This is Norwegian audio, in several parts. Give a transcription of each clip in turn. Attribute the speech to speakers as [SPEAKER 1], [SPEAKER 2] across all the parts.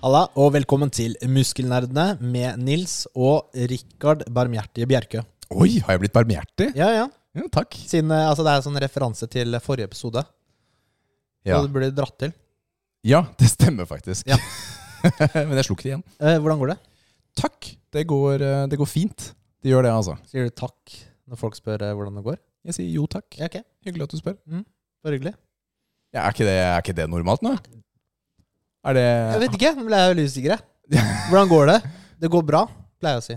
[SPEAKER 1] Halla, og velkommen til Muskelnerdene med Nils og Rikard Barmhjertige Bjerkø.
[SPEAKER 2] Oi, har jeg blitt barmhjertig?
[SPEAKER 1] Ja, ja.
[SPEAKER 2] Ja, takk.
[SPEAKER 1] Siden, eh, altså, det er en sånn referanse til forrige episode.
[SPEAKER 2] Ja.
[SPEAKER 1] Og det blir dratt til.
[SPEAKER 2] ja, det stemmer faktisk.
[SPEAKER 1] Ja.
[SPEAKER 2] Men jeg slo ikke det igjen.
[SPEAKER 1] Eh, hvordan går det?
[SPEAKER 2] Takk. Det går, eh, det går fint. Det gjør det, altså.
[SPEAKER 1] Sier du takk når folk spør eh, hvordan det går?
[SPEAKER 2] Jeg sier jo takk.
[SPEAKER 1] Ja, ok.
[SPEAKER 2] Hyggelig at du spør.
[SPEAKER 1] Bare hyggelig.
[SPEAKER 2] Ja, er, ikke det, er ikke det normalt nå? Er det
[SPEAKER 1] Jeg vet ikke, nå ble jeg veldig usikker. jeg. Hvordan går det? Det går bra, pleier jeg å si.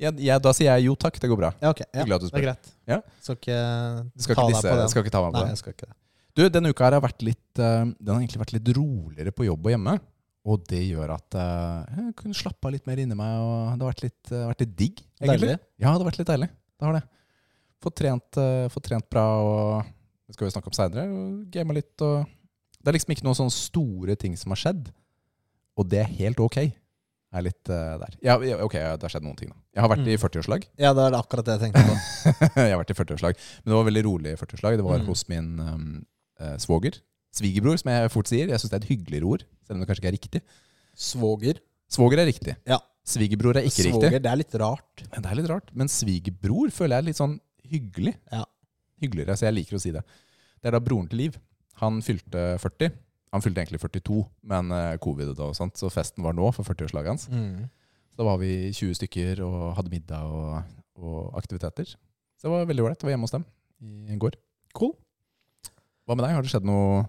[SPEAKER 2] Ja, ja, Da sier jeg jo takk. Det går bra.
[SPEAKER 1] Ja, ok. Ja,
[SPEAKER 2] Hyggelig at du
[SPEAKER 1] det er
[SPEAKER 2] spør.
[SPEAKER 1] greit.
[SPEAKER 2] Ja.
[SPEAKER 1] Skal ikke
[SPEAKER 2] Du skal
[SPEAKER 1] ta
[SPEAKER 2] ikke,
[SPEAKER 1] deg
[SPEAKER 2] disse,
[SPEAKER 1] på den.
[SPEAKER 2] skal ikke ta meg på
[SPEAKER 1] Nei,
[SPEAKER 2] det.
[SPEAKER 1] jeg skal ikke det.
[SPEAKER 2] Du, denne uka her har vært litt, eh, den har egentlig vært litt roligere på jobb og hjemme. Og det gjør at eh, jeg kunne slappe av litt mer inni meg. Og det har vært litt, eh, vært litt digg. egentlig.
[SPEAKER 1] Deilig.
[SPEAKER 2] Ja, det har vært litt deilig. Det har det. Fått trent, eh, fått trent bra, og det skal vi snakke om seinere. Gama litt. og Det er liksom ikke noen sånne store ting som har skjedd. Og det er helt ok. Er litt eh, der. Ja, ja, ok, ja, det har skjedd noen ting, da. Jeg har vært
[SPEAKER 1] Mm.
[SPEAKER 2] i 40-årslag.
[SPEAKER 1] Ja, det var det akkurat det jeg tenkte på.
[SPEAKER 2] jeg har vært i 40-årslag. Men det var veldig rolig 40-årslag. Det var
[SPEAKER 1] Mm.
[SPEAKER 2] hos min ehm, eh, svoger. Svigerbror, som jeg fort sier. Jeg syns det er et hyggeligere ord, selv om det kanskje ikke er riktig.
[SPEAKER 1] Svoger.
[SPEAKER 2] Svoger er riktig.
[SPEAKER 1] Ja.
[SPEAKER 2] Svigerbror er ikke
[SPEAKER 1] Svoger,
[SPEAKER 2] riktig.
[SPEAKER 1] det er litt rart.
[SPEAKER 2] Men det er litt rart. Men svigerbror føler jeg er litt sånn hyggelig.
[SPEAKER 1] Ja.
[SPEAKER 2] Hyggeligere, så jeg liker å si det. Det er da broren til Liv. Han fylte 40. Han fylte egentlig 42, men eh, covid og sånt, så festen var nå for 40-årslaget hans. Da var vi 20 stykker og hadde middag og, og aktiviteter. Så det var veldig ålreit. Det var hjemme hos dem i går. Cool. Hva med deg? Har det skjedd noe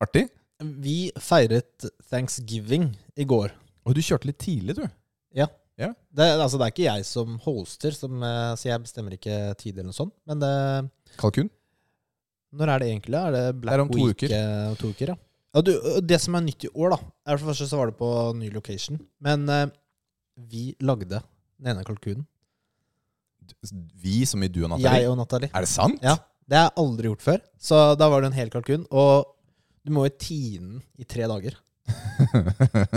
[SPEAKER 2] artig?
[SPEAKER 1] Vi feiret thanksgiving i går.
[SPEAKER 2] Og du kjørte litt tidlig, du.
[SPEAKER 1] Det, altså, det er ikke jeg som hoster, som, eh, så jeg bestemmer ikke tid eller noe sånt. Men det,
[SPEAKER 2] Kalkun?
[SPEAKER 1] når er det egentlig? Er det Black
[SPEAKER 2] Det er om to
[SPEAKER 1] Week, eh, om to uker, ja. ja du, og det som er nytt i år, da, er for det første så var det på ny location. Men eh, vi lagde den ene kalkunen.
[SPEAKER 2] Vi som i du og
[SPEAKER 1] Jeg
[SPEAKER 2] Nathalie.
[SPEAKER 1] og Nathalie.
[SPEAKER 2] Er det sant?
[SPEAKER 1] Ja. Det har jeg aldri gjort før. Så da var det en hel kalkun. Og du må jo tine den i tre dager.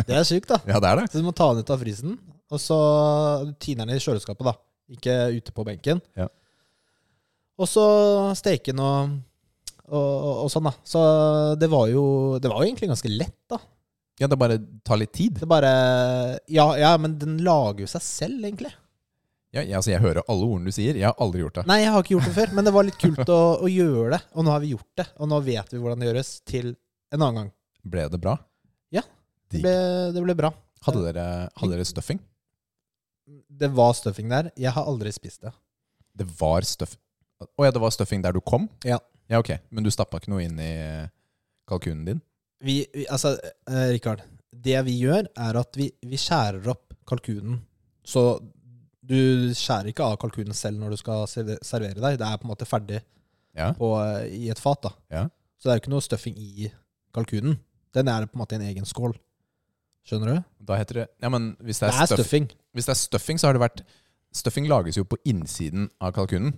[SPEAKER 1] Det er sykt, da.
[SPEAKER 2] ja, det er det.
[SPEAKER 1] Så du må ta den ut av frysen, og så du tiner den i kjøleskapet, da. Ikke ute på benken.
[SPEAKER 2] Ja.
[SPEAKER 1] Og så steke den og, og, og, og sånn, da. Så det var jo Det var jo egentlig ganske lett, da.
[SPEAKER 2] Ja, det bare tar litt tid.
[SPEAKER 1] Det bare Ja, ja men den lager jo seg selv, egentlig.
[SPEAKER 2] Ja, jeg, altså, jeg hører alle ordene du sier. Jeg har aldri gjort det.
[SPEAKER 1] Nei, jeg har ikke gjort det før, men det var litt kult å, å gjøre det. Og nå har vi gjort det, og nå vet vi hvordan det gjøres, til en annen gang.
[SPEAKER 2] Ble det bra?
[SPEAKER 1] Ja. Det
[SPEAKER 2] Digg.
[SPEAKER 1] ble, det ble bra.
[SPEAKER 2] Hadde, dere, hadde dere stuffing?
[SPEAKER 1] Det var stuffing der. Jeg har aldri spist det.
[SPEAKER 2] Det var stuff... Å ja, det var stuffing der du kom?
[SPEAKER 1] Ja.
[SPEAKER 2] Ja, ok. Men du stappa ikke noe inn i eh, kalkunen din?
[SPEAKER 1] vi, vi, altså, eh, Rikard, det vi gjør er at vi, vi skjærer opp kalkunen. Så du skjærer ikke av kalkunen selv når du skal serve- servere deg. Det er på en måte ferdig
[SPEAKER 2] Ja.
[SPEAKER 1] på, eh, i et fat. da.
[SPEAKER 2] Ja.
[SPEAKER 1] Så det er jo ikke noe stuffing i kalkunen. Den er på en måte i en egen skål. Skjønner du?
[SPEAKER 2] Da heter det Ja, men hvis
[SPEAKER 1] Det
[SPEAKER 2] det
[SPEAKER 1] er,
[SPEAKER 2] er, stuff,
[SPEAKER 1] stuffing.
[SPEAKER 2] Hvis det er stuffing, så har det vært Stuffing lages jo på innsiden av kalkunen.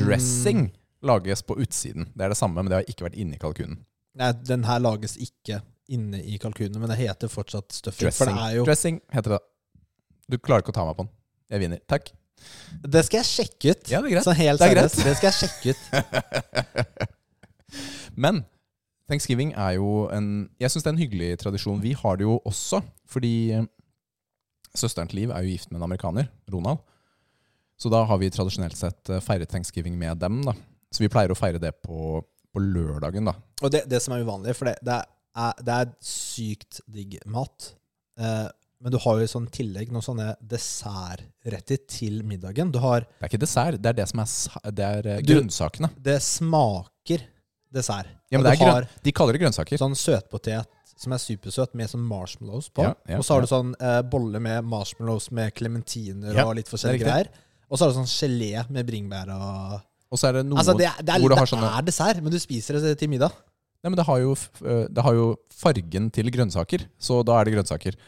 [SPEAKER 2] Dressing
[SPEAKER 1] Mm,
[SPEAKER 2] lages på utsiden. Det er det samme, men det har ikke vært inni kalkunen.
[SPEAKER 1] nei, den her lages ikke inne i kalkunen, men det heter fortsatt stuffing. For
[SPEAKER 2] Dressing,
[SPEAKER 1] det er jo
[SPEAKER 2] Dressing heter det. Du klarer ikke å ta meg på den. Jeg vinner. Takk.
[SPEAKER 1] Det skal jeg sjekke ut.
[SPEAKER 2] Ja, det er greit.
[SPEAKER 1] Så helt
[SPEAKER 2] Det er greit.
[SPEAKER 1] seriøst, det skal jeg sjekke ut.
[SPEAKER 2] Men thanksgiving er jo en Jeg syns det er en hyggelig tradisjon. Vi har det jo også fordi eh, søsteren til Liv er jo gift med en amerikaner, Ronald. Så da har vi tradisjonelt sett eh, feiret thanksgiving med dem, da. Så vi pleier å feire det på, på lørdagen, da.
[SPEAKER 1] Og det, det som er uvanlig, for det, det, er, det er sykt digg mat. Eh, men du har jo i sånn tillegg noen sånne dessertretter til middagen. Du har
[SPEAKER 2] Det er ikke dessert, det er det som er, sa- det er eh,
[SPEAKER 1] Du-
[SPEAKER 2] grønnsakene.
[SPEAKER 1] Det smaker dessert.
[SPEAKER 2] Ja, men
[SPEAKER 1] Og
[SPEAKER 2] det er
[SPEAKER 1] du har
[SPEAKER 2] grønn, de kaller det grønnsaker.
[SPEAKER 1] sånn søtpotet som er supersøt, med sånn marshmallows på.
[SPEAKER 2] Ja, ja,
[SPEAKER 1] og så har du sånn eh, bolle med marshmallows med klementiner
[SPEAKER 2] Ja,
[SPEAKER 1] og litt
[SPEAKER 2] det
[SPEAKER 1] forskjellige
[SPEAKER 2] er riktig.
[SPEAKER 1] greier. Og så har du sånn gelé med bringebær og
[SPEAKER 2] Og så er det noen
[SPEAKER 1] Altså, det er, det er,
[SPEAKER 2] hvor du
[SPEAKER 1] det
[SPEAKER 2] har
[SPEAKER 1] er,
[SPEAKER 2] sånne
[SPEAKER 1] dessert, men du spiser det til middag.
[SPEAKER 2] Nei, men det har, jo, f- eh, det har jo fargen til grønnsaker, så da er det grønnsaker.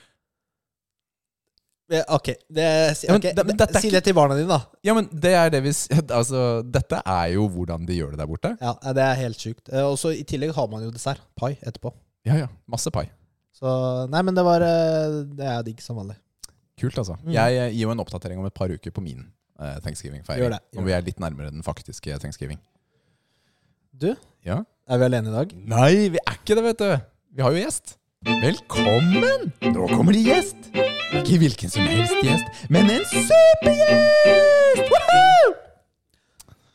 [SPEAKER 1] Eh, Ok, det, si,
[SPEAKER 2] Ja, men
[SPEAKER 1] ok,
[SPEAKER 2] det- men dette er
[SPEAKER 1] si
[SPEAKER 2] ikke-
[SPEAKER 1] det til barna dine, da.
[SPEAKER 2] Ja, men det er det vi s- Altså, dette er jo hvordan de gjør det der borte.
[SPEAKER 1] Ja, nei, det er helt sjukt. Eh, Og så i tillegg har man jo dessert, pai, etterpå.
[SPEAKER 2] Ja, ja. Masse pai.
[SPEAKER 1] Så nei, men det var eh, Det er digg som vanlig.
[SPEAKER 2] Kult, altså.
[SPEAKER 1] Mm.
[SPEAKER 2] Jeg eh, gir jo en oppdatering om et par uker på min eh,
[SPEAKER 1] Gjør det,
[SPEAKER 2] thanksgiving-feiring.
[SPEAKER 1] gjør
[SPEAKER 2] Når vi er litt nærmere den faktiske thanksgiving.
[SPEAKER 1] Du,
[SPEAKER 2] Ja.
[SPEAKER 1] er vi alene i dag?
[SPEAKER 2] Nei, vi er ikke det, vet du! Vi har jo gjest. Velkommen! Nå kommer det gjest. Ikke hvilken som helst gjest, men en supergjest! Woohoo!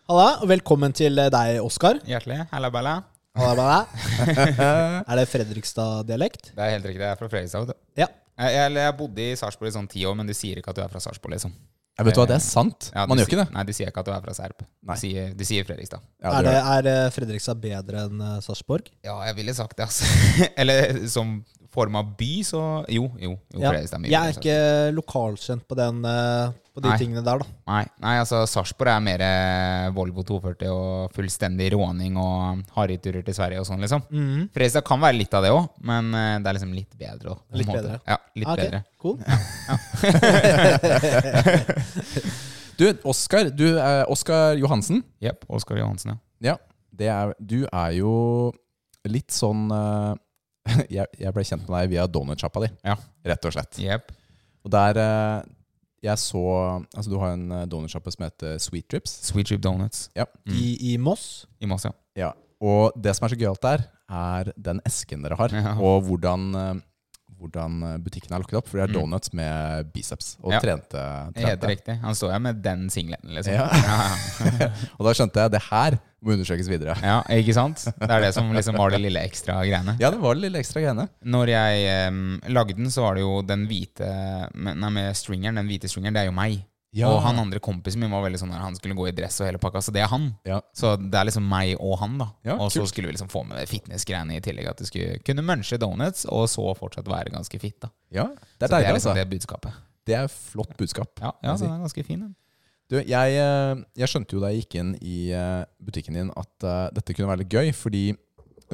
[SPEAKER 1] Halla, og velkommen til eh, deg, Oskar.
[SPEAKER 3] Hjertelig. Halla, balla.
[SPEAKER 1] Halla med deg. Er det Fredrikstad-dialekt?
[SPEAKER 3] Det er helt riktig. Jeg er fra Fredrikstad. vet du.
[SPEAKER 1] Ja.
[SPEAKER 3] Jeg, jeg, jeg bodde i Sarpsborg i sånn ti år, men de sier ikke at du er fra Sarpsborg, liksom.
[SPEAKER 2] Jeg vet hva, det er sant.
[SPEAKER 3] Ja, de
[SPEAKER 2] Man gjør ikke
[SPEAKER 3] sier-
[SPEAKER 2] det.
[SPEAKER 3] Nei, de sier ikke at du er fra Serb.
[SPEAKER 2] Nei.
[SPEAKER 3] De sier, de sier Fredrikstad.
[SPEAKER 1] er,
[SPEAKER 2] Ja, det
[SPEAKER 1] det,
[SPEAKER 2] gjør
[SPEAKER 1] er eh, Fredrikstad bedre enn eh, Sarpsborg?
[SPEAKER 3] Ja, jeg ville sagt det, altså. Eller som form av by, så Jo, jo. jo
[SPEAKER 1] Ja.
[SPEAKER 3] Fredrikstad mye
[SPEAKER 1] Jeg er
[SPEAKER 3] bedre enn
[SPEAKER 1] ikke lokalkjent på, den, eh, på de
[SPEAKER 3] Nei.
[SPEAKER 1] tingene der, da.
[SPEAKER 3] Sarpsborg. Nei, nei altså Sarpsborg er mer eh, Volvo 240 og fullstendig råning og um, harryturer til Sverige og sånn, liksom.
[SPEAKER 1] Mhm.
[SPEAKER 3] Fredrikstad kan være litt av det òg, men eh, det er liksom litt bedre. også, på en
[SPEAKER 1] Litt
[SPEAKER 3] måte.
[SPEAKER 1] bedre. Ah,
[SPEAKER 3] Ja, litt
[SPEAKER 1] Ok,
[SPEAKER 3] bedre.
[SPEAKER 1] Cool.
[SPEAKER 2] Du, Oskar, du, eh, Oskar Johansen,
[SPEAKER 3] Jepp. Oskar Johansen,
[SPEAKER 2] ja,
[SPEAKER 3] ja.
[SPEAKER 2] det er, du er jo litt sånn eh, jeg, jeg ble kjent med deg via donutsjappa di,
[SPEAKER 3] Ja.
[SPEAKER 2] rett og slett.
[SPEAKER 3] Jepp.
[SPEAKER 2] Og der eh, jeg så Altså, du har en eh, donutsjappe som heter Sweet Trips.
[SPEAKER 3] Sweet Chip Donuts Mm.
[SPEAKER 1] I, I Moss?
[SPEAKER 3] i Moss, ja.
[SPEAKER 2] Ja, og det som er så gøyalt der, er den esken dere har,
[SPEAKER 3] Ja.
[SPEAKER 2] og hvordan, eh, hvordan eh, butikken er lukket opp. For det er
[SPEAKER 3] Mm.
[SPEAKER 2] donuts med biceps og
[SPEAKER 3] Ja.
[SPEAKER 2] trente.
[SPEAKER 3] Helt
[SPEAKER 2] trente.
[SPEAKER 3] riktig. Han står her med den singleten, liksom.
[SPEAKER 2] Ja. og da skjønte jeg det her må undersøkes videre.
[SPEAKER 3] Ja, ikke sant? Det er det som liksom var det lille ekstra greiene.
[SPEAKER 2] Ja, det var det lille ekstra greiene.
[SPEAKER 3] Når jeg em, lagde den, så var det jo den hvite men- Nei, med stringeren, den hvite stringeren, det er jo meg. Og han andre kompisen min var veldig sånn der, han skulle gå i dress og hele pakka, så det er han.
[SPEAKER 2] Ja.
[SPEAKER 3] Så det er liksom meg og han, da.
[SPEAKER 2] Ja,
[SPEAKER 3] og så
[SPEAKER 2] kult.
[SPEAKER 3] skulle vi liksom få med det fitness-greiene i tillegg, at du skulle kunne munche donuts, og så fortsatt være ganske fit, da.
[SPEAKER 2] ja, det
[SPEAKER 3] Så
[SPEAKER 2] er deilig,
[SPEAKER 3] det er
[SPEAKER 2] altså.
[SPEAKER 3] liksom det budskapet.
[SPEAKER 2] Det er flott budskap.
[SPEAKER 3] Ja,
[SPEAKER 2] må
[SPEAKER 3] ja
[SPEAKER 2] jeg si.
[SPEAKER 3] den er ganske fin, den.
[SPEAKER 2] Du, jeg, eh, jeg skjønte jo da jeg gikk inn i eh, butikken din at eh, dette kunne være litt gøy, fordi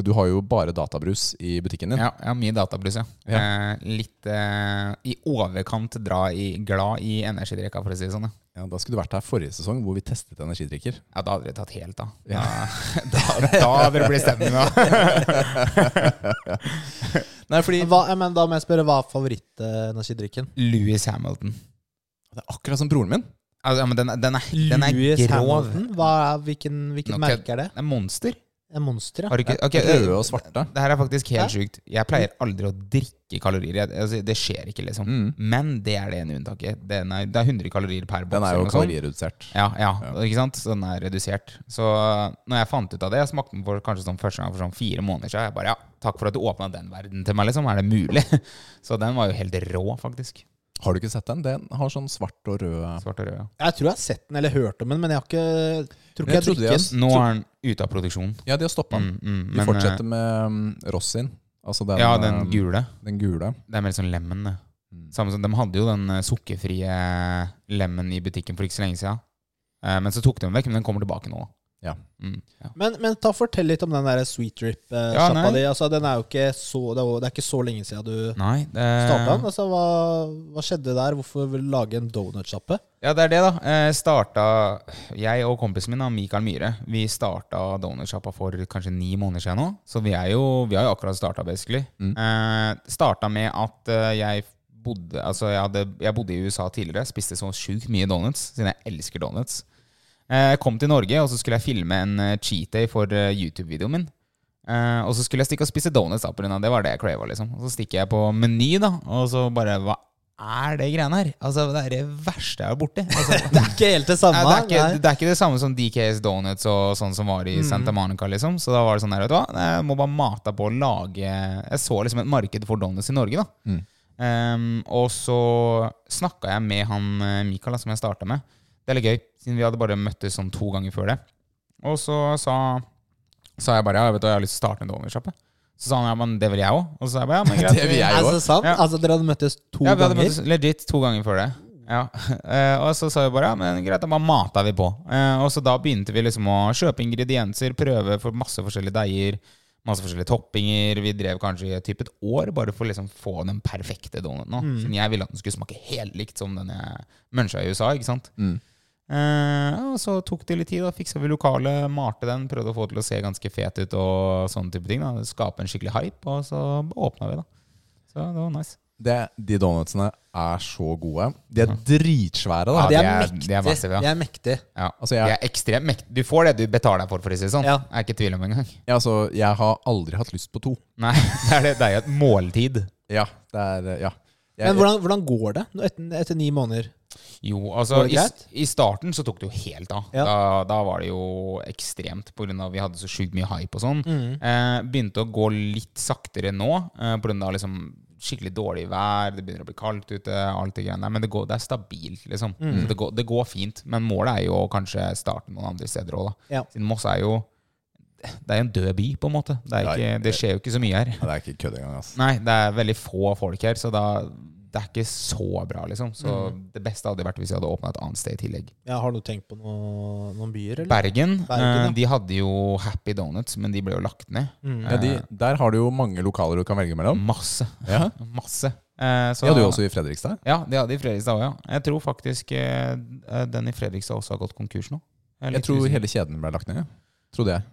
[SPEAKER 2] du har jo bare databrus i butikken din.
[SPEAKER 3] Ja, ja mye databrus, ja.
[SPEAKER 2] Ja.
[SPEAKER 3] Eh, litt eh, i overkant dra i, glad i energidrikka, for å si det sånn. Ja.
[SPEAKER 2] Ja, da skulle du vært her forrige sesong, hvor vi testet energidrikker.
[SPEAKER 3] Ja, da hadde det tatt helt av. Da, da, da hadde det blitt stemning, da.
[SPEAKER 2] Nei, fordi
[SPEAKER 1] Hva, jeg mener, da må jeg spørre, hva er eh, favorittenergidrikken?
[SPEAKER 3] Louis Hamilton.
[SPEAKER 2] Det er akkurat som broren min.
[SPEAKER 3] Altså, ja, men den, er- den er, den er grov.
[SPEAKER 1] Hva er, hvilken hvilket
[SPEAKER 3] Nå kan-
[SPEAKER 1] merke er det?
[SPEAKER 3] Det er monster.
[SPEAKER 1] En monster, ja.
[SPEAKER 3] Har du ikke ok,
[SPEAKER 2] Røde og svarte.
[SPEAKER 3] Det her er faktisk helt
[SPEAKER 1] Hæ?
[SPEAKER 3] sjukt. Jeg pleier aldri å drikke kalorier. Jeg, altså, det skjer ikke, liksom.
[SPEAKER 2] Mm.
[SPEAKER 3] Men det er det ene unntaket. Den er, det er 100 kalorier per boks.
[SPEAKER 2] Den er
[SPEAKER 3] eller
[SPEAKER 2] jo
[SPEAKER 3] noe sånt.
[SPEAKER 2] kaloriredusert.
[SPEAKER 3] Ja, ja, ikke sant? Så den er redusert. Så eh, når jeg fant ut av det, jeg smakte den for kanskje sånn første gang for sånn fire måneder siden. Jeg bare ja, takk for at du åpna den verden til meg, liksom. Er det mulig? Så den var jo helt rå, faktisk.
[SPEAKER 2] Har du ikke sett den? Den har sånn svart og rød
[SPEAKER 3] Svart og rød. ja.
[SPEAKER 1] Jeg tror jeg har sett den eller hørt om den, men jeg har ikke, tror
[SPEAKER 2] Men
[SPEAKER 1] ikke
[SPEAKER 2] jeg
[SPEAKER 1] jeg,
[SPEAKER 2] trodde jeg
[SPEAKER 1] drikker den.
[SPEAKER 3] Nå er den ute av produksjon.
[SPEAKER 2] Ja, de har stoppa
[SPEAKER 3] Mm,
[SPEAKER 2] den.
[SPEAKER 3] mm,
[SPEAKER 2] De
[SPEAKER 3] men,
[SPEAKER 2] fortsetter med um, Rossin. Altså den,
[SPEAKER 3] eh, Ja, den
[SPEAKER 2] um,
[SPEAKER 3] gule.
[SPEAKER 2] den gule.
[SPEAKER 3] Det er mer sånn lemon, det.
[SPEAKER 2] Mm.
[SPEAKER 3] Samme som, de hadde jo den eh, sukkerfrie eh, lemon i butikken for ikke så lenge siden. Eh, Men så tok de den vekk, men den kommer tilbake nå.
[SPEAKER 2] Ja.
[SPEAKER 3] Mm, ja.
[SPEAKER 1] Men, men ta fortell litt om den der Sweet
[SPEAKER 3] Ja,
[SPEAKER 1] Rip-sjappa
[SPEAKER 3] nei.
[SPEAKER 1] di. Altså, den er jo ikke så, det er jo- det er ikke så lenge siden du
[SPEAKER 3] Nei, det
[SPEAKER 1] starta den. Altså, hva, hva skjedde der? Hvorfor vil du lage en donutsjappe?
[SPEAKER 3] Ja, det er det, da. Eh, starta, jeg og kompisen min, da, Mikael Myhre, vi starta donorsjappa for kanskje ni måneder siden nå. Så vi, er jo, vi har jo akkurat starta, basically.
[SPEAKER 2] Mm.
[SPEAKER 3] Eh, starta med at eh, jeg bodde Altså, jeg, hadde, jeg bodde i USA tidligere, spiste så sjukt mye donuts, siden jeg elsker donuts. Eh, kom til Norge, og så skulle jeg filme en eh, cheat day for eh, YouTube-videoen min. Eh, og så skulle jeg stikke og spise donuts, da, på grunn av det var det jeg crava. Liksom. Og så stikker jeg på Meny, da, og så bare Hva er det greiene her? Altså, det er det verste jeg er borti. Altså,
[SPEAKER 1] Det er ikke helt det samme.
[SPEAKER 3] Nei, det, er ikke,
[SPEAKER 1] nei.
[SPEAKER 3] det er ikke det samme som DKs Donuts og sånn som var i
[SPEAKER 2] Mm.
[SPEAKER 3] Santa Monica. liksom Så da var det sånn der, vet du hva Jeg må bare mate på å lage Jeg så liksom et marked for donuts i Norge. da
[SPEAKER 2] Mm.
[SPEAKER 3] Ehm, Og så snakka jeg med han eh, Mikael, da, som jeg starta med. Det er litt gøy, siden vi hadde bare møttes sånn to ganger før det. Og så sa, sa jeg bare ja, vet du, hva, jeg har lyst til å starte en donutsjappe. Så sa han ja, men det vil jeg òg. Og så sa jeg bare ja, men greit.
[SPEAKER 2] Det vil jeg
[SPEAKER 1] Er
[SPEAKER 2] jo.
[SPEAKER 1] det sant?
[SPEAKER 3] Ja.
[SPEAKER 1] Altså, dere hadde møttes to
[SPEAKER 3] Ja, vi hadde
[SPEAKER 1] ganger?
[SPEAKER 3] møttes legit to ganger før det. Ja. Eh, og så sa vi bare ja, men greit, da bare mata vi på. Eh, og så da begynte vi liksom å kjøpe ingredienser, prøve for masse forskjellige deiger, masse forskjellige toppinger. Vi drev kanskje i typ et år bare for liksom få den perfekte donuten.
[SPEAKER 1] Mm.
[SPEAKER 3] nå. Siden jeg ville at den skulle smake helt likt som den jeg muncha i USA, ikke sant.
[SPEAKER 2] Mm.
[SPEAKER 3] Eh, og så tok det litt tid, da fiksa vi lokalet, malte den, prøvde å få til å se ganske fet ut og sånne type ting. da Skape en skikkelig hype, og så åpna vi, da. Så det var nice.
[SPEAKER 2] Det, de donutsene er så gode. De er dritsvære, da.
[SPEAKER 3] Ja,
[SPEAKER 1] det er
[SPEAKER 3] de er-
[SPEAKER 1] mektig.
[SPEAKER 3] de er massive, ja.
[SPEAKER 1] Det er mektig.
[SPEAKER 3] Ja.
[SPEAKER 2] Altså,
[SPEAKER 3] Det
[SPEAKER 2] jeg,
[SPEAKER 3] er ekstremt mektig. Du får det du betaler deg for, for å si det sånn.
[SPEAKER 1] Ja.
[SPEAKER 3] Jeg er ikke i tvil om engang.
[SPEAKER 2] jeg, altså, jeg har aldri hatt lyst på to.
[SPEAKER 3] Nei, det er, det, det er jo et måltid.
[SPEAKER 2] Ja, det er, ja. Jeg,
[SPEAKER 1] Men hvordan, hvordan går det nå etter, etter ni måneder?
[SPEAKER 3] Jo,
[SPEAKER 1] Var
[SPEAKER 3] altså
[SPEAKER 1] det
[SPEAKER 3] i,
[SPEAKER 1] greit?
[SPEAKER 3] I starten så tok det jo helt av.
[SPEAKER 1] Ja.
[SPEAKER 3] Da, da var det jo ekstremt pga. vi hadde så sjukt mye hype og sånn.
[SPEAKER 1] Mm.
[SPEAKER 3] Eh, begynte å gå litt saktere nå eh, pga. Liksom skikkelig dårlig vær, det begynner å bli kaldt ute. alt det greiene der, Men det, går, det er stabilt, liksom.
[SPEAKER 1] Mm.
[SPEAKER 3] Så det, går, det går fint. Men målet er jo å kanskje starte noen andre steder òg, da.
[SPEAKER 1] Ja.
[SPEAKER 3] Siden Moss er jo Det er jo en død by, på en måte. Det, er
[SPEAKER 2] Ja,
[SPEAKER 3] ikke, det skjer jo ikke så mye her.
[SPEAKER 2] Ja, det er ikke kødd engang. ass.
[SPEAKER 3] Nei, det er veldig få folk her, så da, det er ikke så bra, liksom. Så
[SPEAKER 2] Mm.
[SPEAKER 3] det beste hadde vært hvis jeg hadde åpna et annet sted i tillegg.
[SPEAKER 1] Ja, har du tenkt på noe, noen byer, eller?
[SPEAKER 3] Bergen,
[SPEAKER 1] Bergen,
[SPEAKER 3] eh,
[SPEAKER 1] ja.
[SPEAKER 3] de hadde jo Happy Donuts, men de ble jo lagt ned.
[SPEAKER 1] Mm.
[SPEAKER 2] Ja, de, der har du jo mange lokaler du kan velge mellom.
[SPEAKER 3] Masse.
[SPEAKER 2] Eh, Ja.
[SPEAKER 3] Masse. Eh, så-
[SPEAKER 2] De hadde jo også i Fredrikstad.
[SPEAKER 3] Ja, de hadde i Fredrikstad òg, ja. Jeg tror faktisk eh, den i Fredrikstad også har gått konkurs nå. er
[SPEAKER 2] Jeg
[SPEAKER 3] litt
[SPEAKER 2] tror
[SPEAKER 3] usikker.
[SPEAKER 2] hele kjeden ble lagt ned. ja. Trodde jeg.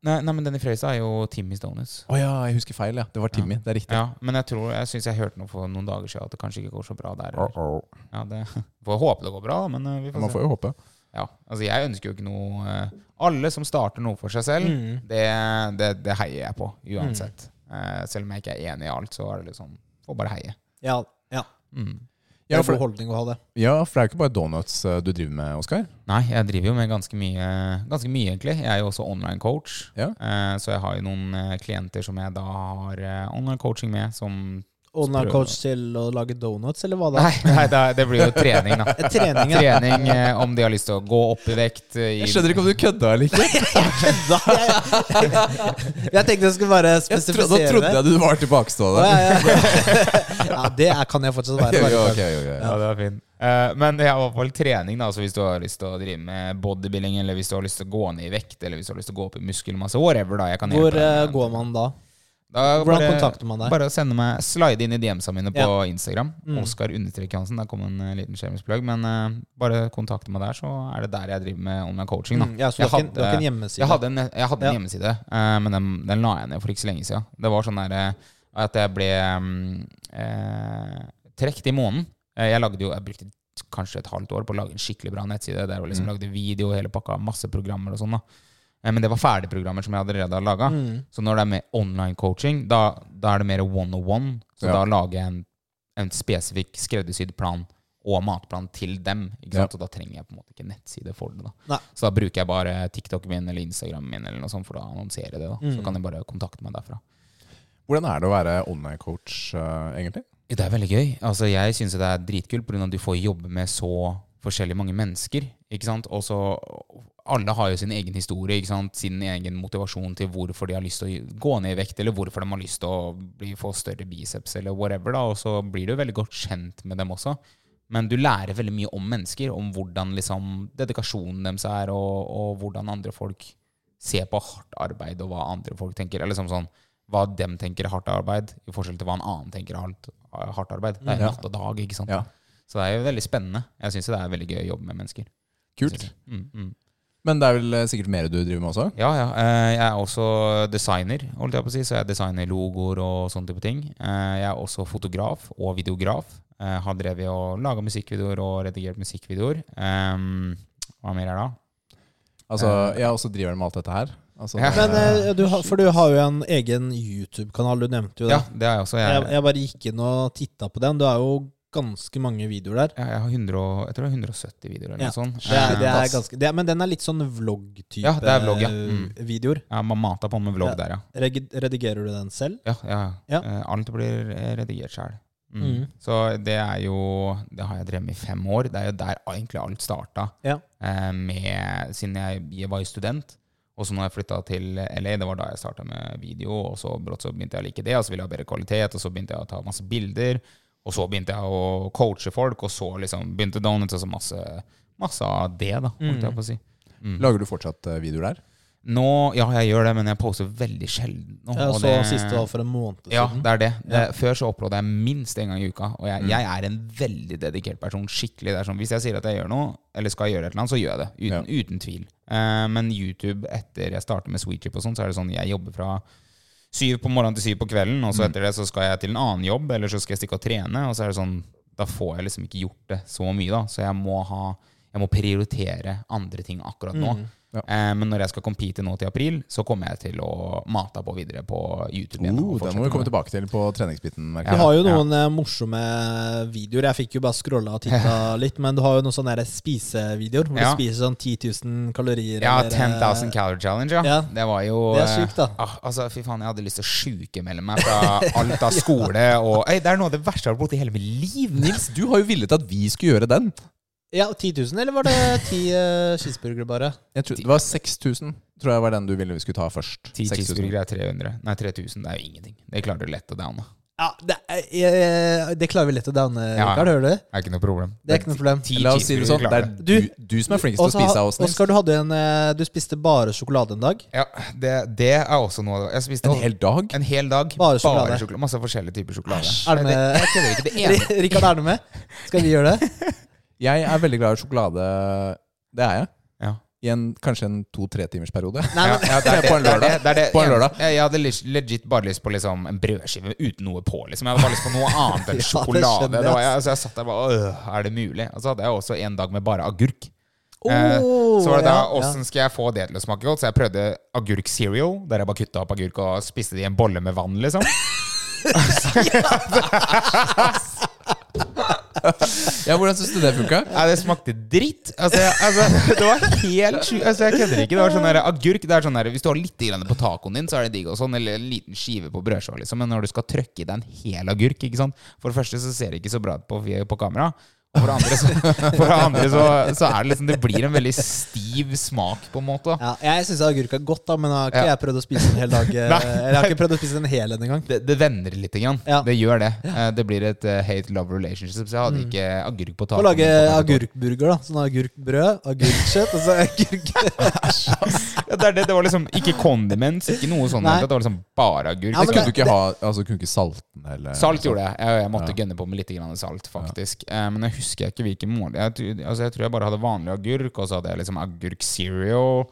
[SPEAKER 3] nei, nei, men den i Fredrikstad er jo Timmy's Donuts.
[SPEAKER 2] Å ja, jeg husker feil. ja. Det var Timmy. Det er riktig.
[SPEAKER 3] Ja, men jeg tror, jeg syns jeg hørte noe for noen dager siden at det kanskje ikke går så bra der. eller?
[SPEAKER 2] Uh-oh.
[SPEAKER 3] Ja, det, Får håpe det går bra, da, men eh, vi får
[SPEAKER 2] Man
[SPEAKER 3] se.
[SPEAKER 2] får jo håpe.
[SPEAKER 3] Ja, altså jeg ønsker jo ikke noe eh, Alle som starter noe for seg selv,
[SPEAKER 1] Mm.
[SPEAKER 3] det, det, det heier jeg på uansett.
[SPEAKER 2] Mm.
[SPEAKER 3] Eh, selv om jeg ikke er enig i alt, så er det liksom Får bare heie.
[SPEAKER 1] Ja, ja.
[SPEAKER 3] Mm.
[SPEAKER 1] Det er
[SPEAKER 2] Ja,
[SPEAKER 1] en god
[SPEAKER 2] for,
[SPEAKER 1] holdning å ha det.
[SPEAKER 2] ja, for det er jo ikke bare donuts eh, du driver med, Oskar.
[SPEAKER 3] Nei, jeg driver jo med ganske mye, ganske mye egentlig. Jeg er jo også online coach.
[SPEAKER 2] Ja.
[SPEAKER 3] Eh, så jeg har jo noen eh, klienter som jeg da har eh, online coaching med, som
[SPEAKER 1] Online coach til å lage donuts, eller hva da?
[SPEAKER 3] Nei, nei det, er- det blir jo trening, da.
[SPEAKER 1] Trening, ja.
[SPEAKER 3] Trening eh, om de har lyst til å gå opp i vekt. eh, i-
[SPEAKER 2] Jeg skjønner ikke om du kødda eller ikke.
[SPEAKER 1] Da, jeg, jeg tenkte jeg skulle bare
[SPEAKER 2] Jeg tro, da
[SPEAKER 1] spesifisere
[SPEAKER 2] trodde
[SPEAKER 1] det.
[SPEAKER 2] jeg du var
[SPEAKER 1] Å,
[SPEAKER 2] tilbakestående.
[SPEAKER 1] ja, ja, det- ja, det er, kan jeg fortsatt være.
[SPEAKER 2] Jo,
[SPEAKER 1] bare-
[SPEAKER 2] ok, jo, jo,
[SPEAKER 3] Ja, det er fint. Eh, men jeg har i hvert fall trening, da. Så hvis du har lyst til å drive med bodybuilding, eller hvis du har lyst til å gå ned i vekt, eller hvis du har lyst til å gå opp i muskelmasse, whatever, da. Jeg kan
[SPEAKER 1] Hvor
[SPEAKER 3] hjelpe deg
[SPEAKER 1] eh,
[SPEAKER 3] med.
[SPEAKER 1] går man da?
[SPEAKER 3] Da
[SPEAKER 1] Hvordan
[SPEAKER 3] bare-
[SPEAKER 1] kontakter man deg? Mm.
[SPEAKER 3] Bare å sende meg slide inn i DM-sa mine på Instagram. Oskar understrek Hansen. Der kom en eh, liten skjermisk plugg. Men eh, bare kontakte meg der, så er det der jeg driver med online coaching, da.
[SPEAKER 1] Mm, ja, så du
[SPEAKER 3] Jeg
[SPEAKER 1] har ikke en- du har
[SPEAKER 3] hadde-
[SPEAKER 1] ikke en hjemmeside?
[SPEAKER 3] Jeg hadde en, jeg hadde en
[SPEAKER 1] Ja.
[SPEAKER 3] hjemmeside, eh, men den, den la jeg ned for ikke så lenge siden. Det var sånn der eh, at jeg ble mm, eh, trukket i måneden. Eh, Jeg lagde jo, jeg brukte kanskje et halvt år på å lage en skikkelig bra nettside. Der jeg liksom
[SPEAKER 1] Mm.
[SPEAKER 3] lagde video, hele pakka, masse programmer og sånn. da. Eh, Men det var ferdigprogrammer som jeg allerede hadde laga.
[SPEAKER 1] Mm.
[SPEAKER 3] Så når det er mer online coaching, da, da er det mer one-on-one. Så
[SPEAKER 2] Ja.
[SPEAKER 3] da lager jeg en, en spesifikk skreddersydd plan og matplan til dem. ikke
[SPEAKER 2] Ja.
[SPEAKER 3] sant? Og da trenger jeg på en måte ikke nettside for det. da.
[SPEAKER 1] Nei.
[SPEAKER 3] Så da bruker jeg bare TikTok-en min eller Instagram min eller noe sånt for å annonsere det. da. Så kan de bare kontakte meg derfra.
[SPEAKER 2] Hvordan er det å være online-coach, eh, egentlig?
[SPEAKER 3] Jo, Det er veldig gøy. Altså, jeg syns det er dritkult pga. at du får jobbe med så forskjellig mange mennesker. ikke sant? Og så Alle har jo sin egen historie, ikke sant? sin egen motivasjon til hvorfor de har lyst til å gå ned i vekt, eller hvorfor de har lyst til å bli, få større biceps, eller whatever. da, Og så blir du veldig godt kjent med dem også. Men du lærer veldig mye om mennesker, om hvordan liksom, dedikasjonen deres er, og, og hvordan andre folk ser på hardt arbeid, og hva andre folk tenker. Eller liksom sånn, hva dem tenker er hardt arbeid, i forskjell til hva en annen tenker er hardt, hardt arbeid. Det er
[SPEAKER 2] Ja.
[SPEAKER 3] natt og dag, ikke sant?
[SPEAKER 2] Ja.
[SPEAKER 3] Så det er jo veldig spennende. Jeg syns det er veldig gøy å jobbe med mennesker.
[SPEAKER 2] Kult.
[SPEAKER 3] Mm, mm.
[SPEAKER 2] Men det er vel eh, sikkert mer du driver med også?
[SPEAKER 3] Ja, ja. eh, Jeg er også designer, holdt jeg på å si. Så jeg designer logoer og sånne type ting. Eh, Jeg er også fotograf og videograf. Eh, Har drevet og laga musikkvideoer og redigert musikkvideoer. Ehm, Hva mer er det da?
[SPEAKER 2] Altså, jeg også driver med alt dette her. Altså,
[SPEAKER 3] Ja.
[SPEAKER 2] det-
[SPEAKER 1] Men, eh, du, har- for du har jo en egen YouTube-kanal, du nevnte jo det.
[SPEAKER 3] Ja, det er jeg også. Jeg,
[SPEAKER 1] Jeg, jeg bare gikk inn og titta på den. Du har jo ganske mange videoer der.
[SPEAKER 3] Ja, jeg, har 100, og- jeg tror jeg har 170 videoer eller
[SPEAKER 1] Ja.
[SPEAKER 3] noe sånt.
[SPEAKER 1] Det er, det
[SPEAKER 3] Eh,
[SPEAKER 1] er ganske, det er, men den er litt sånn vlogg-type
[SPEAKER 3] Ja, det er vlogg, ja. Mm.
[SPEAKER 1] eh, videoer.
[SPEAKER 3] ja, man mata på med vlogg
[SPEAKER 1] Ja.
[SPEAKER 3] der, ja.
[SPEAKER 1] Regi- Redigerer du den selv?
[SPEAKER 3] Ja, ja.
[SPEAKER 1] Ja.
[SPEAKER 3] Eh, Alt blir eh, redigert sjøl. Mm.
[SPEAKER 1] Mm.
[SPEAKER 3] Så det er jo Det har jeg drevet med i fem år. Det er jo der egentlig alt starta.
[SPEAKER 1] Ja.
[SPEAKER 3] Eh, med, siden jeg, jeg var jo student. Og så når jeg flytta til LA, det var da jeg starta med video. Og så brått så begynte jeg å like det, og så ville jeg ha bedre kvalitet, og så begynte jeg å ta masse bilder. Og så begynte jeg å coache folk, og så liksom begynte donuts, og så masse, masse av det, da,
[SPEAKER 1] Mm.
[SPEAKER 3] holdt jeg på å si.
[SPEAKER 2] Lager du fortsatt eh, videoer der?
[SPEAKER 3] Nå, ja, jeg gjør det, men jeg poster veldig sjelden. nå,
[SPEAKER 1] Jeg
[SPEAKER 3] og
[SPEAKER 1] så
[SPEAKER 3] det-
[SPEAKER 1] siste var for en måned siden.
[SPEAKER 3] ja, det er det. det Før så uploada jeg minst en gang i uka. Og jeg,
[SPEAKER 2] Mm.
[SPEAKER 3] jeg er en veldig dedikert person. Skikkelig det er sånn, Hvis jeg sier at jeg gjør noe, eller skal gjøre et eller annet, så gjør jeg det. Uten, uten tvil. Eh, men YouTube, etter jeg starter med Sweet Chip og sånn, så er det sånn jeg jobber fra syv på morgenen til syv på kvelden, og så
[SPEAKER 2] Mm.
[SPEAKER 3] etter det så skal jeg til en annen jobb, eller så skal jeg stikke og trene. Og så er det sånn, da får jeg liksom ikke gjort det så mye, da. Så jeg må, ha, jeg må prioritere andre ting akkurat nå.
[SPEAKER 2] Mm, Ja.
[SPEAKER 3] Eh, men når jeg skal compete nå til april, så kommer jeg til å mate på videre på YouTube. igjen og
[SPEAKER 2] Oh, den må vi
[SPEAKER 3] fortsette
[SPEAKER 2] komme
[SPEAKER 3] med det.
[SPEAKER 2] tilbake til på treningsbiten.
[SPEAKER 1] Du
[SPEAKER 2] merker jeg.
[SPEAKER 1] har jo
[SPEAKER 3] ja.
[SPEAKER 1] noen eh, morsomme videoer. Jeg fikk jo bare scrolla og titta litt, men du har jo noen sånne der spisevideoer hvor
[SPEAKER 3] Ja.
[SPEAKER 1] du spiser sånn 10 000 kalorier.
[SPEAKER 3] Ja,
[SPEAKER 1] eller, eh,
[SPEAKER 3] 10,000 calorie challenge, ja.
[SPEAKER 1] Ja.
[SPEAKER 3] Det var jo
[SPEAKER 1] Det er sykt, da.
[SPEAKER 3] eh, ah, altså, fy faen, jeg hadde lyst til å sjukemelde meg fra alt av skole og Øy, Det er noe av det verste jeg har gjort i hele mitt liv!
[SPEAKER 2] Nils, du har jo villet at vi skulle gjøre den.
[SPEAKER 1] Ja, 10 000, eller var det 10 uh, cheeseburgere bare?
[SPEAKER 2] Jeg tror, det var 6000, tror jeg var den du ville vi skulle ta først.
[SPEAKER 3] 10
[SPEAKER 2] 6000.
[SPEAKER 3] cheeseburgere er 300. Nei, 3000. Det er jo ingenting. Det klarer du lett å downe.
[SPEAKER 1] Ja, det, er- eh, det klarer vi lett å downe,
[SPEAKER 3] Ja, ja.
[SPEAKER 1] Rikard. Hører du?
[SPEAKER 3] Det er ikke noe problem.
[SPEAKER 1] Det er ikke noe problem.
[SPEAKER 3] Ti
[SPEAKER 2] La oss si det sånn,
[SPEAKER 3] cheeseburgere
[SPEAKER 2] det er
[SPEAKER 3] klarer det.
[SPEAKER 2] du, du som er flinkest til å
[SPEAKER 1] Også
[SPEAKER 2] spise
[SPEAKER 1] ha-
[SPEAKER 2] av oss, Nils.
[SPEAKER 1] Oskar, du, hadde en, eh, du spiste bare sjokolade en dag.
[SPEAKER 3] Ja, det, det er også noe av det. Jeg spiste
[SPEAKER 2] En
[SPEAKER 3] også-
[SPEAKER 2] hel dag?
[SPEAKER 3] en hel dag
[SPEAKER 1] Bare sjokolade.
[SPEAKER 3] sjokolade. Masse forskjellige typer sjokolade.
[SPEAKER 1] Er du
[SPEAKER 3] Nei, det-
[SPEAKER 1] med?
[SPEAKER 3] Jeg kødder ikke. Det ene
[SPEAKER 1] Rikard, er du med? Skal vi gjøre det?
[SPEAKER 2] Jeg er veldig glad i sjokolade. Det er jeg.
[SPEAKER 3] ja.
[SPEAKER 2] I en, kanskje en to-tre timers periode.
[SPEAKER 1] Nei,
[SPEAKER 3] Ja,
[SPEAKER 1] men,
[SPEAKER 3] ja, det er det,
[SPEAKER 2] På en
[SPEAKER 3] det er det,
[SPEAKER 2] lørdag.
[SPEAKER 3] det er det
[SPEAKER 2] På en
[SPEAKER 3] eneste.
[SPEAKER 2] lørdag.
[SPEAKER 3] Jeg, jeg hadde lig- legit bare lyst på liksom en brødskive uten noe på. liksom Jeg hadde bare lyst på noe annet enn
[SPEAKER 1] Ja, det
[SPEAKER 3] sjokolade.
[SPEAKER 1] skjønner jeg,
[SPEAKER 3] Det var, jeg, altså, jeg satt der bare «Åh, Er det mulig? Og så hadde jeg også en dag med bare agurk. Eh,
[SPEAKER 1] Oh,
[SPEAKER 3] så var det da
[SPEAKER 1] ja, ja.
[SPEAKER 3] åssen skal jeg få det til å smake godt? Så jeg prøvde agurk cereal, der jeg bare kutta opp agurk og spiste det i en bolle med vann, liksom.
[SPEAKER 2] Ja, Hvordan syns du det funka?
[SPEAKER 3] Nei, det smakte dritt. Altså, jeg, altså Det var helt sjukt. Altså, jeg kødder ikke. Det var sånn der, agurk det er sånn der, Hvis du har litt grann på tacoen din, så er det digg. og sånn Eller en liten skive på brødskiva. Liksom. Men når du skal trøkke i deg en hel agurk ikke sant? For det første så ser det ikke så bra ut på, på kamera. Og for det andre, så, for det andre så, så er det liksom Det blir en veldig stiv smak, på en måte. da.
[SPEAKER 1] Ja, jeg syns agurk er godt, da, men har ikke
[SPEAKER 3] Ja.
[SPEAKER 1] jeg prøvd å spise en hel dag. eh,
[SPEAKER 3] Nei.
[SPEAKER 1] Eller jeg har ikke prøvd å spise en hel en engang.
[SPEAKER 3] Det, det vender litt. Grann.
[SPEAKER 1] Ja. Mm.
[SPEAKER 3] Det gjør det. Eh, Det blir et eh, hate love relationship. Så jeg hadde ikke agurk på
[SPEAKER 1] Få
[SPEAKER 3] tacoen.
[SPEAKER 1] lage
[SPEAKER 3] min på tacoen.
[SPEAKER 1] agurkburger, da. Sånn agurkbrød, agurkkjøtt og så agurk...
[SPEAKER 3] Ja, det, er det, det var liksom ikke condiments, ikke noe sånt.
[SPEAKER 1] Nei.
[SPEAKER 3] Det var liksom bare agurk.
[SPEAKER 1] Ja, men
[SPEAKER 2] Kunne
[SPEAKER 1] det-
[SPEAKER 2] du ikke ha altså, kunne du ikke salte den? Eller,
[SPEAKER 3] Eh, Salt
[SPEAKER 1] liksom.
[SPEAKER 3] gjorde jeg. Jeg, jeg måtte gønne på med litt grann salt, faktisk. Eh, men jeg husker ikke hvilken mål jeg, tr- altså, jeg tror jeg bare hadde vanlig agurk, og så hadde jeg liksom agurk cereal,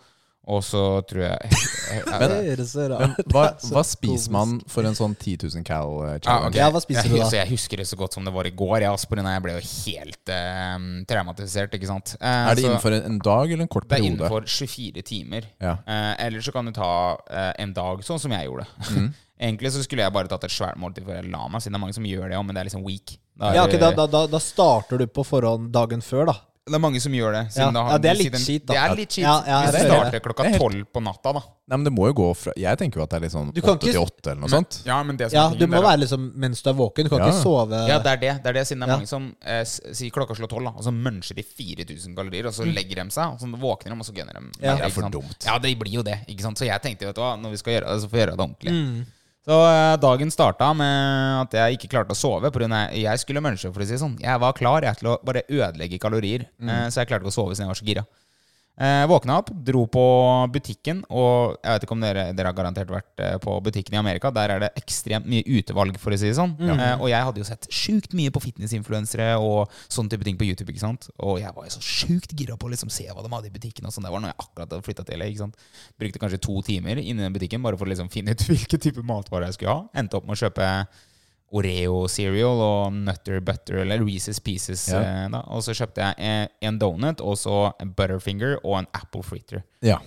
[SPEAKER 3] og så tror jeg eh,
[SPEAKER 1] Det høres så
[SPEAKER 2] Men
[SPEAKER 1] rart
[SPEAKER 2] hva,
[SPEAKER 1] Det er så
[SPEAKER 2] hva spiser
[SPEAKER 1] komisk.
[SPEAKER 2] man for en sånn 10 000 cal eh,
[SPEAKER 3] Ja,
[SPEAKER 2] challenge?
[SPEAKER 3] Ah, ok.
[SPEAKER 1] Ja, hva spiser
[SPEAKER 3] jeg,
[SPEAKER 1] du da?
[SPEAKER 3] altså, Jeg husker det så godt som det var i går. Jeg, altså, på grunn av jeg ble jo helt eh, traumatisert, ikke sant. Eh,
[SPEAKER 2] Er det
[SPEAKER 3] så-
[SPEAKER 2] innenfor en, en dag eller en kort
[SPEAKER 3] Det er
[SPEAKER 2] periode?
[SPEAKER 3] innenfor 24 timer.
[SPEAKER 2] Ja.
[SPEAKER 3] Eh, eller så kan du ta eh, en dag, sånn som jeg gjorde.
[SPEAKER 1] Mm.
[SPEAKER 3] Egentlig så skulle jeg bare tatt et svært måltid før jeg la meg, siden det er mange som gjør det òg, men det er liksom weak. Da er
[SPEAKER 1] Ja, ok,
[SPEAKER 3] det-
[SPEAKER 1] da, da, da, da starter du på forhånd dagen før, da.
[SPEAKER 3] Det er mange som gjør det.
[SPEAKER 1] Ja.
[SPEAKER 3] siden da har
[SPEAKER 1] Ja, det er
[SPEAKER 3] de
[SPEAKER 1] litt
[SPEAKER 3] siden-
[SPEAKER 1] skit, da.
[SPEAKER 3] Det er litt skit.
[SPEAKER 1] Ja, ja,
[SPEAKER 3] Hvis
[SPEAKER 1] jeg
[SPEAKER 3] du
[SPEAKER 1] ser
[SPEAKER 3] starter
[SPEAKER 1] det.
[SPEAKER 3] klokka
[SPEAKER 2] Det er helt-
[SPEAKER 3] tolv på natta, da.
[SPEAKER 2] Nei, men det må jo gå fra Jeg tenker jo at det er litt sånn
[SPEAKER 1] Du kan
[SPEAKER 2] 8
[SPEAKER 1] ikke-
[SPEAKER 2] til 8 eller noe sånt.
[SPEAKER 3] Ja, men det som
[SPEAKER 1] Ja,
[SPEAKER 3] er
[SPEAKER 1] Du må
[SPEAKER 3] tingen, det er at-
[SPEAKER 1] være liksom mens du er våken. Du kan
[SPEAKER 2] Ja.
[SPEAKER 1] ikke sove
[SPEAKER 3] Ja, det er det. det, er det siden det er
[SPEAKER 1] Ja.
[SPEAKER 3] mange som eh, s- sier klokka slår tolv, da, og så muncher de 4000 kalorier, og så legger de seg, og så våkner de, og så gunner de.
[SPEAKER 1] Mm. Ja.
[SPEAKER 3] mer,
[SPEAKER 2] Det er
[SPEAKER 3] ikke
[SPEAKER 2] for
[SPEAKER 3] sant?
[SPEAKER 2] dumt.
[SPEAKER 3] Ja, det blir jo det. ikke sant? Så jeg tenkte, vet du hva, når vi skal gjøre det, så får vi gjøre det ordentlig.
[SPEAKER 1] Mm.
[SPEAKER 3] Så eh, dagen starta med at jeg ikke klarte å sove. På grunn av jeg skulle munche, for å si det sånn. Jeg var klar jeg til å bare ødelegge kalorier,
[SPEAKER 1] Mm.
[SPEAKER 3] eh, så jeg klarte ikke å sove siden jeg var så gira. Eh, våkna opp, dro på butikken, og jeg vet ikke om dere, dere har garantert vært eh, på butikken i Amerika. Der er det ekstremt mye utevalg, for å si det sånn. Eh, og jeg hadde jo sett sjukt mye på fitnessinfluensere og sånne type ting på YouTube. ikke sant? Og jeg var jo så sjukt gira på å liksom se hva de hadde i butikken. og sånn. Det var når jeg akkurat hadde flytta til LA. ikke sant? Brukte kanskje to timer inne i butikken bare for å liksom finne ut hvilke type matvarer jeg skulle ha. Endte opp med å kjøpe Oreo cereal og Nutter Butter, eller Reese's Pieces.
[SPEAKER 2] Ja.
[SPEAKER 3] eh, Da. Og så kjøpte jeg eh, en donut, og så en Butterfinger og en apple fritter.
[SPEAKER 2] Ja.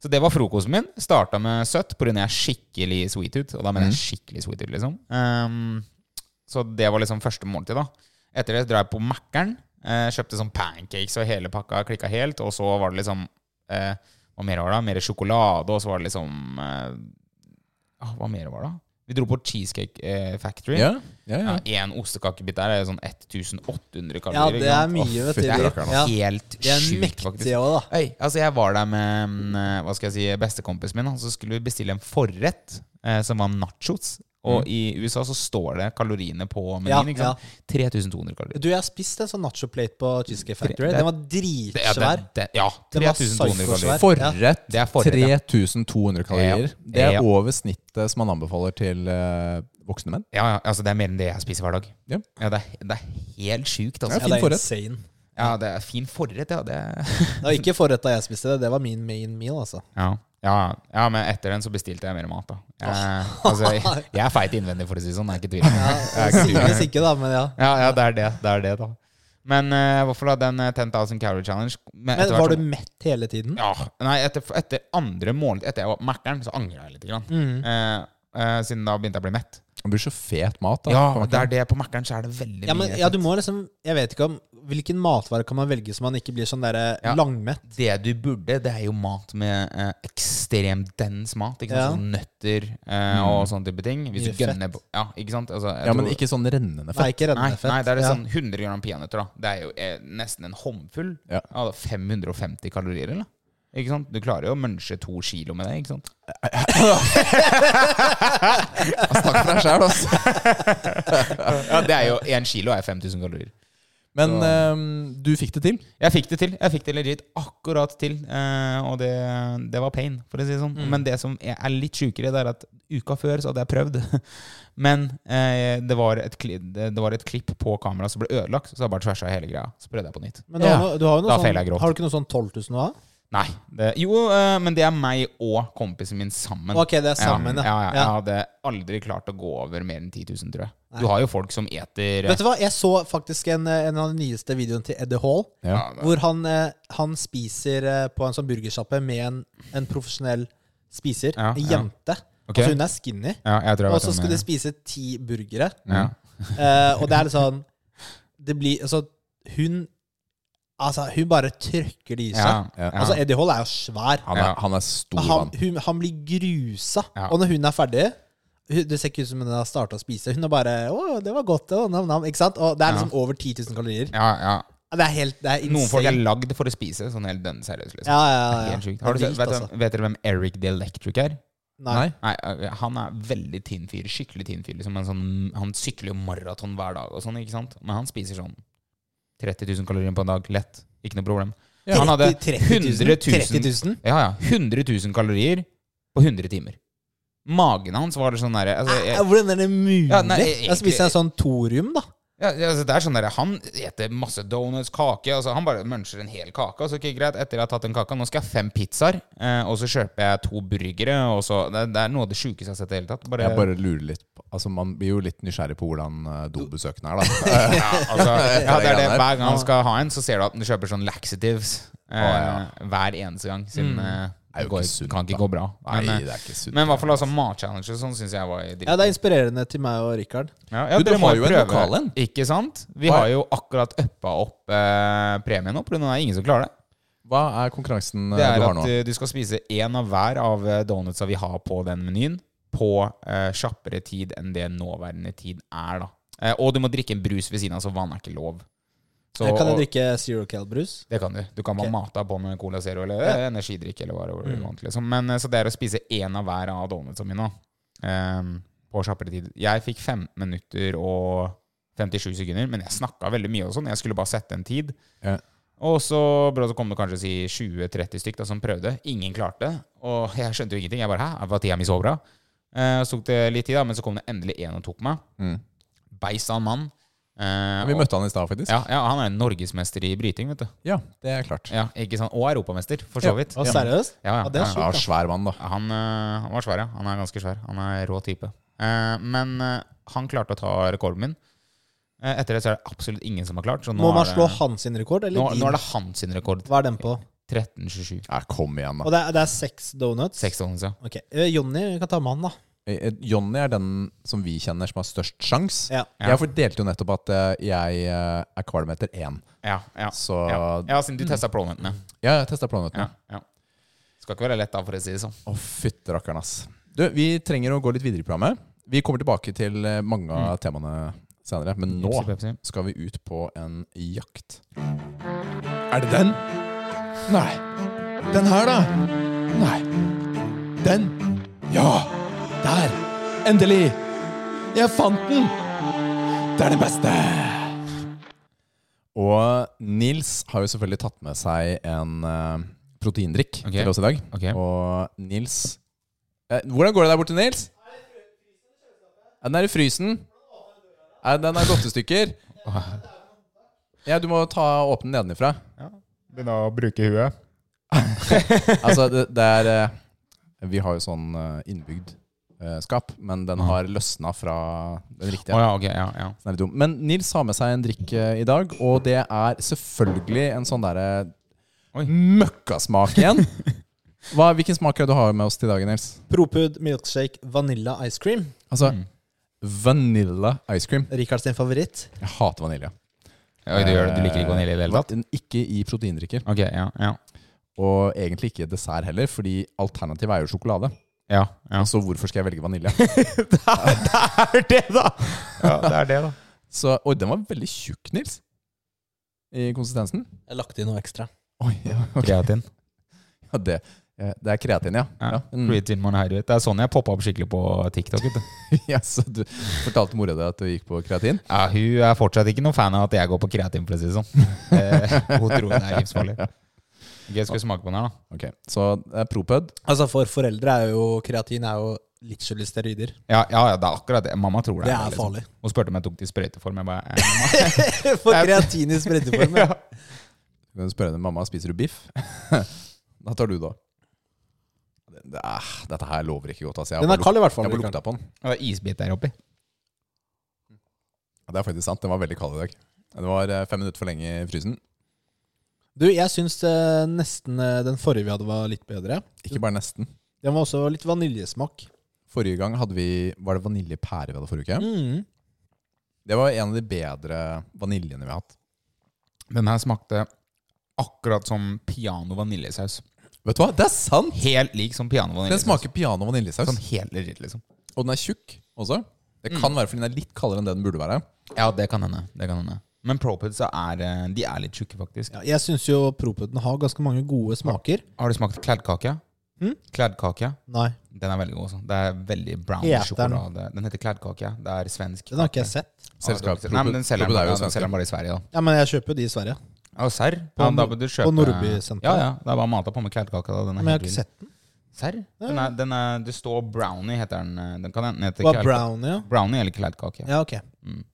[SPEAKER 3] Så det var frokosten min. Starta med søtt pga. jeg er skikkelig sweet ut. Og da mener jeg skikkelig sweet ut, liksom. Ehm, så det var liksom første måltid, da. Etter det drar jeg på Mækkern. eh, kjøpte sånn pancakes og hele pakka klikka helt. Og så var det liksom eh, Hva mer var det? Mer sjokolade, og så var det liksom eh, ah, Hva mer var det? Vi dro på Cheesecake eh, Factory.
[SPEAKER 2] Ja, ja, ja.
[SPEAKER 3] Ja, en ostekakebit der er jo sånn 1800
[SPEAKER 1] Ja,
[SPEAKER 3] kalorier.
[SPEAKER 1] det er
[SPEAKER 3] ikke sant?
[SPEAKER 1] mye, vet
[SPEAKER 2] fytti
[SPEAKER 1] du.
[SPEAKER 2] rakkeren,
[SPEAKER 1] Ja.
[SPEAKER 3] Helt
[SPEAKER 1] Det er
[SPEAKER 3] sjukt,
[SPEAKER 1] mektig
[SPEAKER 3] faktisk.
[SPEAKER 1] òg, da.
[SPEAKER 3] Øy, altså jeg var der med mm, eh, hva skal jeg si, bestekompisen min, og så skulle vi bestille en forrett eh, som var nachos. Og i USA så står det kaloriene på
[SPEAKER 1] Mm.
[SPEAKER 3] menyen.
[SPEAKER 1] Ja,
[SPEAKER 3] ikke sant? 3200 kalorier.
[SPEAKER 1] Du, jeg har spist en sånn nacho plate på Cheesecake Factory.
[SPEAKER 3] Det-
[SPEAKER 1] Den var
[SPEAKER 3] Det er-
[SPEAKER 1] dritsvær.
[SPEAKER 3] Det, det, ja,
[SPEAKER 1] Den var
[SPEAKER 3] 3200
[SPEAKER 1] psykosvær.
[SPEAKER 3] kalorier.
[SPEAKER 2] Forrett,
[SPEAKER 3] Det er forrett, ja.
[SPEAKER 2] 3200 kalorier.
[SPEAKER 3] Ja.
[SPEAKER 2] Det er
[SPEAKER 3] Ja.
[SPEAKER 2] over snittet som man anbefaler til eh, voksne menn.
[SPEAKER 3] Ja, ja, altså Det er mer enn det jeg spiser hver dag.
[SPEAKER 2] Ja.
[SPEAKER 3] det, er, det er helt sjukt,
[SPEAKER 1] Ja,
[SPEAKER 3] altså.
[SPEAKER 2] fin
[SPEAKER 1] det er
[SPEAKER 2] forrett.
[SPEAKER 1] insane.
[SPEAKER 3] Ja, det er fin forrett, ja. Det,
[SPEAKER 1] Det var ikke forrett da jeg spiste det. Det var min main meal, altså.
[SPEAKER 3] ja. Ja, ja, men etter den så bestilte jeg mer mat, da.
[SPEAKER 1] Ah.
[SPEAKER 3] Jeg, altså, jeg, jeg er feit innvendig, for å si det sånn. Det er ikke tvil. om det. Det
[SPEAKER 1] Det
[SPEAKER 3] er ikke tvil om det.
[SPEAKER 1] sies ikke, da, men ja.
[SPEAKER 3] Ja, ja, det er det. Det er det, da. Men eh, hvorfor da den eh, 10,000 calorie challenge? Men
[SPEAKER 1] Men
[SPEAKER 3] etter
[SPEAKER 1] var du
[SPEAKER 3] hvert
[SPEAKER 1] mett hele tiden?
[SPEAKER 3] så- Ja, Nei, etter, etter andre måltid, etter jeg var Mækkern, så angra jeg litt. Grann.
[SPEAKER 1] Mm.
[SPEAKER 3] Eh, eh, siden da begynte jeg å bli mett.
[SPEAKER 2] Det blir så fet mat. da.
[SPEAKER 3] Ja,
[SPEAKER 2] Kan man ikke-
[SPEAKER 3] det er det. På Mækkern så er det veldig
[SPEAKER 1] Ja, men
[SPEAKER 3] mye.
[SPEAKER 1] ja,
[SPEAKER 3] fett.
[SPEAKER 1] du må liksom Jeg vet ikke om Hvilken matvare kan man velge så man ikke blir sånn derre
[SPEAKER 3] Ja.
[SPEAKER 1] langmett?
[SPEAKER 3] Det du burde, det er jo mat med eh, ekstremt dens mat. Ikke sant?
[SPEAKER 1] Ja. Mm.
[SPEAKER 3] Sånn nøtter eh, og sånne type ting. Hvis
[SPEAKER 1] Mye
[SPEAKER 3] du gønner på Ja, ikke sant? Altså, jeg
[SPEAKER 2] ja, men
[SPEAKER 3] tror-
[SPEAKER 2] ikke sånn rennende
[SPEAKER 1] Nei,
[SPEAKER 2] fett.
[SPEAKER 1] ikke
[SPEAKER 3] Nei,
[SPEAKER 1] rennefett.
[SPEAKER 3] nei, det er det
[SPEAKER 1] ja.
[SPEAKER 3] sånn 100 gram peanøtter. da. Det er jo eh, nesten en håndfull.
[SPEAKER 2] Ja.
[SPEAKER 3] Ja, da, 550 kalorier, eller? Ikke sant? Du klarer jo å munche to kilo med det, ikke sant?
[SPEAKER 2] Snakk for deg sjæl, altså.
[SPEAKER 3] Ja, det er jo Én kilo er 5000 kalorier.
[SPEAKER 2] Men ehm, du fikk det til.
[SPEAKER 3] Jeg fikk det til. Jeg fikk det legit akkurat til. eh, og det, det var pain, for å si det sånn. Men det som er- er litt sjukere, det er at uka før så hadde jeg prøvd. Men eh, det, var et, kli- det det var et klipp på kamera som ble ødelagt, så jeg bare tversa hele greia. Så prøvde jeg på nytt.
[SPEAKER 1] Men du har,
[SPEAKER 2] Ja.
[SPEAKER 1] noe- du har jo noe
[SPEAKER 3] Da
[SPEAKER 1] sånn
[SPEAKER 3] feiler jeg grovt.
[SPEAKER 1] Har du ikke noe sånn 12 000 nå? da?
[SPEAKER 3] Nei. Det, jo, eh, men det er meg og kompisen min sammen.
[SPEAKER 1] Ok, det er sammen,
[SPEAKER 3] ja.
[SPEAKER 1] ja.
[SPEAKER 3] Ja, ja,
[SPEAKER 1] Ja.
[SPEAKER 3] Jeg hadde aldri klart å gå over mer enn 10 000, tror jeg. Du har jo folk som eter eh,
[SPEAKER 1] Vet du hva, jeg så faktisk en, eh, en av de nyeste videoene til Eddie Hall.
[SPEAKER 2] Ja.
[SPEAKER 3] Ja, det-
[SPEAKER 1] Hvor han, eh, han spiser eh, på en sånn burgersjappe med en, en profesjonell spiser.
[SPEAKER 3] Ja,
[SPEAKER 1] en
[SPEAKER 3] ja.
[SPEAKER 1] jente.
[SPEAKER 3] Ok.
[SPEAKER 1] Altså, hun er skinny.
[SPEAKER 3] ja, jeg tror
[SPEAKER 1] Og
[SPEAKER 3] jeg vet
[SPEAKER 1] så
[SPEAKER 3] hvem
[SPEAKER 1] skulle de
[SPEAKER 3] jeg-
[SPEAKER 1] spise ti burgere.
[SPEAKER 3] ja.
[SPEAKER 1] Eh, og det er litt sånn Det blir Altså, hun Altså, hun bare trykker det i seg.
[SPEAKER 3] Ja, ja.
[SPEAKER 2] Ja.
[SPEAKER 1] Altså, Eddie Hall er jo svær.
[SPEAKER 2] Han er,
[SPEAKER 3] Ja.
[SPEAKER 2] han er stor
[SPEAKER 1] Men han,
[SPEAKER 2] mann.
[SPEAKER 1] hun, han blir grusa.
[SPEAKER 3] Ja.
[SPEAKER 1] Og når hun er ferdig hun, Det ser ikke ut som hun har starta å spise. Hun er bare 'Å, det var godt', og nam, nam. Ikke sant? Og det er liksom over 10 000 kalorier.
[SPEAKER 3] ja, ja.
[SPEAKER 1] Det er helt Det er insane.
[SPEAKER 3] Noen folk er lagd for å spise sånn helt dønn seriøst. Liksom.
[SPEAKER 1] Ja, ja, ja.
[SPEAKER 3] Helt sjukt. Har du,
[SPEAKER 1] Det er
[SPEAKER 3] sett- vet,
[SPEAKER 1] vilt,
[SPEAKER 3] du-
[SPEAKER 1] altså.
[SPEAKER 3] vet dere hvem Eric the Electric er?
[SPEAKER 1] Nei.
[SPEAKER 2] Nei.
[SPEAKER 3] Nei, øh, Han er veldig tynn fyr. Skikkelig tynn fyr. Liksom en sånn, han sykler jo maraton hver dag, og sånn, ikke sant? men han spiser sånn 30 000 kalorier på en dag. Lett. Ikke noe problem.
[SPEAKER 2] Ja.
[SPEAKER 3] Han hadde
[SPEAKER 1] 30 000.
[SPEAKER 3] 100 000.
[SPEAKER 1] 30 000?
[SPEAKER 3] Ja, ja. 100 000 kalorier på 100 timer. Magen hans var sånn derre altså, jeg-
[SPEAKER 1] Eh, Hvordan er det mulig?
[SPEAKER 3] Ja, nei, egentlig-
[SPEAKER 1] da spiser jeg sånn thorium, da.
[SPEAKER 3] Ja, ja, altså det er sånn der, Han eter masse donuts, kake. Altså han bare muncher en hel kake. Og så ikke greit, etter jeg har tatt den kaka, nå skal jeg ha fem pizzaer. Eh, og så kjøper jeg to burgere. Og så, det, det er noe av det sjukeste jeg har sett i det hele tatt. Bare,
[SPEAKER 2] Jeg bare lurer litt på- Altså, Man blir jo litt nysgjerrig på hvordan eh, dobesøkene er, da.
[SPEAKER 3] ja, altså, ja, det er det.
[SPEAKER 2] Ja.
[SPEAKER 3] Hver gang han skal ha en, så ser du at han kjøper sånn laxatives. Eh,
[SPEAKER 2] Å,
[SPEAKER 3] Hver eneste gang.
[SPEAKER 2] Mm.
[SPEAKER 3] Siden eh,
[SPEAKER 2] er jo
[SPEAKER 3] det går,
[SPEAKER 2] ikke sunt,
[SPEAKER 3] kan
[SPEAKER 2] da.
[SPEAKER 3] ikke gå bra.
[SPEAKER 2] Nei,
[SPEAKER 3] men, eh,
[SPEAKER 2] det er ikke sunt.
[SPEAKER 3] men i hvert fall altså, matchallenger og sånn syns jeg var dritt.
[SPEAKER 1] Ja, Det er inspirerende til meg og Richard.
[SPEAKER 3] Ja, ja,
[SPEAKER 2] Du,
[SPEAKER 3] dere
[SPEAKER 2] du
[SPEAKER 3] må
[SPEAKER 2] har jo en
[SPEAKER 3] prøve.
[SPEAKER 2] lokal en.
[SPEAKER 3] Ikke sant? Vi
[SPEAKER 2] Hva-
[SPEAKER 3] har jo akkurat uppa opp eh, premien nå, pga. ingen som klarer det.
[SPEAKER 2] Hva er konkurransen eh,
[SPEAKER 3] Det er
[SPEAKER 2] du har
[SPEAKER 3] at
[SPEAKER 2] nå?
[SPEAKER 3] eh, du skal spise én av hver av eh, donutsa vi har på den menyen, på eh, kjappere tid enn det nåværende tid er, da. Eh, og du må drikke en brus ved siden av, så vann er ikke lov. Så,
[SPEAKER 1] Jeg kan
[SPEAKER 3] og-
[SPEAKER 1] jo drikke Zero Cal-brus.
[SPEAKER 3] Det kan du. Du kan bare mate deg på med Cola Zero eller eh, energidrikk eller hva det
[SPEAKER 2] Mm.
[SPEAKER 3] er. Liksom. Men, eh, så det er å spise én av hver av donutsa mine da. Ehm, på kjappere tid. Jeg fikk 15 minutter og 57 sekunder, men jeg snakka veldig mye og sånn. Jeg skulle bare sette en tid.
[SPEAKER 2] Ja.
[SPEAKER 3] Og så, bro, så kom det kanskje si 20-30 stykk da, som prøvde. Ingen klarte. Og jeg skjønte jo ingenting. Jeg bare Hæ, var tida mi så bra? Eh, så tok det litt tid, da, men så kom det endelig en og tok meg.
[SPEAKER 2] Mm.
[SPEAKER 3] Beist av en mann. Eh,
[SPEAKER 2] Vi
[SPEAKER 3] og-
[SPEAKER 2] møtte han i stad, faktisk.
[SPEAKER 3] ja, ja, han er norgesmester i bryting, vet du.
[SPEAKER 2] Ja, det er klart.
[SPEAKER 3] Ja, ikke sant? Og europamester, for
[SPEAKER 2] Ja.
[SPEAKER 3] så vidt.
[SPEAKER 1] Og seriøst?
[SPEAKER 3] Ja, ja,
[SPEAKER 1] det er
[SPEAKER 3] ja.
[SPEAKER 1] sjukt,
[SPEAKER 2] Ja,
[SPEAKER 1] da.
[SPEAKER 2] svær mann, da.
[SPEAKER 3] Han, øh, han var svær, ja. Han er ganske svær. Han er rå type. Eh, men øh, han klarte å ta rekorden min. Eh, etter det så er det absolutt ingen som har klart. Så nå,
[SPEAKER 1] Må man
[SPEAKER 3] er,
[SPEAKER 1] slå
[SPEAKER 3] det,
[SPEAKER 1] hans sin rekord,
[SPEAKER 3] nå,
[SPEAKER 1] eller
[SPEAKER 3] nå er
[SPEAKER 1] din?
[SPEAKER 3] det hans sin rekord.
[SPEAKER 1] Hva er den på?
[SPEAKER 3] 13.27.
[SPEAKER 2] Ja, kom igjen, da.
[SPEAKER 1] Og det er, det er seks donuts?
[SPEAKER 3] Seks år siden.
[SPEAKER 1] Ok, Eh, Jonny, vi kan ta med han, da.
[SPEAKER 2] Eh, eh, Jonny er den som vi kjenner som har størst sjans.
[SPEAKER 1] Ja.
[SPEAKER 2] Jeg for- delte jo nettopp at eh, jeg eh, er kvalm etter én,
[SPEAKER 3] Ja, ja.
[SPEAKER 2] så
[SPEAKER 3] ja. ja, siden du testa plommetene.
[SPEAKER 2] Ja, jeg testa planøttene.
[SPEAKER 3] Ja, ja. Skal ikke være lett, da, for å si det sånn.
[SPEAKER 2] Å, fytte rakkeren, ass. Du, vi trenger å gå litt videre i programmet. Vi kommer tilbake til eh, mange av temaene senere, men nå
[SPEAKER 3] Pepsi, Pepsi.
[SPEAKER 2] skal vi ut på en jakt. Er det den? Nei. Den her, da? Nei. Den? Ja! Der! Endelig! Jeg fant den! Det er den beste! Og Nils har jo selvfølgelig tatt med seg en eh, proteindrikk
[SPEAKER 3] Ok.
[SPEAKER 2] til oss i dag.
[SPEAKER 3] Ok.
[SPEAKER 2] Og Nils eh, Hvordan går det der borte, Nils? Ja, Den er i frysen. Nei, Den er gått i stykker. Ja, du må ta åpne nedenifra.
[SPEAKER 3] Begynne å bruke huet.
[SPEAKER 2] Altså, det, det er eh, Vi har jo sånn eh, innbygd eh, skap, men den
[SPEAKER 3] Mhm.
[SPEAKER 2] har løsna fra den riktige.
[SPEAKER 3] Å ja, ok. Ja, ja.
[SPEAKER 2] Den er litt dum. Men Nils har med seg en drikk eh, i dag, og det er selvfølgelig en sånn derre
[SPEAKER 3] Oi.
[SPEAKER 2] møkkasmak igjen. Hva, hvilken smak er det du har med oss til dagen, Nils?
[SPEAKER 1] Propud milkshake vanilla ice cream.
[SPEAKER 2] Altså,
[SPEAKER 3] Mm.
[SPEAKER 2] vanilla ice cream.
[SPEAKER 1] Richard sin favoritt.
[SPEAKER 2] Jeg hater vanilje.
[SPEAKER 3] Oi, du gjør det. Du liker ikke vanilje i det hele tatt?
[SPEAKER 2] Ikke i proteindrikker.
[SPEAKER 3] Ok, ja, ja.
[SPEAKER 2] Og egentlig ikke dessert heller, fordi alternativet er jo sjokolade.
[SPEAKER 3] Ja, ja.
[SPEAKER 2] Så hvorfor skal jeg velge vanilje?
[SPEAKER 3] Det er det, er det da! Ja, det er det, da.
[SPEAKER 2] Så, oi, den var veldig tjukk, Nils. I konsistensen.
[SPEAKER 1] Jeg har lagt i noe ekstra.
[SPEAKER 2] Oi, ja, ok.
[SPEAKER 3] Kreatin.
[SPEAKER 2] Ja, det, eh, det er kreatin, ja.
[SPEAKER 3] Ja.
[SPEAKER 2] Mm.
[SPEAKER 3] Creatine Monohydrate. Det er sånn jeg poppa opp skikkelig på TikTok. Vet du.
[SPEAKER 2] ja så du fortalte mora di at du gikk på kreatin?
[SPEAKER 3] Ja, hun er fortsatt ikke noen fan av at jeg går på kreatin, for å si det sånn. Eh, Hun tror det er livsfarlig. Ok, jeg skal smake på den her, da.
[SPEAKER 2] Ok, Så det er proped.
[SPEAKER 1] Altså For foreldre er jo kreatin er jo litt skyld i steroider.
[SPEAKER 3] Ja, ja, ja, det er akkurat det. Mamma tror det.
[SPEAKER 1] Det er
[SPEAKER 3] liksom.
[SPEAKER 1] farlig.
[SPEAKER 3] Hun spurte om jeg tok det i sprøyteform. Jeg bare eh, mamma.
[SPEAKER 1] For kreatin i spreddeform. ja.
[SPEAKER 2] Du kan spørre henne, mamma, spiser du biff? da tar du, da. Det, det, eh, dette her lover ikke godt. Altså. Jeg har
[SPEAKER 1] Den er
[SPEAKER 2] bare luk-
[SPEAKER 1] kald i hvert
[SPEAKER 2] jeg
[SPEAKER 1] fall.
[SPEAKER 2] har bare
[SPEAKER 1] Rikard.
[SPEAKER 2] lukta på den.
[SPEAKER 3] Det er isbit der oppi.
[SPEAKER 2] Ja, Det er faktisk sant. Den var veldig kald i dag. Den var eh, fem minutter for lenge i frysen.
[SPEAKER 1] Du, jeg syns eh, nesten eh, den forrige vi hadde, var litt bedre.
[SPEAKER 2] Ikke bare nesten.
[SPEAKER 1] Den var også litt vaniljesmak.
[SPEAKER 2] Forrige gang hadde vi Var det vaniljepære vi hadde forrige uke?
[SPEAKER 1] Mm.
[SPEAKER 2] Det var en av de bedre vaniljene vi har hatt.
[SPEAKER 3] Den her smakte akkurat som piano vaniljesaus.
[SPEAKER 2] Vet du hva? Det er sant!
[SPEAKER 3] Helt lik som piano
[SPEAKER 2] Den
[SPEAKER 3] vaniljesaus.
[SPEAKER 2] smaker piano og vaniljesaus.
[SPEAKER 3] sånn helt legit, liksom.
[SPEAKER 2] Og den er tjukk også. Det kan være fordi den er litt kaldere enn det den burde være.
[SPEAKER 3] Ja, det kan hende. Det kan hende. Men propeds er, eh, de er litt tjukke, faktisk.
[SPEAKER 1] Ja, jeg syns jo proputen har ganske mange gode smaker.
[SPEAKER 3] Har du smakt kleddkake? Hm?
[SPEAKER 1] Mm.
[SPEAKER 3] Kleddkake.
[SPEAKER 1] Nei,
[SPEAKER 3] Den er veldig god også. Det er veldig brown
[SPEAKER 1] Heter den?
[SPEAKER 3] sjokolade. Den heter kleddkake. Det er svensk.
[SPEAKER 1] den har ikke jeg sett.
[SPEAKER 2] Selskap.
[SPEAKER 3] Nei, men den selger
[SPEAKER 2] Proped
[SPEAKER 3] den,
[SPEAKER 2] er jo
[SPEAKER 3] bare- den
[SPEAKER 2] svenske.
[SPEAKER 3] selger den bare i Sverige, da.
[SPEAKER 1] Ja, Men jeg kjøper jo de i Sverige.
[SPEAKER 3] Ja, og serr?
[SPEAKER 1] På
[SPEAKER 3] Ja, da
[SPEAKER 1] Nor-
[SPEAKER 3] bør du kjøpe
[SPEAKER 1] på Nordby senter.
[SPEAKER 3] Ja, ja. Det er bare mata på med kleddkake. da. Den er
[SPEAKER 1] Men jeg
[SPEAKER 3] helt
[SPEAKER 1] har ikke
[SPEAKER 3] vill.
[SPEAKER 1] sett den.
[SPEAKER 3] Serr? Den er, den er, det står brownie, heter den. eh, Den kan enten hete
[SPEAKER 1] Det var
[SPEAKER 3] kleddkake-
[SPEAKER 1] brownie, ja.
[SPEAKER 3] brownie eller kleddkake.
[SPEAKER 1] Ja, ok.
[SPEAKER 3] Mm.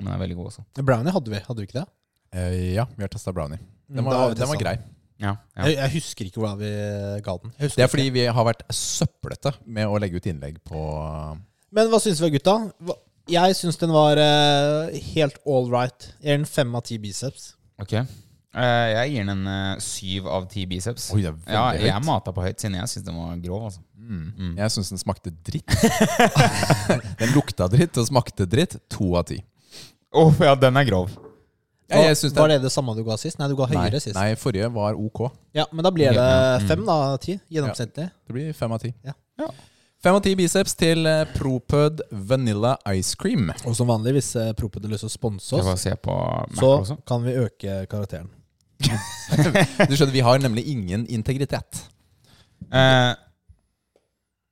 [SPEAKER 3] Men den er veldig god altså. også.
[SPEAKER 1] Brownie hadde vi, hadde vi ikke det?
[SPEAKER 2] Eh, ja, vi har testa brownie.
[SPEAKER 1] Da
[SPEAKER 2] Den
[SPEAKER 1] har
[SPEAKER 2] var,
[SPEAKER 1] vi
[SPEAKER 2] den var
[SPEAKER 1] testet
[SPEAKER 2] grei.
[SPEAKER 3] Ja, ja.
[SPEAKER 1] Jeg, jeg husker ikke hvordan vi eh, ga den. Jeg husker
[SPEAKER 2] Det er
[SPEAKER 1] ikke.
[SPEAKER 2] fordi vi har vært søplete med å legge ut innlegg på
[SPEAKER 1] Men hva syns vi, gutta? Hva- Jeg syns den var eh, helt all right. Jeg gir den fem av ti biceps.
[SPEAKER 3] Ok. Eh, jeg gir den en eh, syv av ti biceps.
[SPEAKER 2] Oi, det er
[SPEAKER 3] ja,
[SPEAKER 2] veldig
[SPEAKER 3] jeg
[SPEAKER 2] høyt.
[SPEAKER 3] mata på høyt, siden jeg syns den var grov. altså.
[SPEAKER 2] Mm. Jeg syns den smakte dritt. den lukta dritt og smakte dritt. To av ti.
[SPEAKER 3] Åh, ja, den er grov.
[SPEAKER 2] Ja, jeg synes det-
[SPEAKER 1] Var det det samme du ga sist? Nei, du ga høyere
[SPEAKER 2] Nei,
[SPEAKER 1] sist.
[SPEAKER 2] nei, forrige var ok.
[SPEAKER 1] Ja, Men da blir det
[SPEAKER 3] Ja, mm.
[SPEAKER 1] fem da, av ti, gjennomsnittlig.
[SPEAKER 2] Det blir fem av ti.
[SPEAKER 1] Ja.
[SPEAKER 3] Ja.
[SPEAKER 2] Fem av ti biceps til eh, Propud Vanilla Ice Cream.
[SPEAKER 1] Og som vanlig, hvis eh, Proped har lyst til å sponse
[SPEAKER 3] Skal
[SPEAKER 1] oss,
[SPEAKER 3] jeg bare se på Mac
[SPEAKER 1] så
[SPEAKER 3] også.
[SPEAKER 1] kan vi øke karakteren.
[SPEAKER 2] Du skjønner, Vi har nemlig ingen integritet.
[SPEAKER 3] Eh,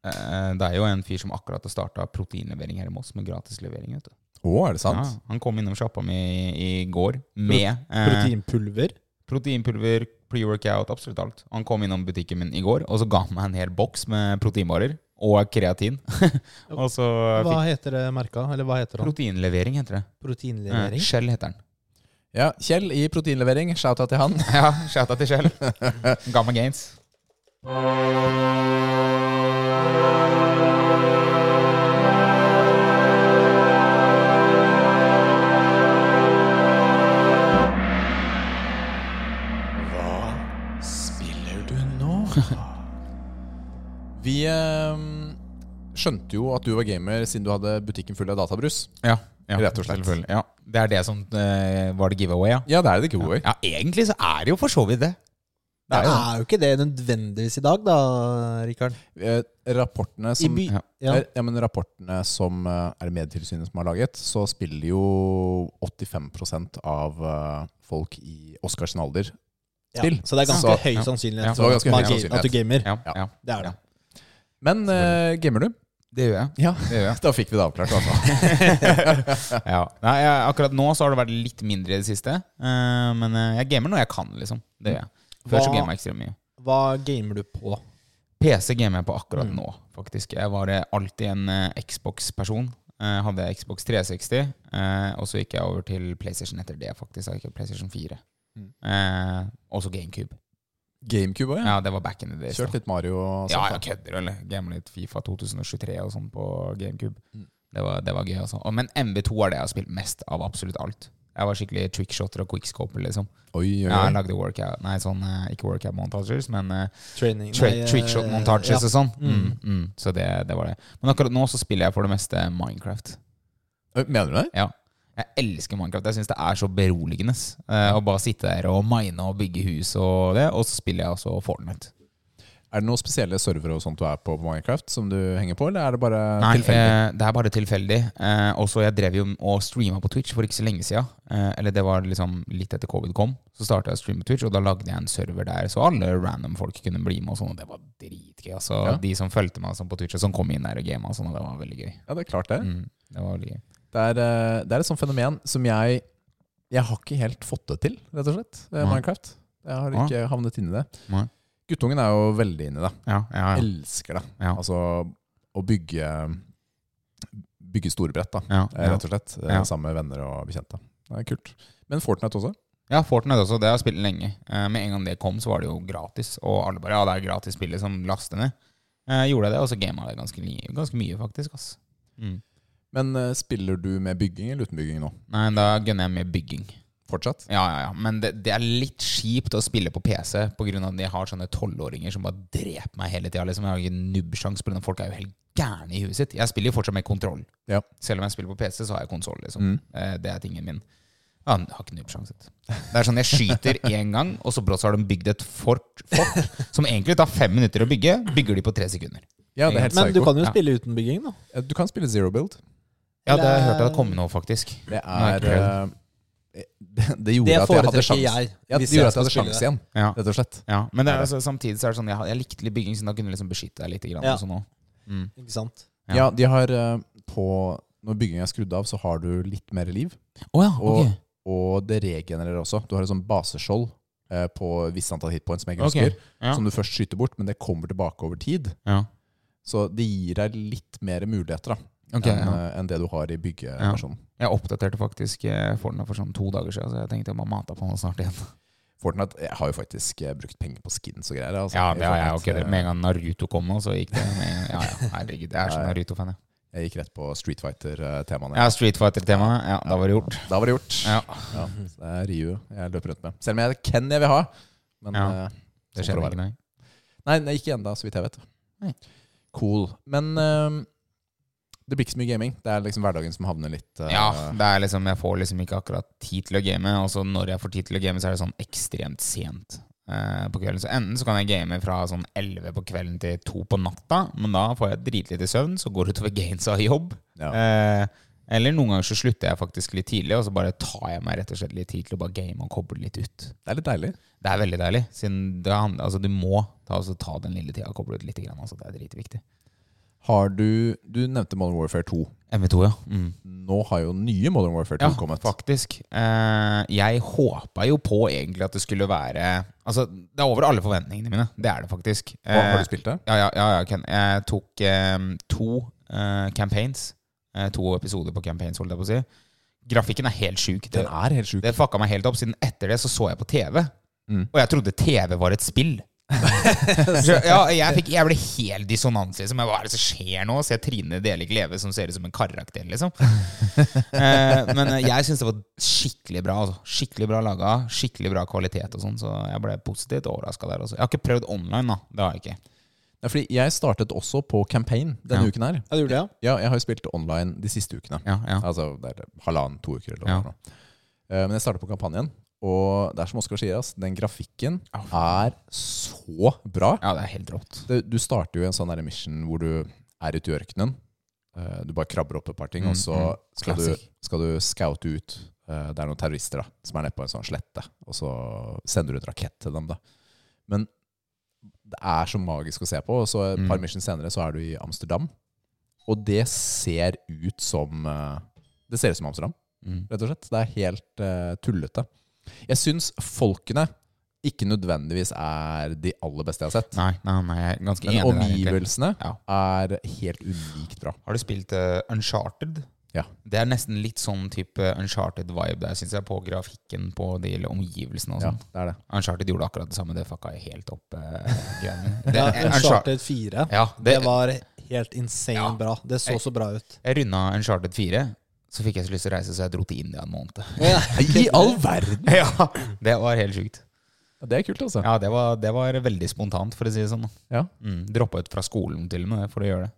[SPEAKER 3] eh, det er jo en fyr som akkurat har starta proteinlevering her i Moss, med gratis levering. Vet du.
[SPEAKER 2] Å, er det sant?
[SPEAKER 3] Ja, han kom innom sjappa mi i går med eh,
[SPEAKER 1] Proteinpulver.
[SPEAKER 3] proteinpulver, pre-workout, absolutt alt. Han kom innom butikken min i går, og så ga han meg en hel boks med proteinbarer og kreatin. og så
[SPEAKER 1] Hva
[SPEAKER 3] fikk
[SPEAKER 1] heter det merka? Eller hva heter det?
[SPEAKER 3] proteinlevering, heter det. Eh,
[SPEAKER 1] Proteinlevering?
[SPEAKER 3] Shell heter den.
[SPEAKER 2] Ja, Kjell i proteinlevering, shout-out til han.
[SPEAKER 3] ja, shouta til Shell. Gamma Gains.
[SPEAKER 2] Spiller du nå? Vi eh, skjønte jo at du var gamer siden du hadde butikken full av databrus.
[SPEAKER 3] Ja, ja,
[SPEAKER 2] Rett og slett.
[SPEAKER 3] selvfølgelig. Ja. Det er det som eh, var det giveaway, ja.
[SPEAKER 2] Ja, det er det giveaway.
[SPEAKER 3] Ja, egentlig så er det jo for så vidt det.
[SPEAKER 1] Det er jo ikke det nødvendigvis i dag, da, Rikard.
[SPEAKER 2] Eh, Rapportene
[SPEAKER 1] I
[SPEAKER 2] som
[SPEAKER 1] by...
[SPEAKER 3] ja.
[SPEAKER 1] Ja.
[SPEAKER 2] Eh, Ja, men rapportene som eh, er det Medietilsynet som har laget, så spiller jo 85 av eh, folk i Oscars sin alder
[SPEAKER 1] Ja.
[SPEAKER 2] spill.
[SPEAKER 1] Så det er ganske
[SPEAKER 2] Så-
[SPEAKER 1] høy
[SPEAKER 3] ja.
[SPEAKER 1] sannsynlighet
[SPEAKER 3] Ja,
[SPEAKER 2] så det er ganske
[SPEAKER 1] for at
[SPEAKER 2] høy
[SPEAKER 1] man-
[SPEAKER 2] sannsynlighet.
[SPEAKER 1] at du gamer.
[SPEAKER 3] Ja,
[SPEAKER 2] Ja.
[SPEAKER 3] ja.
[SPEAKER 1] Det er det.
[SPEAKER 2] Men eh, gamer du?
[SPEAKER 3] Det gjør jeg.
[SPEAKER 2] Ja.
[SPEAKER 3] Det gjør jeg.
[SPEAKER 2] Da fikk vi det avklart. Altså.
[SPEAKER 3] Ja. Nei, jeg, akkurat nå så har det vært litt mindre i det siste. eh, men eh, jeg gamer når jeg kan, liksom. Det gjør jeg. Før så
[SPEAKER 1] Hva-
[SPEAKER 3] gamer jeg ekstremt mye.
[SPEAKER 1] Hva gamer du på?
[SPEAKER 3] PC gamer jeg på akkurat
[SPEAKER 1] Mm.
[SPEAKER 3] nå, faktisk. Jeg var eh, alltid en eh, Xbox-person. Eh, hadde Xbox 360, eh, og så gikk jeg over til PlayStation etter det, faktisk. Jeg gikk til PlayStation 4.
[SPEAKER 2] Mm.
[SPEAKER 3] Eh, og så GameCube.
[SPEAKER 2] GameCube òg, ja.
[SPEAKER 3] Ja, det var back in the days. da.
[SPEAKER 2] Kjørt litt Mario. og
[SPEAKER 1] Altså,
[SPEAKER 3] Ja,
[SPEAKER 2] sånt, da.
[SPEAKER 3] jeg kødder, eller? Gamet litt Fifa 2023 og sånn på GameCube.
[SPEAKER 2] Mm.
[SPEAKER 3] Det var, det var gøy, altså. Og- Men MB2 er det jeg har spilt mest av absolutt alt. Jeg var skikkelig trickshotter og quickscoper, liksom.
[SPEAKER 2] Oi, oi,
[SPEAKER 3] Ja, jeg
[SPEAKER 2] oi.
[SPEAKER 3] lagde workout Nei, sånn eh, ikke workout montages, men eh,
[SPEAKER 1] Training
[SPEAKER 3] tra
[SPEAKER 1] nei, eh,
[SPEAKER 3] trickshot-montages
[SPEAKER 1] ja.
[SPEAKER 3] og sånn. Mm,
[SPEAKER 1] Mm.
[SPEAKER 3] mm. Så det, det var det. Men akkurat nå så spiller jeg for det meste Minecraft.
[SPEAKER 2] Øy, Eh, Mener du det?
[SPEAKER 3] Jeg elsker Minecraft. Jeg syns det er så beroligende eh, å bare sitte der og mine og bygge hus og det, og så spiller jeg også Fortnite.
[SPEAKER 2] Er det noen spesielle servere og sånt du er på på Minecraft som du henger på, eller er det bare
[SPEAKER 3] Nei,
[SPEAKER 2] tilfeldig?
[SPEAKER 3] eh, det er bare tilfeldig. Eh, også jeg drev jo og streama på Twitch for ikke så lenge siden. Eh, eller det var liksom litt etter covid kom. Så starta jeg å streame på Twitch, og da lagde jeg en server der så alle random folk kunne bli med. og sånn, og Det var dritgøy. altså.
[SPEAKER 2] Ja.
[SPEAKER 3] De som fulgte meg sånn på Twitch, og som kom inn der og gama, og sånn, og det var veldig gøy.
[SPEAKER 2] Ja, det er klart det.
[SPEAKER 3] Mm, det var veldig gøy.
[SPEAKER 2] Det er, eh, det er et sånt fenomen som jeg Jeg har ikke helt fått det til, rett og slett. eh,
[SPEAKER 3] Nei.
[SPEAKER 2] Minecraft. Jeg har ikke havnet inni det.
[SPEAKER 3] Nei.
[SPEAKER 2] Guttungen er jo veldig inni det.
[SPEAKER 3] Ja, ja, ja.
[SPEAKER 2] Elsker det.
[SPEAKER 3] Ja.
[SPEAKER 2] Altså å bygge Bygge storebrett, da.
[SPEAKER 3] ja,
[SPEAKER 2] eh,
[SPEAKER 3] ja.
[SPEAKER 2] Rett og slett. eh,
[SPEAKER 3] Ja.
[SPEAKER 2] Sammen med venner og bekjente. Det er kult. Men Fortnite også.
[SPEAKER 3] Ja, Fortnite også. Det har jeg spilt lenge. Eh, med en gang det kom, så var det jo gratis. Og alle bare ja, det er gratis spillet som laster ned. Eh, gjorde jeg det, og så gama jeg det ganske, li- ganske mye, faktisk. ass. Mm.
[SPEAKER 2] Men eh, spiller du med bygging eller uten bygging nå?
[SPEAKER 3] Nei, da gønner jeg med bygging.
[SPEAKER 2] Fortsatt?
[SPEAKER 3] Ja, ja, ja. Men det, det er litt kjipt å spille på PC pga. at jeg har sånne tolvåringer som bare dreper meg hele tida. Liksom. Jeg har ikke nubbsjanse pga. folk er jo helt gærne i huet sitt. Jeg spiller jo fortsatt med kontroll.
[SPEAKER 2] Ja.
[SPEAKER 3] Selv om jeg spiller på PC, så har jeg konsoll. Liksom.
[SPEAKER 2] Mm.
[SPEAKER 3] Eh, Det er tingen min. Ja, jeg har ikke nubbsjanse. Det er sånn jeg skyter én gang, og så brått så har de bygd et fort, fort som egentlig tar fem minutter å bygge. Bygger de på tre sekunder.
[SPEAKER 2] Ja, det er helt
[SPEAKER 1] Men du
[SPEAKER 2] psycho.
[SPEAKER 1] kan jo
[SPEAKER 3] Ja.
[SPEAKER 1] spille uten bygging, da.
[SPEAKER 2] Eh, Du kan spille zero build.
[SPEAKER 3] Ja, det har jeg hørt at det kommer nå, faktisk.
[SPEAKER 2] Det
[SPEAKER 3] Nei,
[SPEAKER 2] er eh, det, det gjorde
[SPEAKER 1] Det
[SPEAKER 2] at jeg hadde
[SPEAKER 1] foretrekker
[SPEAKER 2] sjans.
[SPEAKER 1] jeg.
[SPEAKER 2] Ja, det
[SPEAKER 1] hvis
[SPEAKER 2] gjorde at jeg
[SPEAKER 1] skal
[SPEAKER 2] hadde
[SPEAKER 1] spille
[SPEAKER 2] sjans igjen,
[SPEAKER 3] Ja.
[SPEAKER 2] rett og slett.
[SPEAKER 3] Ja, men det er,
[SPEAKER 2] Ja,
[SPEAKER 3] altså, samtidig så er det sånn, jeg, har- jeg likte litt bygging, siden da kunne du liksom beskytte deg litt. Grann,
[SPEAKER 1] Ja.
[SPEAKER 3] og sånn også. Mm.
[SPEAKER 1] det. Ikke sant?
[SPEAKER 3] Ja.
[SPEAKER 2] Ja, de har eh, på Når byggingen er skrudd av, så har du litt mer liv.
[SPEAKER 3] Å ja,
[SPEAKER 2] Og,
[SPEAKER 3] ok.
[SPEAKER 2] og det regenererer også. Du har et sånt baseskjold eh, på visst antall hitpoints, som jeg ikke
[SPEAKER 3] Ok,
[SPEAKER 2] husker,
[SPEAKER 3] ja.
[SPEAKER 2] som du først skyter bort, men det kommer tilbake over tid.
[SPEAKER 3] Ja.
[SPEAKER 2] Så det gir deg litt mer muligheter da,
[SPEAKER 3] Ok,
[SPEAKER 2] enn,
[SPEAKER 3] ja.
[SPEAKER 2] eh, enn det du har i byggeversjonen.
[SPEAKER 3] Jeg oppdaterte faktisk eh, Fortnite for sånn to dager siden, så jeg tenkte jeg bare mata på den snart igjen.
[SPEAKER 2] Fortnite jeg har jo faktisk eh, brukt penger på skins og greier. Altså,
[SPEAKER 3] Ja,
[SPEAKER 2] i
[SPEAKER 3] det har jeg
[SPEAKER 2] Fortnite.
[SPEAKER 3] også. kødder. Med en gang Naruto kom nå, så gikk det med en gang. Ja, ja. Herregud, jeg er så
[SPEAKER 2] Ja, ja.
[SPEAKER 3] Naruto-fan, jeg.
[SPEAKER 2] eh, Jeg gikk rett på Street Fighter-temaene.
[SPEAKER 3] Ja, Street Fighter-temaet. Ja, da var det gjort.
[SPEAKER 2] Da var det gjort.
[SPEAKER 3] Ja,
[SPEAKER 2] Ja, så det er Ryu jeg løper rundt med. Selv om jeg er Ken jeg vil ha. Men
[SPEAKER 3] Ja.
[SPEAKER 2] eh,
[SPEAKER 3] Det
[SPEAKER 2] sånn får
[SPEAKER 3] skjer
[SPEAKER 2] det
[SPEAKER 3] ikke,
[SPEAKER 2] være.
[SPEAKER 3] nei.
[SPEAKER 2] Nei, nei, ikke ennå, så vidt jeg vet.
[SPEAKER 3] Nei.
[SPEAKER 2] Cool. Men eh, det blir ikke så mye gaming. Det er liksom hverdagen som havner litt eh,
[SPEAKER 3] Ja, det er liksom, jeg får liksom ikke akkurat tid til å game, og så når jeg får tid til å game, så er det sånn ekstremt sent eh, på kvelden. Så enten så kan jeg game fra sånn 11 på kvelden til 2 på natta, men da får jeg dritlite søvn, så går det utover gains av jobb.
[SPEAKER 2] ja.
[SPEAKER 3] Eh, eller noen ganger så slutter jeg faktisk litt tidlig, og så bare tar jeg meg rett og slett litt tid til å bare game og koble litt ut.
[SPEAKER 2] Det er litt deilig.
[SPEAKER 3] Det er veldig deilig, siden det handler, altså du må ta, altså, ta den lille tida og koble ut litt. Grann, altså, det er dritviktig.
[SPEAKER 2] Har du Du nevnte Modern Warfare 2.
[SPEAKER 3] MV2, ja. Mm.
[SPEAKER 2] Nå har jo nye Modern Warfare 2
[SPEAKER 3] Ja,
[SPEAKER 2] kommet.
[SPEAKER 3] faktisk. Eh, jeg håpa jo på egentlig at det skulle være Altså, det er over alle forventningene mine. Det er det faktisk.
[SPEAKER 2] Hva, har
[SPEAKER 3] Eh,
[SPEAKER 2] du spilt det?
[SPEAKER 3] Ja, ja, ja, ja Ken. Jeg tok eh, to eh, campaigns. Eh, to episoder på campaigns, holdt jeg på å si. Grafikken er helt sjuk. Det,
[SPEAKER 2] Den er helt sjuk.
[SPEAKER 3] det fucka meg helt opp, siden etter det så så jeg på TV.
[SPEAKER 2] Mm.
[SPEAKER 3] Og jeg trodde TV var et spill. så, ja, jeg, fikk, jeg ble helt dissonans. Liksom. Jeg, Hva er det som skjer nå? Ser Trine Delik leve som ser ut som en karakter, liksom. eh, men eh, jeg syns det var skikkelig bra. Altså. Skikkelig bra laga, skikkelig bra kvalitet og sånn. Så jeg ble positivt overraska der også. Jeg har ikke prøvd online, da. Det har jeg ikke.
[SPEAKER 2] Nei, fordi jeg startet også på campaign denne
[SPEAKER 3] Ja.
[SPEAKER 2] uken her.
[SPEAKER 1] Ja, du gjorde det, ja?
[SPEAKER 2] Ja, jeg har jo spilt online de siste ukene.
[SPEAKER 3] Ja, ja.
[SPEAKER 2] Altså det er halvannen, to uker eller noe.
[SPEAKER 3] Ja.
[SPEAKER 2] sånt nå. Eh, Men jeg starta på kampanjen, og det er som Oskar sier, ass, den grafikken er så bra.
[SPEAKER 3] ja, det er helt rått.
[SPEAKER 2] Det, du starter jo i en sånn her mission hvor du er ute i ørkenen. Eh, Du bare krabber opp et par ting,
[SPEAKER 3] Mm,
[SPEAKER 2] og så
[SPEAKER 3] mm.
[SPEAKER 2] skal du,
[SPEAKER 3] Classic.
[SPEAKER 2] skal du scoute ut eh, Det er noen terrorister da, som er nede på en sånn slette, og så sender du en rakett til dem. da. Men det er så magisk å se på. Og så et par
[SPEAKER 3] Mm.
[SPEAKER 2] missions senere så er du i Amsterdam, og det ser ut som eh, Det ser ut som Amsterdam
[SPEAKER 3] Mm.
[SPEAKER 2] rett og slett. Det er helt eh, tullete. Jeg syns folkene ikke nødvendigvis er de aller beste jeg har sett.
[SPEAKER 3] Nei, nei, nei, jeg er ganske
[SPEAKER 2] Men
[SPEAKER 3] enig der. egentlig.
[SPEAKER 2] omgivelsene
[SPEAKER 3] Ja.
[SPEAKER 2] er helt unikt bra.
[SPEAKER 3] Har du spilt eh, Uncharted?
[SPEAKER 2] Ja.
[SPEAKER 3] Det er nesten litt sånn type uncharted-vibe der, syns jeg, på grafikken på de omgivelsene og
[SPEAKER 2] Ja,
[SPEAKER 3] sånn.
[SPEAKER 2] det er det.
[SPEAKER 3] Uncharted gjorde akkurat det samme, det fucka jeg helt opp. Eh, greiene.
[SPEAKER 1] Ja,
[SPEAKER 3] Det- Uncharted-
[SPEAKER 1] Uncharted 4.
[SPEAKER 3] ja,
[SPEAKER 1] Det
[SPEAKER 3] det,
[SPEAKER 1] var helt insane
[SPEAKER 3] Ja.
[SPEAKER 1] bra. Det så så bra ut.
[SPEAKER 3] jeg runda Uncharted 4, så fikk jeg så lyst til å reise, så jeg dro til India en måned.
[SPEAKER 2] I all verden!
[SPEAKER 3] ja, Det var helt sjukt.
[SPEAKER 2] Det er kult, altså.
[SPEAKER 3] Ja, det var, det var veldig spontant, for å si det sånn.
[SPEAKER 2] Ja.
[SPEAKER 3] Mm, Droppa ut fra skolen til og med for å gjøre det.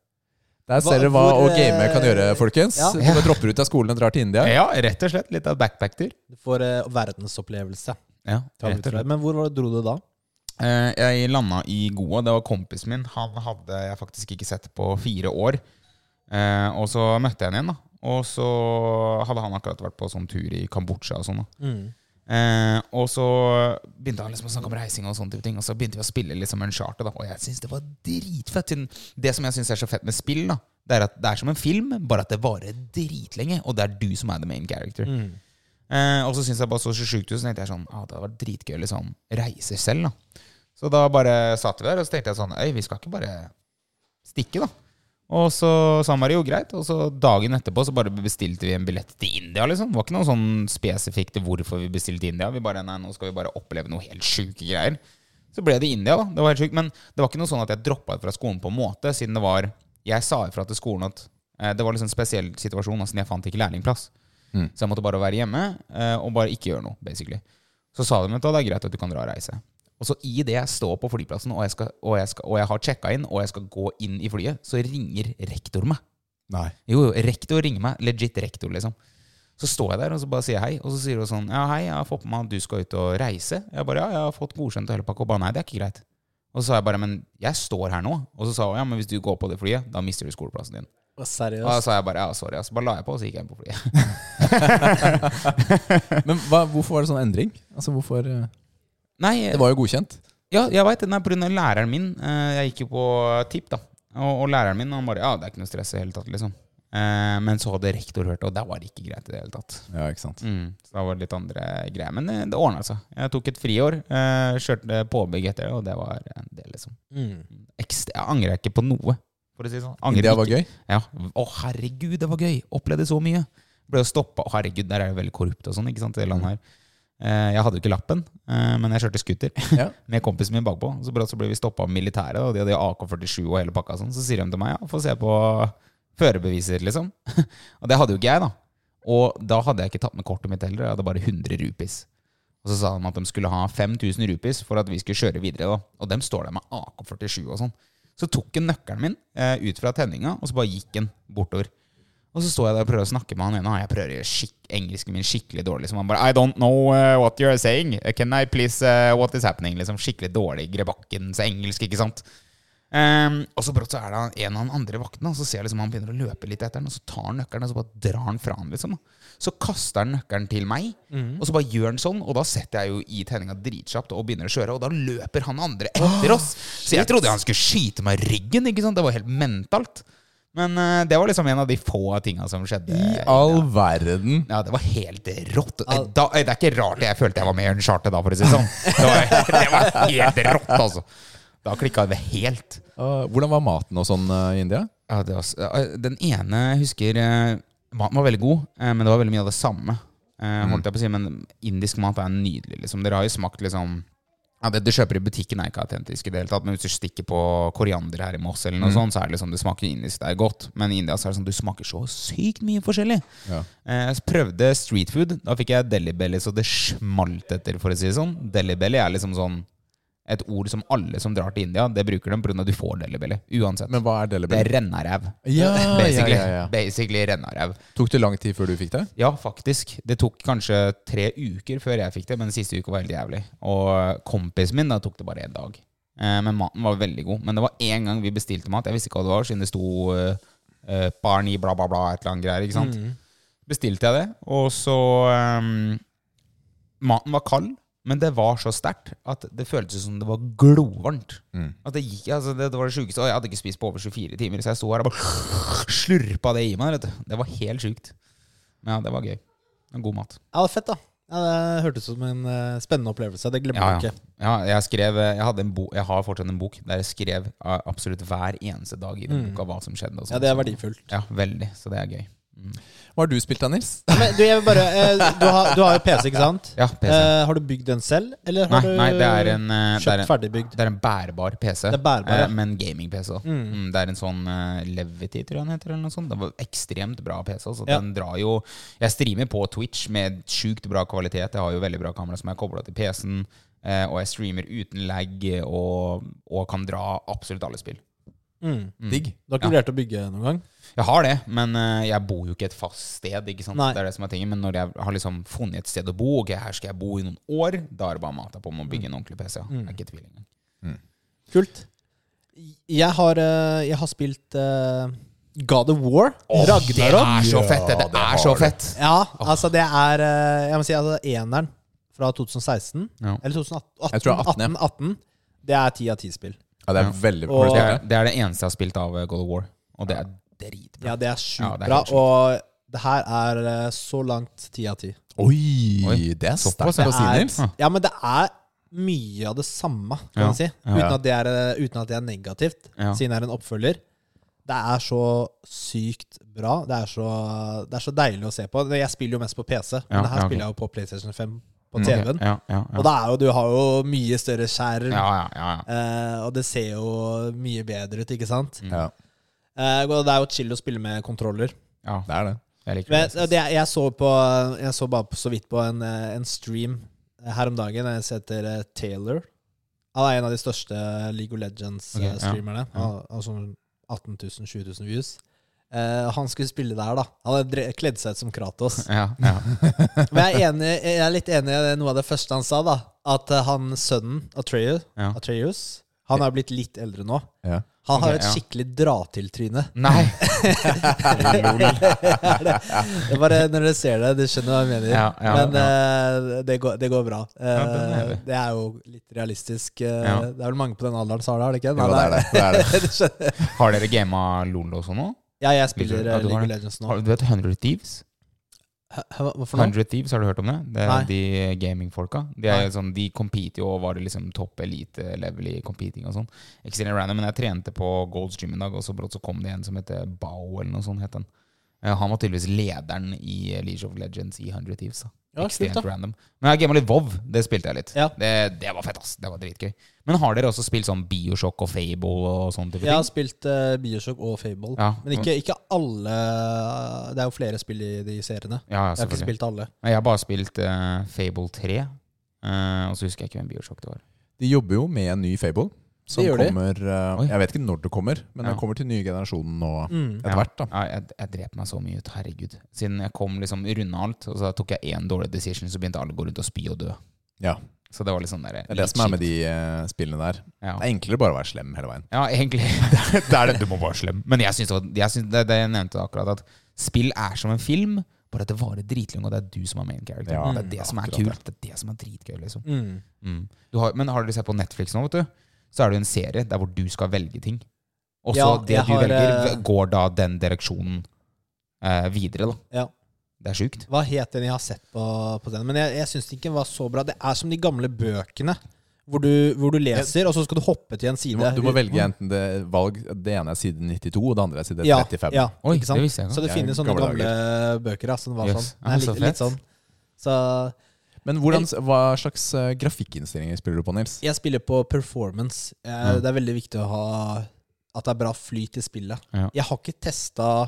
[SPEAKER 2] Der ser dere hva
[SPEAKER 1] Hva- hvor,
[SPEAKER 2] å game kan gjøre,
[SPEAKER 1] eh,
[SPEAKER 2] folkens.
[SPEAKER 1] ja.
[SPEAKER 2] Du bare dropper ut av skolen og drar til India.
[SPEAKER 3] Ja, rett og slett. Litt av backpacktur.
[SPEAKER 1] Du får eh, verdensopplevelse.
[SPEAKER 3] Ja,
[SPEAKER 1] tar vi
[SPEAKER 3] rett
[SPEAKER 1] ut fra
[SPEAKER 3] og slett.
[SPEAKER 1] det. Men hvor var det, dro du da?
[SPEAKER 3] Eh, Jeg landa i Goa. Det var kompisen min. Han hadde jeg faktisk ikke sett på fire år. Eh, Og så møtte jeg henne igjen, da. Og så hadde han akkurat vært på sånn tur i Kambodsja og sånn. da.
[SPEAKER 1] Mm.
[SPEAKER 3] Eh, og så begynte han liksom å snakke om reising, og sånne type ting Og så begynte vi å spille liksom en charter. Da. Og jeg syns det var dritfett. siden Det som jeg syns er så fett med spill, da Det er at det er som en film, bare at det varer dritlenge. Og det er du som er the main character. Eh, og så syntes jeg bare så sjukt ut, så tenkte jeg sånn ah, Det hadde vært dritgøy å liksom reise selv, da. Så da bare satt vi der, og så tenkte jeg sånn Øy, vi skal ikke bare stikke, da. Og så sa Mario greit, og så dagen etterpå så bare bestilte vi en billett til India, liksom. Det var ikke noe sånn spesifikt hvorfor vi bestilte India. Vi bare nei, nå skal vi bare oppleve noe helt sjuke greier. Så ble det India, da. Det var helt sjukt. Men det var ikke noe sånn at jeg droppa ut fra skolen på en måte, siden det var Jeg sa ifra til skolen at eh, Det var liksom en spesiell situasjon, da, siden jeg fant ikke lærlingplass. Så jeg måtte bare være hjemme eh, og bare ikke gjøre noe, basically. Så sa de at det er greit at du kan dra og reise. Og så i det jeg står på flyplassen, og jeg, skal, og jeg, skal, og jeg har checka inn, og jeg skal gå inn i flyet, så ringer rektor meg.
[SPEAKER 2] Nei.
[SPEAKER 3] Jo, jo, rektor ringer meg. Legit rektor, liksom. Så står jeg der og så bare sier hei, og så sier hun sånn Ja, hei, jeg har fått på meg at du skal ut og reise. Jeg bare ja, jeg har fått godkjent og hele pakka. Og bare nei, det er ikke greit. Og så sa jeg bare men jeg står her nå. Og så sa hun ja, men hvis du går på det flyet, da mister du skoleplassen din.
[SPEAKER 1] Å,
[SPEAKER 3] Og da
[SPEAKER 1] Seriøst.
[SPEAKER 3] sa jeg bare ja, sorry, ass. Bare la jeg på, og så gikk jeg inn på flyet.
[SPEAKER 2] Men hva, hvorfor var det sånn endring? Altså, hvorfor eh,
[SPEAKER 3] Nei,
[SPEAKER 2] Det var jo godkjent.
[SPEAKER 3] Ja, jeg veit. Den er pga. læreren min. Eh, Jeg gikk jo på TIP, da. Og, og læreren min han bare Ja, det er ikke noe stress i det hele tatt, liksom. Eh, Men så hadde rektor hørt det, og det var ikke greit i det hele tatt.
[SPEAKER 2] Ja, ikke sant.
[SPEAKER 3] Mm, så da var det litt andre greier. Men eh, det ordna seg. Jeg tok et friår, eh, kjørte påbygg etter det, og det var eh, det, liksom.
[SPEAKER 1] Mm.
[SPEAKER 3] Ekst- Jeg angrer ikke på noe, for å si det sånn. Angrer
[SPEAKER 2] India var
[SPEAKER 3] ikke-
[SPEAKER 2] gøy.
[SPEAKER 3] Ja. Å, herregud, det var gøy! Opplevde så mye. Ble jo stoppa. Å, herregud, der er det veldig korrupt og sånn, ikke sant, i det landet her. Eh, Jeg hadde jo ikke lappen, eh, men jeg kjørte scooter
[SPEAKER 2] Ja.
[SPEAKER 3] med kompisen min bakpå. Så, bra, så ble vi stoppa av militæret, og de hadde AK-47 og hele pakka. og Sånn. Så sier de til meg ja, få se på førerbeviser, liksom. og det hadde jo ikke jeg, da. Og da hadde jeg ikke tatt med kortet mitt heller, jeg hadde bare 100 rupees. Og så sa de at de skulle ha 5000 rupees for at vi skulle kjøre videre. da. Og dem står der med AK-47 og sånn. Så tok han nøkkelen min eh, ut fra tenninga, og så bare gikk han bortover. Og så står jeg der og prøver å snakke med han ene. og Jeg prøver å gjøre skikk, engelsken min skikkelig dårlig. Liksom. Han bare I don't know eh, what you're saying. Can I please eh, What is happening? Liksom Skikkelig dårlig Grebakkens engelsk, ikke sant? Ehm, og så brått så er det en av den andre vaktene, og så ser jeg liksom han begynner å løpe litt etter den, og så tar han nøkkelen og så bare drar han fra han, liksom. Så kaster han nøkkelen til meg, og så bare gjør han sånn, og da setter jeg jo i tenninga dritkjapt og begynner å kjøre, og da løper han andre etter oss. Så jeg trodde han skulle skyte meg i ryggen, ikke sant? Det var helt mentalt. Men eh, det var liksom en av de få tinga som skjedde.
[SPEAKER 2] I all verden.
[SPEAKER 3] Ja, det var helt rått. Eh, Da, det er ikke rart jeg følte jeg var med i Uncharted da, for å si det sånn. Det var, det var helt rått, altså. Da klikka det helt.
[SPEAKER 2] Ah, hvordan var maten og sånn eh, i India?
[SPEAKER 3] Ja, det var, s- eh, den ene jeg husker eh, Maten var veldig god, eh, men det var veldig mye av det samme. Eh, holdt jeg på å si, Men indisk mat er nydelig. liksom Dere har jo smakt liksom ja, Det du kjøper i butikken, er ikke autentisk i det hele tatt. Men hvis du stikker på koriander her i Moss, eller noe sånt, så er det liksom, det smaker indisk. Det er godt. Men i India så er det sånn, du smaker så sykt mye forskjellig.
[SPEAKER 2] Ja.
[SPEAKER 3] Eh, Jeg prøvde street food. Da fikk jeg Deli Belly så det smalt etter, for å si det sånn. Deli Belly er liksom sånn et ord som alle som drar til India, det bruker dem pga. at du får Deli Belly. Uansett.
[SPEAKER 2] Men hva er
[SPEAKER 3] det
[SPEAKER 2] Delibel?
[SPEAKER 3] er rennaræv.
[SPEAKER 2] Ja, ja,
[SPEAKER 3] Basically.
[SPEAKER 2] ja, ja.
[SPEAKER 3] Basically rennaræv.
[SPEAKER 2] Tok det lang tid før du fikk det?
[SPEAKER 3] Ja, faktisk. Det tok kanskje tre uker før jeg fikk det, men siste uke var helt jævlig. Og kompisen min, da tok det bare én dag. Eh, Men maten var veldig god. Men det var én gang vi bestilte mat. Jeg visste ikke hva det var, siden det sto eh, eh, Barney, bla, bla, bla, et eller annet greier. ikke sant? Bestilte jeg det, og så eh, Maten var kald, men det var så sterkt at det føltes som det var glovarmt. At det gikk, altså det, det var det sjukeste. Og jeg hadde ikke spist på over 24 timer, så jeg sto her og bare slurpa det i meg. Vet du. Det var helt sjukt. Men ja, det var gøy. En god mat.
[SPEAKER 1] Ja, det var fett, da. Ja, det hørtes ut som en eh, spennende opplevelse. Det glemmer
[SPEAKER 3] Ja,
[SPEAKER 1] jeg
[SPEAKER 3] ja.
[SPEAKER 1] ikke.
[SPEAKER 3] ja jeg, skrev, eh, jeg, hadde en bo, jeg har fortsatt en bok der jeg skrev eh, absolutt hver eneste dag i den boka hva som skjedde. Og
[SPEAKER 1] Mm. Ja, Det er verdifullt.
[SPEAKER 3] Ja, veldig. Så det er gøy.
[SPEAKER 2] Hva har du spilt da, Nils?
[SPEAKER 1] Men du, jeg vil bare, eh, du, har, du har jo PC, ikke sant?
[SPEAKER 3] Ja, PC.
[SPEAKER 1] Eh, har du bygd den selv, eller
[SPEAKER 3] nei,
[SPEAKER 1] har du
[SPEAKER 3] nei, det er en, eh, det er
[SPEAKER 1] kjøpt
[SPEAKER 3] en,
[SPEAKER 1] ferdigbygd?
[SPEAKER 3] det er en bærbar PC.
[SPEAKER 1] Det er bærbar, ja.
[SPEAKER 3] eh, Men gaming-PC. da. Mm, det er en sånn eh, Levity, tror jeg den heter. Eller noe sånt. Det var ekstremt bra PC. Så
[SPEAKER 1] Ja.
[SPEAKER 3] den drar jo Jeg streamer på Twitch med sjukt bra kvalitet. Jeg har jo veldig bra kamera som er kobla til PC-en. eh, Og jeg streamer uten lag eh, og, og kan dra absolutt alle spill.
[SPEAKER 1] Mm.
[SPEAKER 2] Digg.
[SPEAKER 1] Du har ikke vurdert å bygge noen gang?
[SPEAKER 3] Jeg har det, men eh, jeg bor jo ikke et fast sted. ikke sant?
[SPEAKER 1] Nei.
[SPEAKER 3] Det er det som er tingen. Men når jeg har liksom funnet et sted å bo, ok, her skal jeg bo i noen år, da er det bare mata på med å bygge en ordentlig PC. ja. Det er ikke tvil engang.
[SPEAKER 1] Kult. Jeg har, eh, jeg har spilt eh, God of War.
[SPEAKER 3] Åh, det
[SPEAKER 1] Ragnarok.
[SPEAKER 3] er så
[SPEAKER 2] Ja,
[SPEAKER 3] fett! Det,
[SPEAKER 2] det
[SPEAKER 3] det
[SPEAKER 2] har
[SPEAKER 3] er så
[SPEAKER 2] du.
[SPEAKER 3] fett!
[SPEAKER 1] Ja, altså det er eh, Jeg må si altså eneren fra 2016.
[SPEAKER 3] Ja.
[SPEAKER 1] Eller 2018.
[SPEAKER 2] Jeg tror det er 18,
[SPEAKER 1] 18, 18, Det er 10 av 10 spill.
[SPEAKER 2] Ja, det er
[SPEAKER 3] Ja.
[SPEAKER 2] veldig
[SPEAKER 1] Og-
[SPEAKER 2] Har du
[SPEAKER 3] Det
[SPEAKER 2] spilt
[SPEAKER 3] er,
[SPEAKER 2] det?
[SPEAKER 3] det er det eneste jeg har spilt av eh, God of War, og det er dritbra.
[SPEAKER 1] Ja, det er
[SPEAKER 3] Ja,
[SPEAKER 1] sjukt
[SPEAKER 3] det er
[SPEAKER 1] bra.
[SPEAKER 3] helt sjukt.
[SPEAKER 1] Og det her er eh, så langt 10 av 10.
[SPEAKER 2] Oi,
[SPEAKER 3] Oi.
[SPEAKER 2] det er
[SPEAKER 3] Såpass, Mm.
[SPEAKER 2] sterkt
[SPEAKER 1] Det
[SPEAKER 2] å si,
[SPEAKER 1] er-
[SPEAKER 2] Nils.
[SPEAKER 1] Ja, men det er mye av det samme, kan
[SPEAKER 3] Ja.
[SPEAKER 1] man si.
[SPEAKER 3] Ja.
[SPEAKER 1] Uten at, det er, eh, uten at det er negativt,
[SPEAKER 3] Ja.
[SPEAKER 1] siden det er en oppfølger. Det er så sykt bra. Det er så, det er så deilig å se på. Jeg spiller jo mest på PC,
[SPEAKER 3] Ja,
[SPEAKER 1] men det her
[SPEAKER 3] ja, ok.
[SPEAKER 1] spiller jeg jo på PlayStation 5 på
[SPEAKER 3] Mm, ok.
[SPEAKER 1] TV-en.
[SPEAKER 3] Ja, ja,
[SPEAKER 1] Og
[SPEAKER 3] ja.
[SPEAKER 1] da er jo, du har jo mye større skjerm,
[SPEAKER 3] ja, ja, ja, ja.
[SPEAKER 1] eh, og det ser jo mye bedre ut, ikke sant?
[SPEAKER 3] Mm.
[SPEAKER 2] Ja,
[SPEAKER 1] Eh, og det er jo chill å spille med kontroller.
[SPEAKER 3] ja.
[SPEAKER 2] det er det.
[SPEAKER 3] Jeg liker
[SPEAKER 1] Men det,
[SPEAKER 3] det.
[SPEAKER 1] jeg, så på, jeg så bare på- så vidt på en, eh, en stream eh, her om dagen. Jeg heter eh, Taylor. Han er en av de største League of
[SPEAKER 3] Ok, ja.
[SPEAKER 1] Legends-streamerne.
[SPEAKER 3] Ja.
[SPEAKER 1] Han har sånn 18 000-20 000 views. Eh, han skulle spille der, da. Han hadde dre- kledd seg ut som Kratos.
[SPEAKER 3] Ja, ja.
[SPEAKER 1] Men jeg er, enig, jeg er litt enig i noe av det første han sa, da. At eh, han sønnen, Atreus,
[SPEAKER 3] Ja.
[SPEAKER 1] Atreus han har blitt litt eldre nå.
[SPEAKER 2] Ja.
[SPEAKER 1] Han har
[SPEAKER 3] Ok,
[SPEAKER 1] et
[SPEAKER 3] ja.
[SPEAKER 1] skikkelig dra-til-tryne.
[SPEAKER 3] Nei!
[SPEAKER 1] Det er bare når dere ser det, du skjønner hva jeg mener.
[SPEAKER 3] Ja, ja,
[SPEAKER 1] Men eh, det, går, det går bra. Eh,
[SPEAKER 3] Ja, den er vi.
[SPEAKER 1] det er jo litt realistisk. eh,
[SPEAKER 3] Ja.
[SPEAKER 1] Det er vel mange på den alderen som har det, har det ikke?
[SPEAKER 2] Jo, det er det. det, er det.
[SPEAKER 1] Du skjønner.
[SPEAKER 3] Har dere gama LOL også nå?
[SPEAKER 1] ja, jeg spiller
[SPEAKER 3] Ja,
[SPEAKER 1] eh,
[SPEAKER 3] du
[SPEAKER 1] League
[SPEAKER 3] har
[SPEAKER 1] of
[SPEAKER 3] det.
[SPEAKER 1] Legends nå.
[SPEAKER 3] Har, du vet 100 Thieves?
[SPEAKER 1] Hæ, Hva hva for noe?
[SPEAKER 3] 100 Thieves, har du hørt om det? Det
[SPEAKER 1] Nei.
[SPEAKER 3] er de gamingfolka. De, er
[SPEAKER 1] Nei.
[SPEAKER 3] jo sånn, de compete jo og var det liksom topp elite-level i competing og sånn. Extremely random, men jeg trente på Gold's Gym en dag, og så brått så kom det en som heter Bao, eller noe sånt het han. Eh, Han var tydeligvis lederen i League of Legends i 100 Thieves. Da.
[SPEAKER 1] Ja, kult,
[SPEAKER 3] Ekstremt
[SPEAKER 1] da.
[SPEAKER 3] random. Men jeg gama litt WoW. Det spilte jeg litt.
[SPEAKER 1] Ja.
[SPEAKER 3] Det, det var fett, ass. Det var dritgøy. Men har dere også spilt sånn Bioshock og Fable og sånn type
[SPEAKER 1] Jeg har
[SPEAKER 3] ting?
[SPEAKER 1] spilt eh, Bioshock og Fable.
[SPEAKER 3] Ja.
[SPEAKER 1] Men ikke, ikke alle eh, Det er jo flere spill i de seriene.
[SPEAKER 3] Ja, ja,
[SPEAKER 1] Jeg har ikke
[SPEAKER 3] selvfølgelig.
[SPEAKER 1] spilt alle.
[SPEAKER 3] Nei, Jeg har bare spilt eh, Fable 3, eh, og så husker jeg ikke hvem Bioshock det var.
[SPEAKER 2] De jobber jo med en ny Fable. Som
[SPEAKER 1] Det gjør de.
[SPEAKER 2] kommer eh,
[SPEAKER 3] Oi.
[SPEAKER 2] Jeg vet ikke når det kommer, men
[SPEAKER 3] Ja.
[SPEAKER 2] den kommer til nye generasjonen nå
[SPEAKER 1] Mm.
[SPEAKER 2] etter
[SPEAKER 3] Ja.
[SPEAKER 2] hvert. da
[SPEAKER 3] Ja, jeg, jeg drep meg så mye ut, herregud. Siden jeg kom liksom runda alt, og så tok jeg én dårlig decision, så begynte alle å gå rundt og spy og dø.
[SPEAKER 2] Ja,
[SPEAKER 3] Så det var litt sånn der,
[SPEAKER 2] Det er det som er med de eh, spillene der.
[SPEAKER 3] Ja.
[SPEAKER 2] Det er enklere bare å være slem hele veien.
[SPEAKER 3] ja, egentlig. Det er- det er det, du må være slem. Men jeg syns det, jeg synes det, det jeg nevnte akkurat, at spill er som en film, bare at det varer dritlenge, og det er du som er main character.
[SPEAKER 2] Ja,
[SPEAKER 3] det er det som er
[SPEAKER 2] akkurat det.
[SPEAKER 3] kult. Det er det som er dritgøy, liksom.
[SPEAKER 1] Mm.
[SPEAKER 3] Mm. Du har, men har dere sett på Netflix nå, vet du? Så er det jo en serie der hvor du skal velge ting. Og så
[SPEAKER 1] Ja,
[SPEAKER 3] det
[SPEAKER 1] jeg
[SPEAKER 3] du
[SPEAKER 1] har, eh,
[SPEAKER 3] velger, går da den direksjonen eh, videre, da.
[SPEAKER 1] Ja.
[SPEAKER 3] Det er sjukt.
[SPEAKER 1] Hva het den jeg har sett på, på den? Men jeg, jeg syns ikke den var så bra. Det er som de gamle bøkene, hvor du, hvor du leser, og så skal du hoppe til en
[SPEAKER 2] Du
[SPEAKER 1] side.
[SPEAKER 2] må, du må velge enten det, valg, det ene er side 92, og det andre er side
[SPEAKER 1] ja,
[SPEAKER 2] 35.
[SPEAKER 1] ja,
[SPEAKER 3] Oi,
[SPEAKER 1] ikke sant?
[SPEAKER 3] det visste jeg ikke.
[SPEAKER 1] Så det
[SPEAKER 2] Ja,
[SPEAKER 1] finnes sånne
[SPEAKER 2] gamle
[SPEAKER 1] gamle, bøker. Ja, som var
[SPEAKER 3] Yes.
[SPEAKER 1] sånn.
[SPEAKER 3] Ja,
[SPEAKER 1] Nei,
[SPEAKER 3] så
[SPEAKER 1] litt, litt
[SPEAKER 3] fett.
[SPEAKER 1] sånn. Så
[SPEAKER 2] Men hvordan, hva slags eh, grafikkinnstillinger spiller du på, Nils?
[SPEAKER 1] jeg spiller på performance. Eh,
[SPEAKER 3] Ja.
[SPEAKER 1] Det er veldig viktig å ha at det er bra flyt i spillet.
[SPEAKER 3] Ja.
[SPEAKER 1] Jeg har ikke testa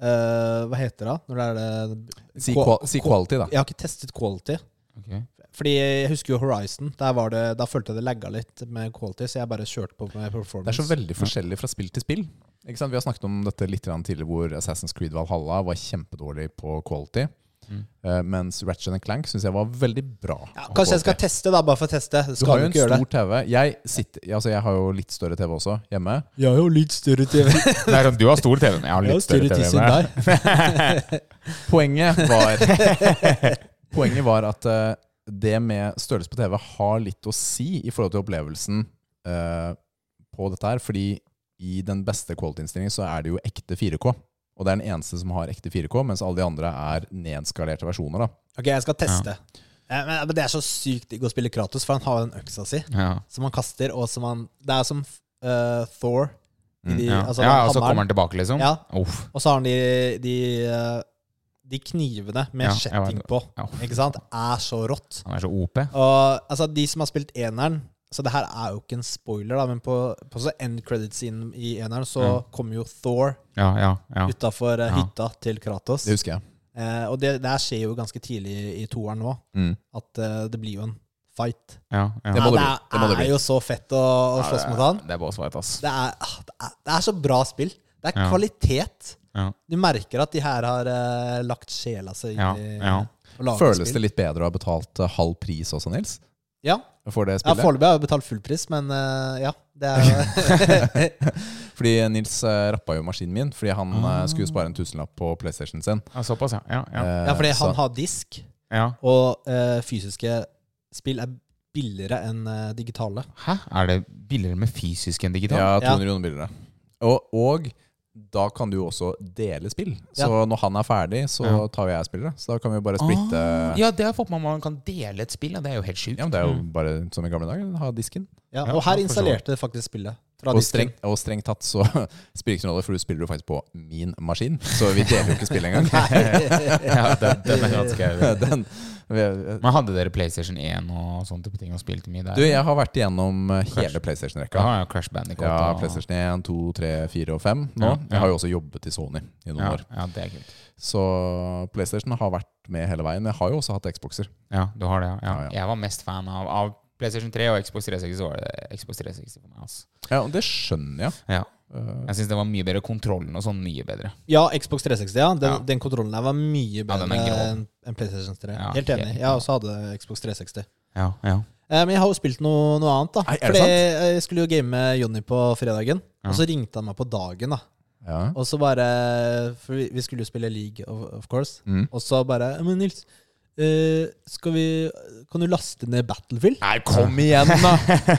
[SPEAKER 1] eh, Hva heter det da? når det er det?
[SPEAKER 2] Si,
[SPEAKER 1] Qua-
[SPEAKER 2] qua, si quality, da.
[SPEAKER 1] Jeg har ikke testet quality.
[SPEAKER 3] Ok.
[SPEAKER 1] Fordi jeg husker jo Horizon. Der var det, da følte jeg det lagga litt med quality, så jeg bare kjørte på med
[SPEAKER 2] Det er
[SPEAKER 1] performance.
[SPEAKER 2] så veldig forskjellig fra spill til spill. Ikke sant? Vi har snakket om dette litt grann tidligere, hvor Assassin's Creed Valhalla var kjempedårlig på quality.
[SPEAKER 3] Mm.
[SPEAKER 2] eh, Mens Ratchet Clank syns jeg var veldig bra.
[SPEAKER 1] ja,
[SPEAKER 2] på
[SPEAKER 1] kanskje jeg skal
[SPEAKER 2] quality.
[SPEAKER 1] teste, da, bare for å teste. Det
[SPEAKER 2] Du har
[SPEAKER 1] Skal
[SPEAKER 2] jo
[SPEAKER 1] jo
[SPEAKER 2] en
[SPEAKER 1] ikke gjøre
[SPEAKER 2] stor
[SPEAKER 1] det.
[SPEAKER 2] TV. Jeg, sitter, altså jeg har jo litt større TV også hjemme.
[SPEAKER 1] Jeg har jo litt større TV. Jeg
[SPEAKER 3] Det er sånn, du har stor TV, men jeg har
[SPEAKER 1] har
[SPEAKER 3] litt
[SPEAKER 1] større
[SPEAKER 3] større TV.
[SPEAKER 1] tiss enn
[SPEAKER 3] men-
[SPEAKER 1] deg.
[SPEAKER 2] Poenget var Poenget var at eh, det med størrelse på TV har litt å si i forhold til opplevelsen eh, på dette her. Fordi i den beste quality-innstillingen så er det jo ekte 4K. Og det er den eneste som har ekte 4K, mens alle de andre er nedskalerte versjoner. da.
[SPEAKER 1] Ok, jeg skal teste. Eh, Men, men det er så sykt digg å spille Kratos, for han har jo den øksa si
[SPEAKER 3] Ja.
[SPEAKER 1] som han kaster, og som han Det er som eh, Thor I de,
[SPEAKER 3] Mm, ja.
[SPEAKER 1] altså,
[SPEAKER 3] ja, og så
[SPEAKER 1] hammeren.
[SPEAKER 3] kommer han tilbake, liksom?
[SPEAKER 1] Ja.
[SPEAKER 3] Uff.
[SPEAKER 1] Og så har han de, de, eh, de knivene med
[SPEAKER 3] Ja, jeg
[SPEAKER 1] kjetting
[SPEAKER 3] vet
[SPEAKER 1] på.
[SPEAKER 3] Ja.
[SPEAKER 1] Ikke sant? Det er så rått.
[SPEAKER 3] Han er så OP.
[SPEAKER 1] Og altså, de som har spilt eneren Så det her er jo ikke en spoiler, da, men på, på så end credit-scenen i eneren så
[SPEAKER 2] Mm.
[SPEAKER 3] Ja.
[SPEAKER 1] kommer jo Thor
[SPEAKER 3] Ja, ja, ja.
[SPEAKER 1] utafor eh,
[SPEAKER 3] Ja.
[SPEAKER 1] hytta til Kratos.
[SPEAKER 2] Det husker jeg.
[SPEAKER 1] Eh, og det, det her skjer jo ganske tidlig i toeren nå,
[SPEAKER 2] Mm.
[SPEAKER 1] at eh, det blir jo en fight.
[SPEAKER 3] ja, ja.
[SPEAKER 2] Det må det bli.
[SPEAKER 1] er,
[SPEAKER 2] Det må det bli.
[SPEAKER 1] er jo så fett å, å
[SPEAKER 3] Ja,
[SPEAKER 1] slåss
[SPEAKER 3] det-
[SPEAKER 1] mot han.
[SPEAKER 3] Det er boss fight, ass.
[SPEAKER 1] Det er, ah, det, er, det er så bra spill. Det er
[SPEAKER 3] Ja.
[SPEAKER 1] kvalitet.
[SPEAKER 3] Ja.
[SPEAKER 1] Du merker at de her har eh, lagt sjela si
[SPEAKER 3] Ja,
[SPEAKER 1] i
[SPEAKER 3] ja.
[SPEAKER 1] å lage
[SPEAKER 2] Føles
[SPEAKER 1] spill.
[SPEAKER 2] det litt bedre å ha betalt eh, halv pris også, Nils?
[SPEAKER 1] Ja.
[SPEAKER 2] For det
[SPEAKER 1] Ja,
[SPEAKER 2] spillet?
[SPEAKER 1] Foreløpig har jeg betalt full pris, men eh, ja. Det er,
[SPEAKER 2] Fordi Nils eh, rappa jo maskinen min, fordi han eh, skulle spare en tusenlapp på PlayStation sin.
[SPEAKER 3] Ja, såpass, ja. Ja, ja.
[SPEAKER 2] Eh,
[SPEAKER 1] Ah. ja, fordi
[SPEAKER 2] så-
[SPEAKER 1] han har disk,
[SPEAKER 3] ja.
[SPEAKER 1] og eh, fysiske spill er billigere enn eh, digitale.
[SPEAKER 3] Hæ? Er det billigere med fysisk enn digital?
[SPEAKER 2] Ja,
[SPEAKER 1] Ja.
[SPEAKER 2] 200 kroner billigere. Og, og da kan du jo også dele spill. Så når han er ferdig, så
[SPEAKER 3] Ja.
[SPEAKER 2] tar jo jeg spillere. Så da kan vi bare splitte
[SPEAKER 3] Ah, ja, det har jeg fått med meg. Man kan dele et spill, ja. det er jo helt sjukt.
[SPEAKER 2] Ja, men Det er jo bare som i gamle dager, ha disken.
[SPEAKER 1] Ja,
[SPEAKER 3] Ja,
[SPEAKER 1] og her
[SPEAKER 3] ja, for så vidt.
[SPEAKER 1] installerte det faktisk spillet. Fra
[SPEAKER 2] Og
[SPEAKER 1] disken.
[SPEAKER 2] strengt, og strengt tatt så spiller det ikke noen rolle, for du spiller jo faktisk på min maskin. Så vi deler jo ikke spill engang.
[SPEAKER 3] ja, den, den er ganske
[SPEAKER 2] Den,
[SPEAKER 3] Men hadde dere PlayStation 1 og sånne type ting og spilte mye der?
[SPEAKER 2] du, jeg har vært igjennom hele
[SPEAKER 3] Crash.
[SPEAKER 2] PlayStation-rekka.
[SPEAKER 3] ja, ja, Crash Bandicoot.
[SPEAKER 2] Ja,
[SPEAKER 3] og-
[SPEAKER 2] PlayStation 1, 2, 3, 4 og 5 nå.
[SPEAKER 3] Ja, ja.
[SPEAKER 2] Jeg har jo også jobbet i Sony i noen
[SPEAKER 3] ja,
[SPEAKER 2] år.
[SPEAKER 3] ja, det er kult.
[SPEAKER 2] Så PlayStation har vært med hele veien. Men jeg har jo også hatt Xboxer.
[SPEAKER 3] Ja, du har det, ja. ja.
[SPEAKER 2] Ja, ja.
[SPEAKER 3] Jeg var mest fan av, av PlayStation 3 og Xbox 360, så var det Xbox 360 for meg, altså.
[SPEAKER 2] Ja, og det skjønner jeg.
[SPEAKER 3] Ja.
[SPEAKER 2] Eh,
[SPEAKER 3] Jeg syns det var mye bedre kontrollen og sånn, mye bedre.
[SPEAKER 1] Ja, Xbox 360, ja. Den,
[SPEAKER 3] Ja.
[SPEAKER 1] den kontrollen der var mye
[SPEAKER 3] Ja,
[SPEAKER 1] bedre
[SPEAKER 3] den er grov.
[SPEAKER 1] enn enn PlayStation 3.
[SPEAKER 3] Ja,
[SPEAKER 1] helt enig.
[SPEAKER 3] helt-
[SPEAKER 1] Jeg også hadde Xbox 360.
[SPEAKER 3] Ja, ja.
[SPEAKER 1] Eh, men jeg har jo spilt noe, noe annet, da.
[SPEAKER 2] Nei, er det
[SPEAKER 1] Fordi jeg skulle jo game med Jonny på fredagen,
[SPEAKER 3] Ja.
[SPEAKER 1] og så ringte han meg på dagen, da.
[SPEAKER 2] ja.
[SPEAKER 1] Og så bare For vi, vi skulle jo spille league, of, of course.
[SPEAKER 2] Mm.
[SPEAKER 1] Og så bare Men Nils, eh, skal vi Kan du laste ned Battlefield?
[SPEAKER 3] Nei, kom
[SPEAKER 2] igjen, da!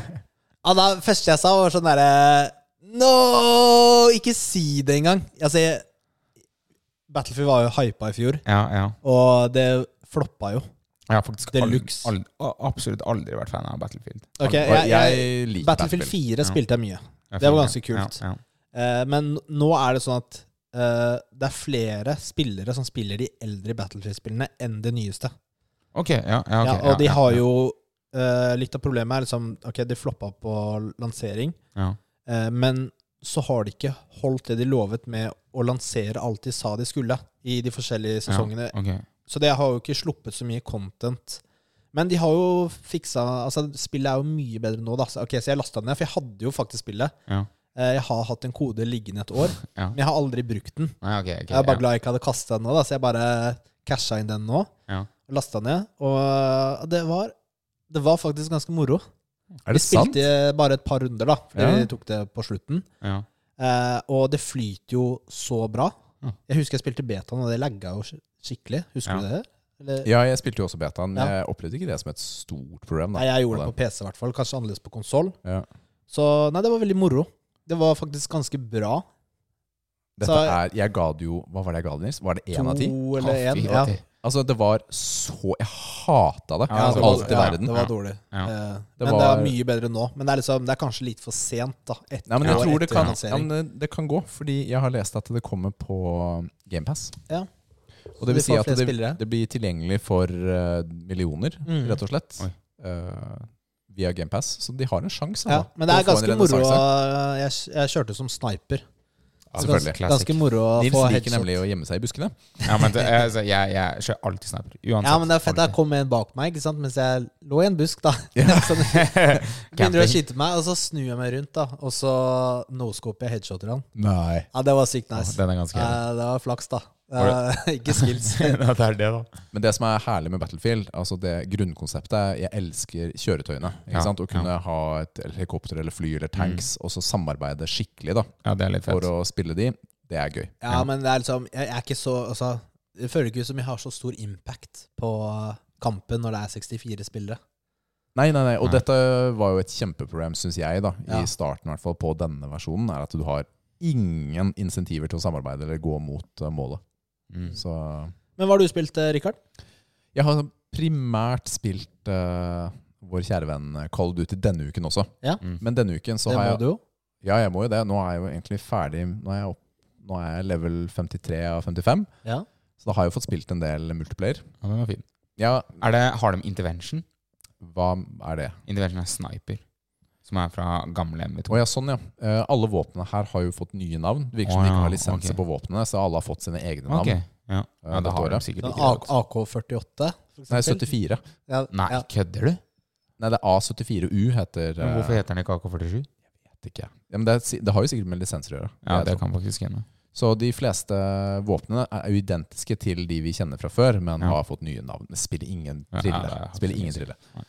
[SPEAKER 1] Ja, da første jeg sa, var sånn derre No! Ikke si det engang. Altså, jeg, Battlefield var jo hypa i fjor,
[SPEAKER 3] Ja, ja.
[SPEAKER 1] og det floppa jo.
[SPEAKER 3] Jeg har faktisk
[SPEAKER 1] Det er
[SPEAKER 3] aldri,
[SPEAKER 1] luxe.
[SPEAKER 3] aldri, absolutt aldri vært fan av Battlefield.
[SPEAKER 1] Ok,
[SPEAKER 3] Aldri.
[SPEAKER 2] Og
[SPEAKER 1] jeg,
[SPEAKER 2] jeg
[SPEAKER 1] jeg,
[SPEAKER 2] liker
[SPEAKER 1] Battlefield
[SPEAKER 2] Battlefield.
[SPEAKER 1] 4
[SPEAKER 3] Ja.
[SPEAKER 1] spilte jeg mye.
[SPEAKER 3] Jeg
[SPEAKER 1] det var
[SPEAKER 3] føler
[SPEAKER 1] ganske kult.
[SPEAKER 3] Ja, ja.
[SPEAKER 1] Eh, men nå er det sånn at eh, det er flere spillere som spiller de eldre Battlefield-spillene enn det nyeste.
[SPEAKER 3] Ok, ja, ja, ok,
[SPEAKER 1] ja, og de
[SPEAKER 3] ja,
[SPEAKER 1] har
[SPEAKER 3] ja.
[SPEAKER 1] jo eh, Litt av problemet er liksom Ok, de floppa på lansering,
[SPEAKER 3] ja.
[SPEAKER 1] eh, men så har de ikke holdt det de lovet med å lansere alt de sa de skulle i de forskjellige sesongene.
[SPEAKER 3] Ja, ok.
[SPEAKER 1] Så det har jo ikke sluppet så mye content. Men de har jo fiksa Altså, spillet er jo mye bedre nå, da. Så, ok, så jeg lasta det ned, for jeg hadde jo faktisk spillet.
[SPEAKER 3] Ja.
[SPEAKER 1] Eh, Jeg har hatt en kode liggende et år,
[SPEAKER 3] Ja.
[SPEAKER 1] men jeg har aldri brukt den.
[SPEAKER 3] Nei, ok, ok,
[SPEAKER 1] Jeg er bare
[SPEAKER 3] ja.
[SPEAKER 1] glad jeg ikke hadde kasta den nå, da, så jeg bare casha inn den nå.
[SPEAKER 3] Ja.
[SPEAKER 1] Og lasta ned. Og det var, det var faktisk ganske moro.
[SPEAKER 2] Er det
[SPEAKER 1] Vi
[SPEAKER 2] sant?
[SPEAKER 1] spilte bare et par runder, da, fordi
[SPEAKER 2] Ja.
[SPEAKER 1] vi tok det på slutten.
[SPEAKER 3] Ja.
[SPEAKER 1] Eh, og det flyter jo så bra.
[SPEAKER 3] Ja.
[SPEAKER 1] Jeg husker jeg spilte betaen, og det lagga jo sk- skikkelig. Husker
[SPEAKER 3] Ja.
[SPEAKER 1] du det? Eller?
[SPEAKER 2] Ja, jeg spilte jo også betaen. men
[SPEAKER 1] Ja.
[SPEAKER 2] Jeg opplevde ikke det som et stort problem.
[SPEAKER 1] Nei,
[SPEAKER 2] Da.
[SPEAKER 1] jeg gjorde det på PC i hvert fall. Kanskje annerledes på konsoll.
[SPEAKER 2] Ja.
[SPEAKER 1] Så nei, det var veldig moro. Det var faktisk ganske bra.
[SPEAKER 2] Dette
[SPEAKER 1] Så-
[SPEAKER 2] er, jeg ga det jo Hva var det jeg ga det, Nils? Var det én av ti?
[SPEAKER 1] To eller
[SPEAKER 3] Ah,
[SPEAKER 1] én.
[SPEAKER 3] fy,
[SPEAKER 1] Ja.
[SPEAKER 3] ok.
[SPEAKER 2] Altså, det var så Jeg hata det.
[SPEAKER 3] Ja,
[SPEAKER 2] av
[SPEAKER 1] det
[SPEAKER 3] var-
[SPEAKER 2] alt i
[SPEAKER 1] ja,
[SPEAKER 2] verden.
[SPEAKER 1] Det var dårlig.
[SPEAKER 3] Ja.
[SPEAKER 1] Eh,
[SPEAKER 2] Det
[SPEAKER 1] men det
[SPEAKER 2] var-
[SPEAKER 1] er mye bedre nå. Men det er, liksom, det er kanskje litt for sent, da. Ett
[SPEAKER 2] Nei, men jeg
[SPEAKER 1] år
[SPEAKER 2] tror det
[SPEAKER 1] etter
[SPEAKER 2] kan, ja,
[SPEAKER 1] lansering.
[SPEAKER 2] men det, det kan gå, fordi jeg har lest at det kommer på GamePass.
[SPEAKER 1] Ja.
[SPEAKER 2] Og det
[SPEAKER 1] Så
[SPEAKER 2] vil
[SPEAKER 1] vi
[SPEAKER 2] si
[SPEAKER 1] får
[SPEAKER 2] at
[SPEAKER 1] flere
[SPEAKER 2] det,
[SPEAKER 1] spillere.
[SPEAKER 2] det blir tilgjengelig for eh, millioner,
[SPEAKER 1] Mm.
[SPEAKER 2] rett og slett.
[SPEAKER 3] Oi.
[SPEAKER 2] eh, via GamePass. Så de har en sjanse.
[SPEAKER 1] Ja,
[SPEAKER 2] da,
[SPEAKER 1] men det
[SPEAKER 2] på
[SPEAKER 1] er
[SPEAKER 2] å få en
[SPEAKER 1] ganske moro.
[SPEAKER 2] renessanse.
[SPEAKER 1] å- Jeg, jeg kjørte som sniper.
[SPEAKER 2] Ja,
[SPEAKER 1] Så
[SPEAKER 2] selvfølgelig.
[SPEAKER 1] Ganske, ganske moro å
[SPEAKER 2] Nils
[SPEAKER 1] få
[SPEAKER 2] liker
[SPEAKER 1] headshot.
[SPEAKER 2] nemlig å gjemme seg i buskene.
[SPEAKER 3] Ja, men det, altså, jeg, jeg kjører alltid sniper. Uansett.
[SPEAKER 1] Ja, men det er fett. Der kom en bak meg ikke sant? mens jeg lå i en busk. da Så det Begynner å
[SPEAKER 3] Camping.
[SPEAKER 1] skyte meg, og så snur jeg meg rundt, da og så noscoper jeg headshoter han.
[SPEAKER 2] Nei.
[SPEAKER 1] Ja, det var sykt nice.
[SPEAKER 3] Den er ganske
[SPEAKER 1] Eh,
[SPEAKER 3] jævlig.
[SPEAKER 1] det var flaks, da.
[SPEAKER 3] Var
[SPEAKER 1] Eh, ikke skills.
[SPEAKER 3] Ja, det er det, da.
[SPEAKER 2] Men det som er herlig med Battlefield, altså det grunnkonseptet er jeg elsker kjøretøyene. Ikke
[SPEAKER 3] Ja,
[SPEAKER 2] sant? Å kunne ha et helikopter eller fly eller tanks, og så samarbeide skikkelig da,
[SPEAKER 3] Ja, det er litt fett.
[SPEAKER 2] for å spille de. Det er gøy.
[SPEAKER 1] Ja, men det er liksom Jeg, jeg er ikke så altså, Jeg føler ikke som jeg har så stor impact på kampen når det er 64 spillere.
[SPEAKER 2] Nei, nei, nei. Og
[SPEAKER 3] Nei.
[SPEAKER 2] dette var jo et kjempeproblem, syns jeg, da, i
[SPEAKER 1] Ja.
[SPEAKER 2] starten i hvert fall, på denne versjonen, er at du har ingen insentiver til å samarbeide eller gå mot eh, målet.
[SPEAKER 3] Mm.
[SPEAKER 2] Så
[SPEAKER 1] Men hva har du spilt, eh, Rikard?
[SPEAKER 2] jeg har primært spilt eh, vår kjære venn Call of Duty denne uken også.
[SPEAKER 1] Ja.
[SPEAKER 3] Mm.
[SPEAKER 2] Men denne uken så
[SPEAKER 1] Det
[SPEAKER 2] har
[SPEAKER 1] må
[SPEAKER 2] jeg
[SPEAKER 1] du jo.
[SPEAKER 2] Ja, jeg må jo det. Nå er jeg jo egentlig ferdig. Nå er jeg, opp, nå er jeg level 53 av 55,
[SPEAKER 1] Ja.
[SPEAKER 2] så da har jeg jo fått spilt en del multiplayer.
[SPEAKER 3] Ja, den var fin.
[SPEAKER 2] Ja,
[SPEAKER 3] Er det, har de intervention?
[SPEAKER 2] hva er det?
[SPEAKER 3] Intervention er sniper. Som er fra gamle
[SPEAKER 2] Å
[SPEAKER 3] MV2.
[SPEAKER 2] ja, sånn ja. Eh, alle våpnene her har jo fått nye navn. Det virker som
[SPEAKER 3] Å
[SPEAKER 2] de ikke
[SPEAKER 3] ja,
[SPEAKER 2] har lisenser
[SPEAKER 3] ok.
[SPEAKER 2] på våpnene, så alle har fått sine egne navn.
[SPEAKER 3] Ok, ja. ja
[SPEAKER 2] dette
[SPEAKER 3] det har de
[SPEAKER 2] året.
[SPEAKER 3] sikkert
[SPEAKER 1] Den
[SPEAKER 3] ikke.
[SPEAKER 1] A- AK-48.
[SPEAKER 2] Nei, 74.
[SPEAKER 1] Ja,
[SPEAKER 3] Nei,
[SPEAKER 1] ja.
[SPEAKER 3] kødder du?
[SPEAKER 2] Nei, det er A74U heter
[SPEAKER 3] Men hvorfor
[SPEAKER 2] eh,
[SPEAKER 3] heter den ikke AK-47?
[SPEAKER 2] vet ikke jeg. Ja, men det, er si- det har jo sikkert med lisenser å gjøre.
[SPEAKER 3] Ja,
[SPEAKER 2] Jeg
[SPEAKER 3] det
[SPEAKER 2] tror.
[SPEAKER 3] kan faktisk hende.
[SPEAKER 2] Så de fleste våpnene er jo identiske til de vi kjenner fra før, men
[SPEAKER 3] Ja.
[SPEAKER 2] har fått nye navn. Det spiller ingen
[SPEAKER 3] Ja,
[SPEAKER 2] trille.
[SPEAKER 3] ja, ja,
[SPEAKER 2] spiller ingen
[SPEAKER 3] absolutt.
[SPEAKER 2] trille.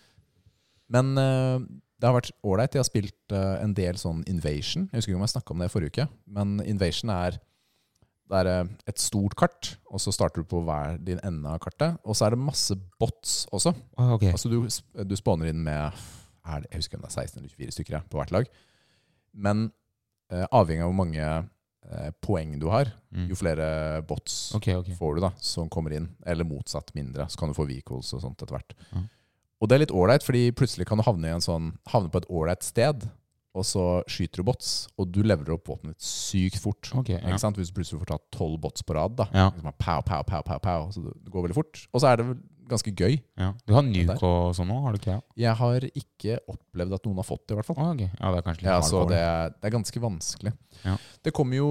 [SPEAKER 2] Men eh, det har vært ålreit. Jeg har spilt eh, en del sånn Invasion. Jeg husker ikke om jeg snakka om det forrige uke, men Invasion er det er eh, et stort kart, og så starter du på hver din ende av kartet. Og så er det masse bots også.
[SPEAKER 3] Å, ok.
[SPEAKER 2] Altså du, sp- du spawner inn med er det, Jeg husker om det er 16 eller 24 stykker ja, på hvert lag. Men eh, avhengig av hvor mange eh, poeng du har,
[SPEAKER 3] Mm.
[SPEAKER 2] jo flere bots
[SPEAKER 3] Ok, ok.
[SPEAKER 2] får du da, som kommer inn. Eller motsatt, mindre. Så kan du få vehicles og sånt etter hvert.
[SPEAKER 3] Ja.
[SPEAKER 2] Og det er litt ålreit, fordi plutselig kan du havne, i en sånn, havne på et ålreit sted, og så skyter du bots, og du leverer opp våpenet ditt sykt fort.
[SPEAKER 3] Ok, ja.
[SPEAKER 2] Ikke sant? Hvis du plutselig får tatt tolv bots på rad, da.
[SPEAKER 3] Ja.
[SPEAKER 2] Liksom bare pow, pow, pow, pow, pow. Så det går veldig fort. Og så er det vel ganske gøy.
[SPEAKER 3] Ja. Du har nuke og sånn nå, har du ikke det?
[SPEAKER 2] Jeg har ikke opplevd at noen har fått det, i hvert fall.
[SPEAKER 3] Å, ok. Ja, det er kanskje litt
[SPEAKER 2] Ja, så
[SPEAKER 3] hardcore.
[SPEAKER 2] det, er- det er ganske vanskelig.
[SPEAKER 3] Ja.
[SPEAKER 2] Det kommer jo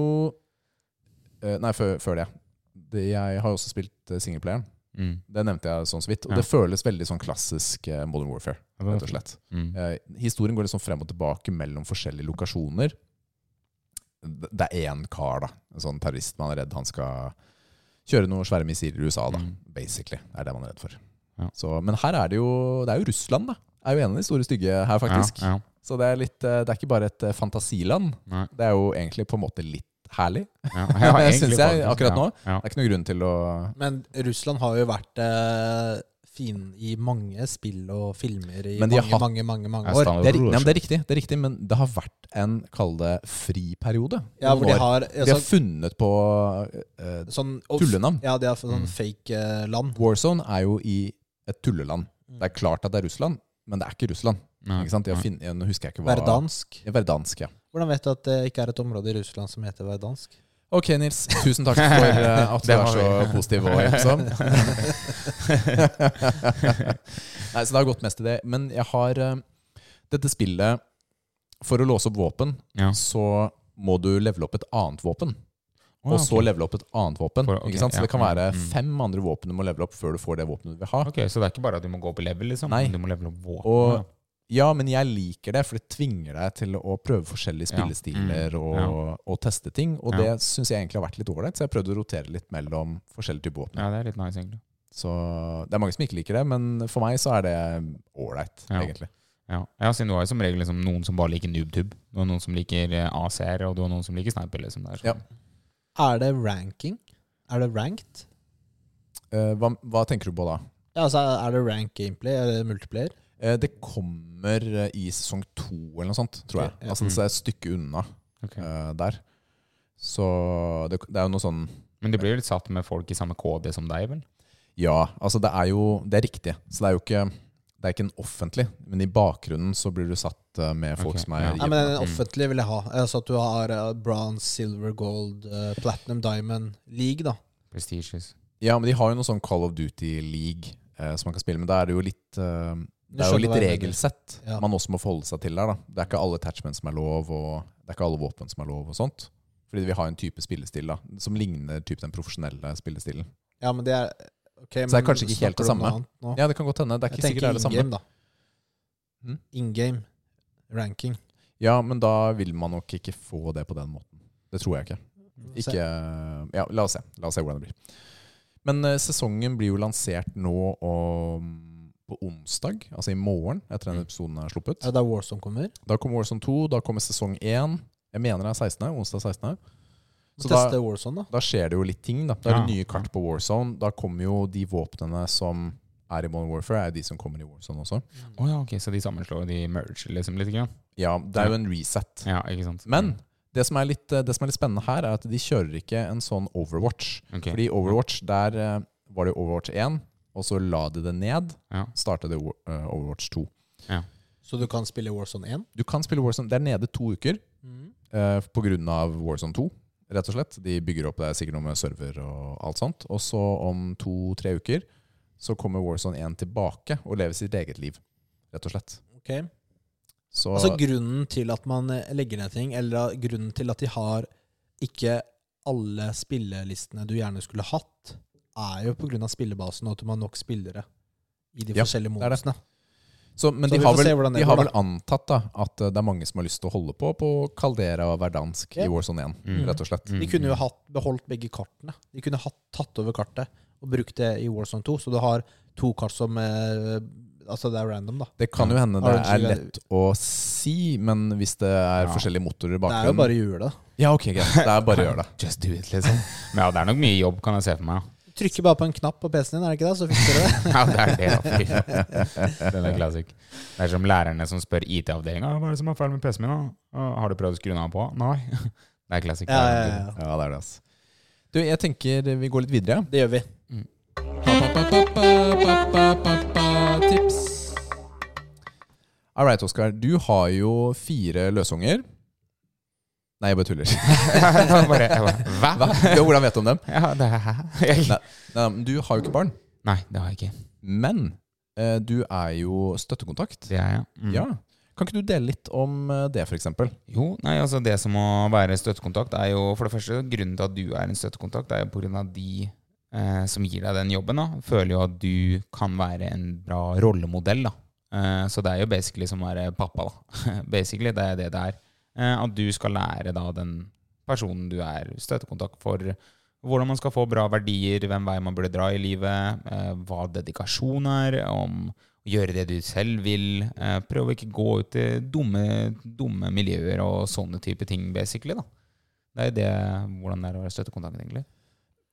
[SPEAKER 2] eh, Nei, før, før det. det. Jeg har jo også spilt eh, singleplayeren.
[SPEAKER 3] Mm.
[SPEAKER 2] Det nevnte jeg sånn så vidt. Og
[SPEAKER 3] Ja.
[SPEAKER 2] det føles veldig sånn klassisk eh, Modern Warfare, rett og slett.
[SPEAKER 3] Mm.
[SPEAKER 2] Eh, historien går liksom frem og tilbake mellom forskjellige lokasjoner. Det det er én kar, da. En sånn terrorist man er redd han skal kjøre noen svære missiler i USA, da.
[SPEAKER 3] Mm.
[SPEAKER 2] Basically. Det er det man er redd for.
[SPEAKER 3] Ja.
[SPEAKER 2] Så, men her er det jo Det er jo Russland, da. Er jo en av de store stygge her, faktisk.
[SPEAKER 3] Ja, ja.
[SPEAKER 2] Så det er, litt, eh, det er ikke bare et eh, fantasiland.
[SPEAKER 3] Nei.
[SPEAKER 2] Det er jo egentlig på en måte litt herlig.
[SPEAKER 3] Ja,
[SPEAKER 2] Det
[SPEAKER 3] egentlig
[SPEAKER 2] synes jeg
[SPEAKER 3] faktisk,
[SPEAKER 2] akkurat
[SPEAKER 3] ja.
[SPEAKER 2] nå.
[SPEAKER 3] Ja.
[SPEAKER 2] Det er ikke noen grunn til å
[SPEAKER 1] Men Russland har jo vært eh, fin i mange spill og filmer i
[SPEAKER 2] Men de
[SPEAKER 1] mange,
[SPEAKER 2] har hatt-
[SPEAKER 1] mange, mange, mange
[SPEAKER 3] Jeg
[SPEAKER 1] år.
[SPEAKER 3] stanner
[SPEAKER 2] det er,
[SPEAKER 3] på
[SPEAKER 2] riktig, nei,
[SPEAKER 3] Russland.
[SPEAKER 2] men det er riktig, det er riktig, men det har vært en, kall det, friperiode.
[SPEAKER 1] Ja, hvor de
[SPEAKER 2] Noen år.
[SPEAKER 1] har,
[SPEAKER 2] de har
[SPEAKER 1] altså,
[SPEAKER 2] funnet på eh,
[SPEAKER 1] sånn, og-
[SPEAKER 2] tullenavn.
[SPEAKER 1] Ja, de har fått sånn
[SPEAKER 3] Mm.
[SPEAKER 1] fake eh, land.
[SPEAKER 2] Warzone er jo i et tulleland.
[SPEAKER 1] Mm.
[SPEAKER 2] Det er klart at det er Russland, men det er ikke Russland.
[SPEAKER 3] Nei.
[SPEAKER 2] Ikke sant? De har
[SPEAKER 3] Nei.
[SPEAKER 2] funnet- ja, nå husker jeg ikke hva
[SPEAKER 1] Verdansk.
[SPEAKER 2] Ja, Verdansk, ja.
[SPEAKER 1] Hvordan vet du at det ikke er et område i Russland som heter verdansk?
[SPEAKER 2] Ok, Nils. Tusen takk for eh, at du
[SPEAKER 3] Det
[SPEAKER 2] er
[SPEAKER 3] var
[SPEAKER 2] så
[SPEAKER 3] vi.
[SPEAKER 2] positiv og hjelpsom. Nei, så det har gått mest i det. Men jeg har eh, dette spillet For å låse opp våpen,
[SPEAKER 3] Ja.
[SPEAKER 2] så må du levele opp et annet våpen.
[SPEAKER 3] Mm. Å,
[SPEAKER 2] og
[SPEAKER 3] ja,
[SPEAKER 2] så
[SPEAKER 3] ok.
[SPEAKER 2] levele opp et annet våpen.
[SPEAKER 3] For- ok,
[SPEAKER 2] ikke sant? Så
[SPEAKER 3] ja,
[SPEAKER 2] det kan
[SPEAKER 3] ja,
[SPEAKER 2] være
[SPEAKER 3] mm.
[SPEAKER 2] fem andre våpen du må levele opp før du får det våpenet du vil ha.
[SPEAKER 3] Ok, Så det er ikke bare at du må gå opp i level, liksom?
[SPEAKER 2] Nei.
[SPEAKER 3] men Du må levele opp våpen.
[SPEAKER 2] Og- Ja, men jeg liker det, for det tvinger deg til å prøve forskjellige
[SPEAKER 3] Ja.
[SPEAKER 2] spillestiler
[SPEAKER 3] Mm.
[SPEAKER 2] og, og teste ting. Og
[SPEAKER 3] Ja.
[SPEAKER 2] det syns jeg egentlig har vært litt ålreit, så jeg prøvde å rotere litt mellom forskjellige typer våpen.
[SPEAKER 3] Ja, det er litt nice, egentlig.
[SPEAKER 2] Så det er mange som ikke liker det, men for meg så er det ålreit,
[SPEAKER 3] Ja.
[SPEAKER 2] egentlig.
[SPEAKER 3] Ja, ja siden du har jo som regel liksom, noen som bare liker noobtube, du har noen som liker eh, ACR, og du har noen som liker sniper. Liksom, det er sånn.
[SPEAKER 2] Ja.
[SPEAKER 1] Er det ranking? Er det ranked?
[SPEAKER 2] Eh, hva, hva tenker du på da?
[SPEAKER 1] Ja, altså, er det rank gameplay? Er det multiplayer?
[SPEAKER 2] Eh, det kommer eh, i sesong to eller noe sånt, tror jeg.
[SPEAKER 1] Ok, ja.
[SPEAKER 2] Altså det er et stykke unna
[SPEAKER 3] Ok.
[SPEAKER 2] eh, der. Så det, det er jo noe sånn
[SPEAKER 3] Men det blir jo litt satt med folk i samme KD som deg, vel?
[SPEAKER 2] Ja, altså det er jo Det er riktig. Så det er jo ikke Det er ikke en offentlig, men i bakgrunnen så blir du satt eh, med folk
[SPEAKER 3] Ok,
[SPEAKER 2] som er
[SPEAKER 3] ja.
[SPEAKER 1] Nei,
[SPEAKER 2] hjemme.
[SPEAKER 1] men den
[SPEAKER 3] Mm.
[SPEAKER 1] offentlige vil jeg ha. Altså at du har eh, bronze, silver, gold, eh, platinum, diamond, league, da.
[SPEAKER 3] Prestigious.
[SPEAKER 2] Ja, men de har jo noe sånn Call of Duty League eh, som man kan spille, men da er det jo litt eh,
[SPEAKER 1] Du
[SPEAKER 2] Det er jo
[SPEAKER 1] skjønner
[SPEAKER 2] litt
[SPEAKER 1] hva jeg mener.
[SPEAKER 2] regelsett
[SPEAKER 1] Ja.
[SPEAKER 2] man også må forholde seg til der. da. Det er ikke alle attachments som er lov, og det er ikke alle våpen som er lov. og sånt. Fordi vi har en type spillestil da, som ligner typ den profesjonelle spillestilen.
[SPEAKER 1] Ja, men det er ok,
[SPEAKER 2] er
[SPEAKER 1] men
[SPEAKER 2] kanskje ikke helt
[SPEAKER 1] snakker du om
[SPEAKER 2] det
[SPEAKER 1] noe
[SPEAKER 2] samme.
[SPEAKER 1] annet nå?
[SPEAKER 2] Ja, det kan godt hende. Det er
[SPEAKER 1] Jeg
[SPEAKER 2] ikke sikkert det er det samme.
[SPEAKER 1] in-game, da.
[SPEAKER 2] Mm?
[SPEAKER 1] In-game. Ranking.
[SPEAKER 2] Ja, men da vil man nok ikke få det på den måten. Det tror jeg ikke.
[SPEAKER 1] Se-
[SPEAKER 2] Ikke eh, Ja, la oss se. La oss se hvordan det blir. Men eh, sesongen blir jo lansert nå om, på onsdag, altså i morgen, etter denne
[SPEAKER 3] Mm.
[SPEAKER 2] episoden er sluppet.
[SPEAKER 1] Er det der Warzone kommer?
[SPEAKER 2] Da kommer Warzone 2, da kommer sesong 1. Jeg mener det er 16., onsdag 16.
[SPEAKER 1] Så
[SPEAKER 2] Så da,
[SPEAKER 1] teste Warzone, da.
[SPEAKER 2] da skjer det jo litt ting, da. Da er det
[SPEAKER 3] Ja,
[SPEAKER 2] nye kart på Warzone. Da kommer jo de våpnene som er i Modern Warfare, er de som kommer i Warzone også.
[SPEAKER 3] Å ja, ok, så de sammenslår, de merger liksom litt? Grann.
[SPEAKER 2] Ja, det er jo en reset.
[SPEAKER 3] Ja, ikke sant?
[SPEAKER 2] Men det som, er litt, eh, det som er litt spennende her, er at de kjører ikke en sånn Overwatch.
[SPEAKER 3] Ok.
[SPEAKER 2] Fordi Overwatch, der eh, var det Overwatch 1, og så la de det ned.
[SPEAKER 3] Ja.
[SPEAKER 2] Starta det O- eh, Overwatch 2.
[SPEAKER 1] Så du kan spille Warzone 1?
[SPEAKER 2] Du kan spille Warzone. Det er nede to uker. eh, på grunn av Warzone 2, rett og slett. De bygger opp det er sikkert noe med server og alt sånt. Og så om to-tre uker så kommer Warzone 1 tilbake og lever sitt eget liv, rett og slett.
[SPEAKER 1] Ok.
[SPEAKER 2] Så
[SPEAKER 1] Altså grunnen til at man eh, legger ned ting, eller at- grunnen til at de har ikke alle spillelistene du gjerne skulle hatt, er jo pga. spillebasen og at de har nok spillere i de
[SPEAKER 2] Ja,
[SPEAKER 1] forskjellige
[SPEAKER 2] er det.
[SPEAKER 1] modusene.
[SPEAKER 2] Så, men
[SPEAKER 1] Så
[SPEAKER 2] de
[SPEAKER 1] vi
[SPEAKER 2] har,
[SPEAKER 1] får se
[SPEAKER 2] vel,
[SPEAKER 1] hvordan det
[SPEAKER 2] de har
[SPEAKER 1] går,
[SPEAKER 2] vel antatt da, at eh, det er mange som har lyst til å holde på på Caldera og Verdansk
[SPEAKER 1] Ja.
[SPEAKER 2] i Warzone 1,
[SPEAKER 3] Mm.
[SPEAKER 2] rett og slett.
[SPEAKER 1] De kunne jo hatt, beholdt begge kartene. De kunne hatt, tatt over kartet og brukt det i Warzone 2, så du har to kart som eh, Altså, det er random, da.
[SPEAKER 2] Det kan jo hende det
[SPEAKER 1] RNG
[SPEAKER 2] er lett å si, men hvis det er
[SPEAKER 3] Ja.
[SPEAKER 2] forskjellige motorer i
[SPEAKER 1] Det er jo
[SPEAKER 2] bakgrunnen
[SPEAKER 1] bare jula.
[SPEAKER 2] Ja, ok, greit. Det er bare å gjøre det.
[SPEAKER 3] Just do it, liksom. Men ja, det er nok mye jobb, kan jeg se for meg. ja.
[SPEAKER 1] Trykker bare på en knapp på PC-en din, er det ikke det? Så fikser du det.
[SPEAKER 3] Ja, det er det, da. Fy faen. Den er classic. Det er som lærerne som spør IT-avdelinga hva er det som er feil med PC-en min. da? «Å, Har du prøvd å skru den av på? Nei. Det er classic.
[SPEAKER 1] Ja, ja, ja, ja.
[SPEAKER 2] Ja, det er det, altså. Du, jeg tenker vi går litt videre.
[SPEAKER 1] Det gjør vi.
[SPEAKER 2] Tips. All right, Oskar. Du har jo fire løsunger. Nei, jeg bare tuller.
[SPEAKER 3] Jeg bare, jeg bare, Hva?
[SPEAKER 2] Hva? Jo, hvordan vet du om dem?
[SPEAKER 3] Ja, det er,
[SPEAKER 2] Nei. Nei, men du har jo ikke barn.
[SPEAKER 3] Nei, det har jeg ikke.
[SPEAKER 2] Men eh, du er jo støttekontakt.
[SPEAKER 3] Det er jeg. Mm.
[SPEAKER 2] Ja. Kan ikke du dele litt om eh, det, f.eks.?
[SPEAKER 3] Jo, nei, altså det som å være støttekontakt er jo for det første grunnen til at du er en støttekontakt, er jo på grunn av de eh, som gir deg den jobben. da, Føler jo at du kan være en bra rollemodell. da. Eh, så det er jo basically som å være pappa. da. basically, det er det det er. Eh, at du skal lære da den personen du er støttekontakt for, hvordan man skal få bra verdier, hvem vei man burde dra i livet, eh, hva dedikasjon er, om å gjøre det du selv vil, eh, prøve å ikke gå ut i dumme, dumme miljøer og sånne type ting, basically. da. Det er jo det hvordan det er å være støttekontakt, egentlig.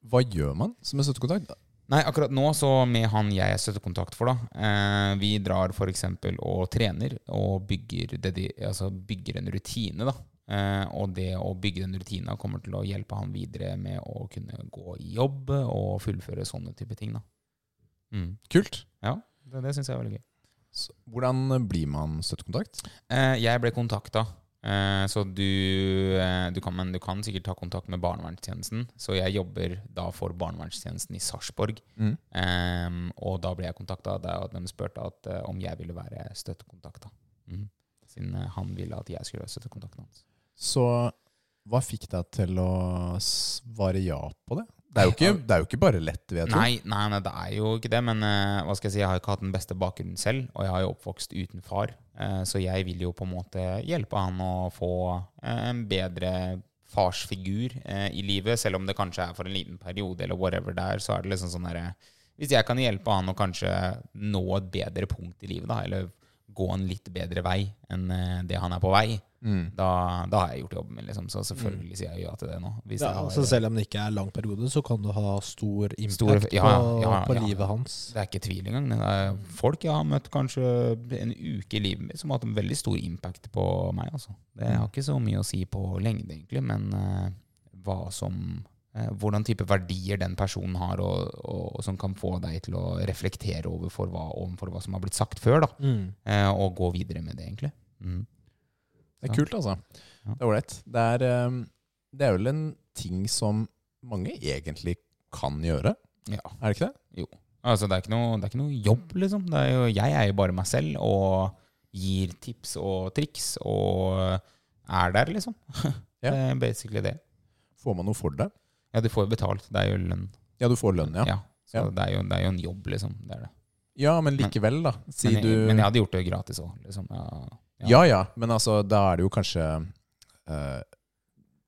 [SPEAKER 2] Hva gjør man som en støttekontakt?
[SPEAKER 3] Nei, akkurat nå så med han jeg er støttekontakt for, da. Eh, vi drar for eksempel og trener og bygger, det de, altså bygger en rutine, da. Eh, og det å bygge den rutina kommer til å hjelpe han videre med å kunne gå i jobb og fullføre sånne type ting, da. Mm.
[SPEAKER 2] Kult.
[SPEAKER 3] Ja, det, det syns jeg er veldig gøy.
[SPEAKER 2] Så, hvordan blir man støttekontakt?
[SPEAKER 3] Eh, jeg ble kontakta. Eh, så du, eh, du, kan, men du kan sikkert ta kontakt med barnevernstjenesten. Så jeg jobber da for barnevernstjenesten i Sarpsborg.
[SPEAKER 2] Mm.
[SPEAKER 3] Ehm, og da ble jeg kontakta da de spurte at, eh, om jeg ville være støttekontakta. Mm. Siden eh, han ville at jeg skulle være støttekontakten hans.
[SPEAKER 2] Så hva fikk deg til å svare ja på det? Det er jo ikke, det er jo ikke bare lett, vil jeg tro.
[SPEAKER 3] Nei, nei, nei, det er jo ikke det. Men eh, hva skal jeg si, jeg har ikke hatt den beste bakgrunnen selv, og jeg har jo oppvokst uten far. Eh, så jeg vil jo på en måte hjelpe han å få eh, en bedre farsfigur eh, i livet, selv om det kanskje er for en liten periode eller whatever det er, så er det liksom sånn derre Hvis jeg kan hjelpe han å kanskje nå et bedre punkt i livet, da, eller gå en litt bedre vei enn eh, det han er på vei,
[SPEAKER 2] Mm.
[SPEAKER 3] da, da har jeg gjort jobben min, liksom. Så selvfølgelig sier jeg ja til det nå. Hvis
[SPEAKER 1] Mm. Ja,
[SPEAKER 3] jeg har-
[SPEAKER 1] altså selv om det ikke er lang periode, så kan du ha stor impact
[SPEAKER 3] Stor- ja,
[SPEAKER 1] på,
[SPEAKER 3] ja,
[SPEAKER 1] på
[SPEAKER 3] ja.
[SPEAKER 1] livet hans.
[SPEAKER 3] Det er ikke tvil engang. Det er folk jeg har møtt kanskje en uke i livet mitt, som har hatt en veldig stor impact på meg. Altså. Det har ikke så mye å si på lengde, egentlig, men eh, hva som eh, hvordan type verdier den personen har, og, og, og som kan få deg til å reflektere over for hva, overfor hva som har blitt sagt før, da,
[SPEAKER 1] Mm.
[SPEAKER 3] eh, og gå videre med det, egentlig. Mm.
[SPEAKER 2] Det er kult, altså.
[SPEAKER 3] Ja.
[SPEAKER 2] Det er ålreit. Det, er, ehm, det er vel en ting som mange egentlig kan gjøre,
[SPEAKER 3] Ja.
[SPEAKER 2] er det ikke det?
[SPEAKER 3] Altså, det er, ikke noe, det er ikke noe jobb, liksom. Det er jo, jeg er jo bare meg selv og gir tips og triks og er der, liksom.
[SPEAKER 2] Ja.
[SPEAKER 3] Det er basically det.
[SPEAKER 2] Får man noe for det?
[SPEAKER 3] Ja, du får jo betalt. Det er jo lønn.
[SPEAKER 2] Ja, du får lønn, ja.
[SPEAKER 3] Ja, så
[SPEAKER 2] Ja.
[SPEAKER 3] Det, er jo, det er jo en jobb, liksom. Det er det.
[SPEAKER 2] Ja, men likevel, da. Si
[SPEAKER 3] men, jeg-
[SPEAKER 2] du
[SPEAKER 3] men jeg hadde gjort det gratis òg. Liksom. Ja.
[SPEAKER 2] Ja ja, men altså, da er det jo kanskje eh,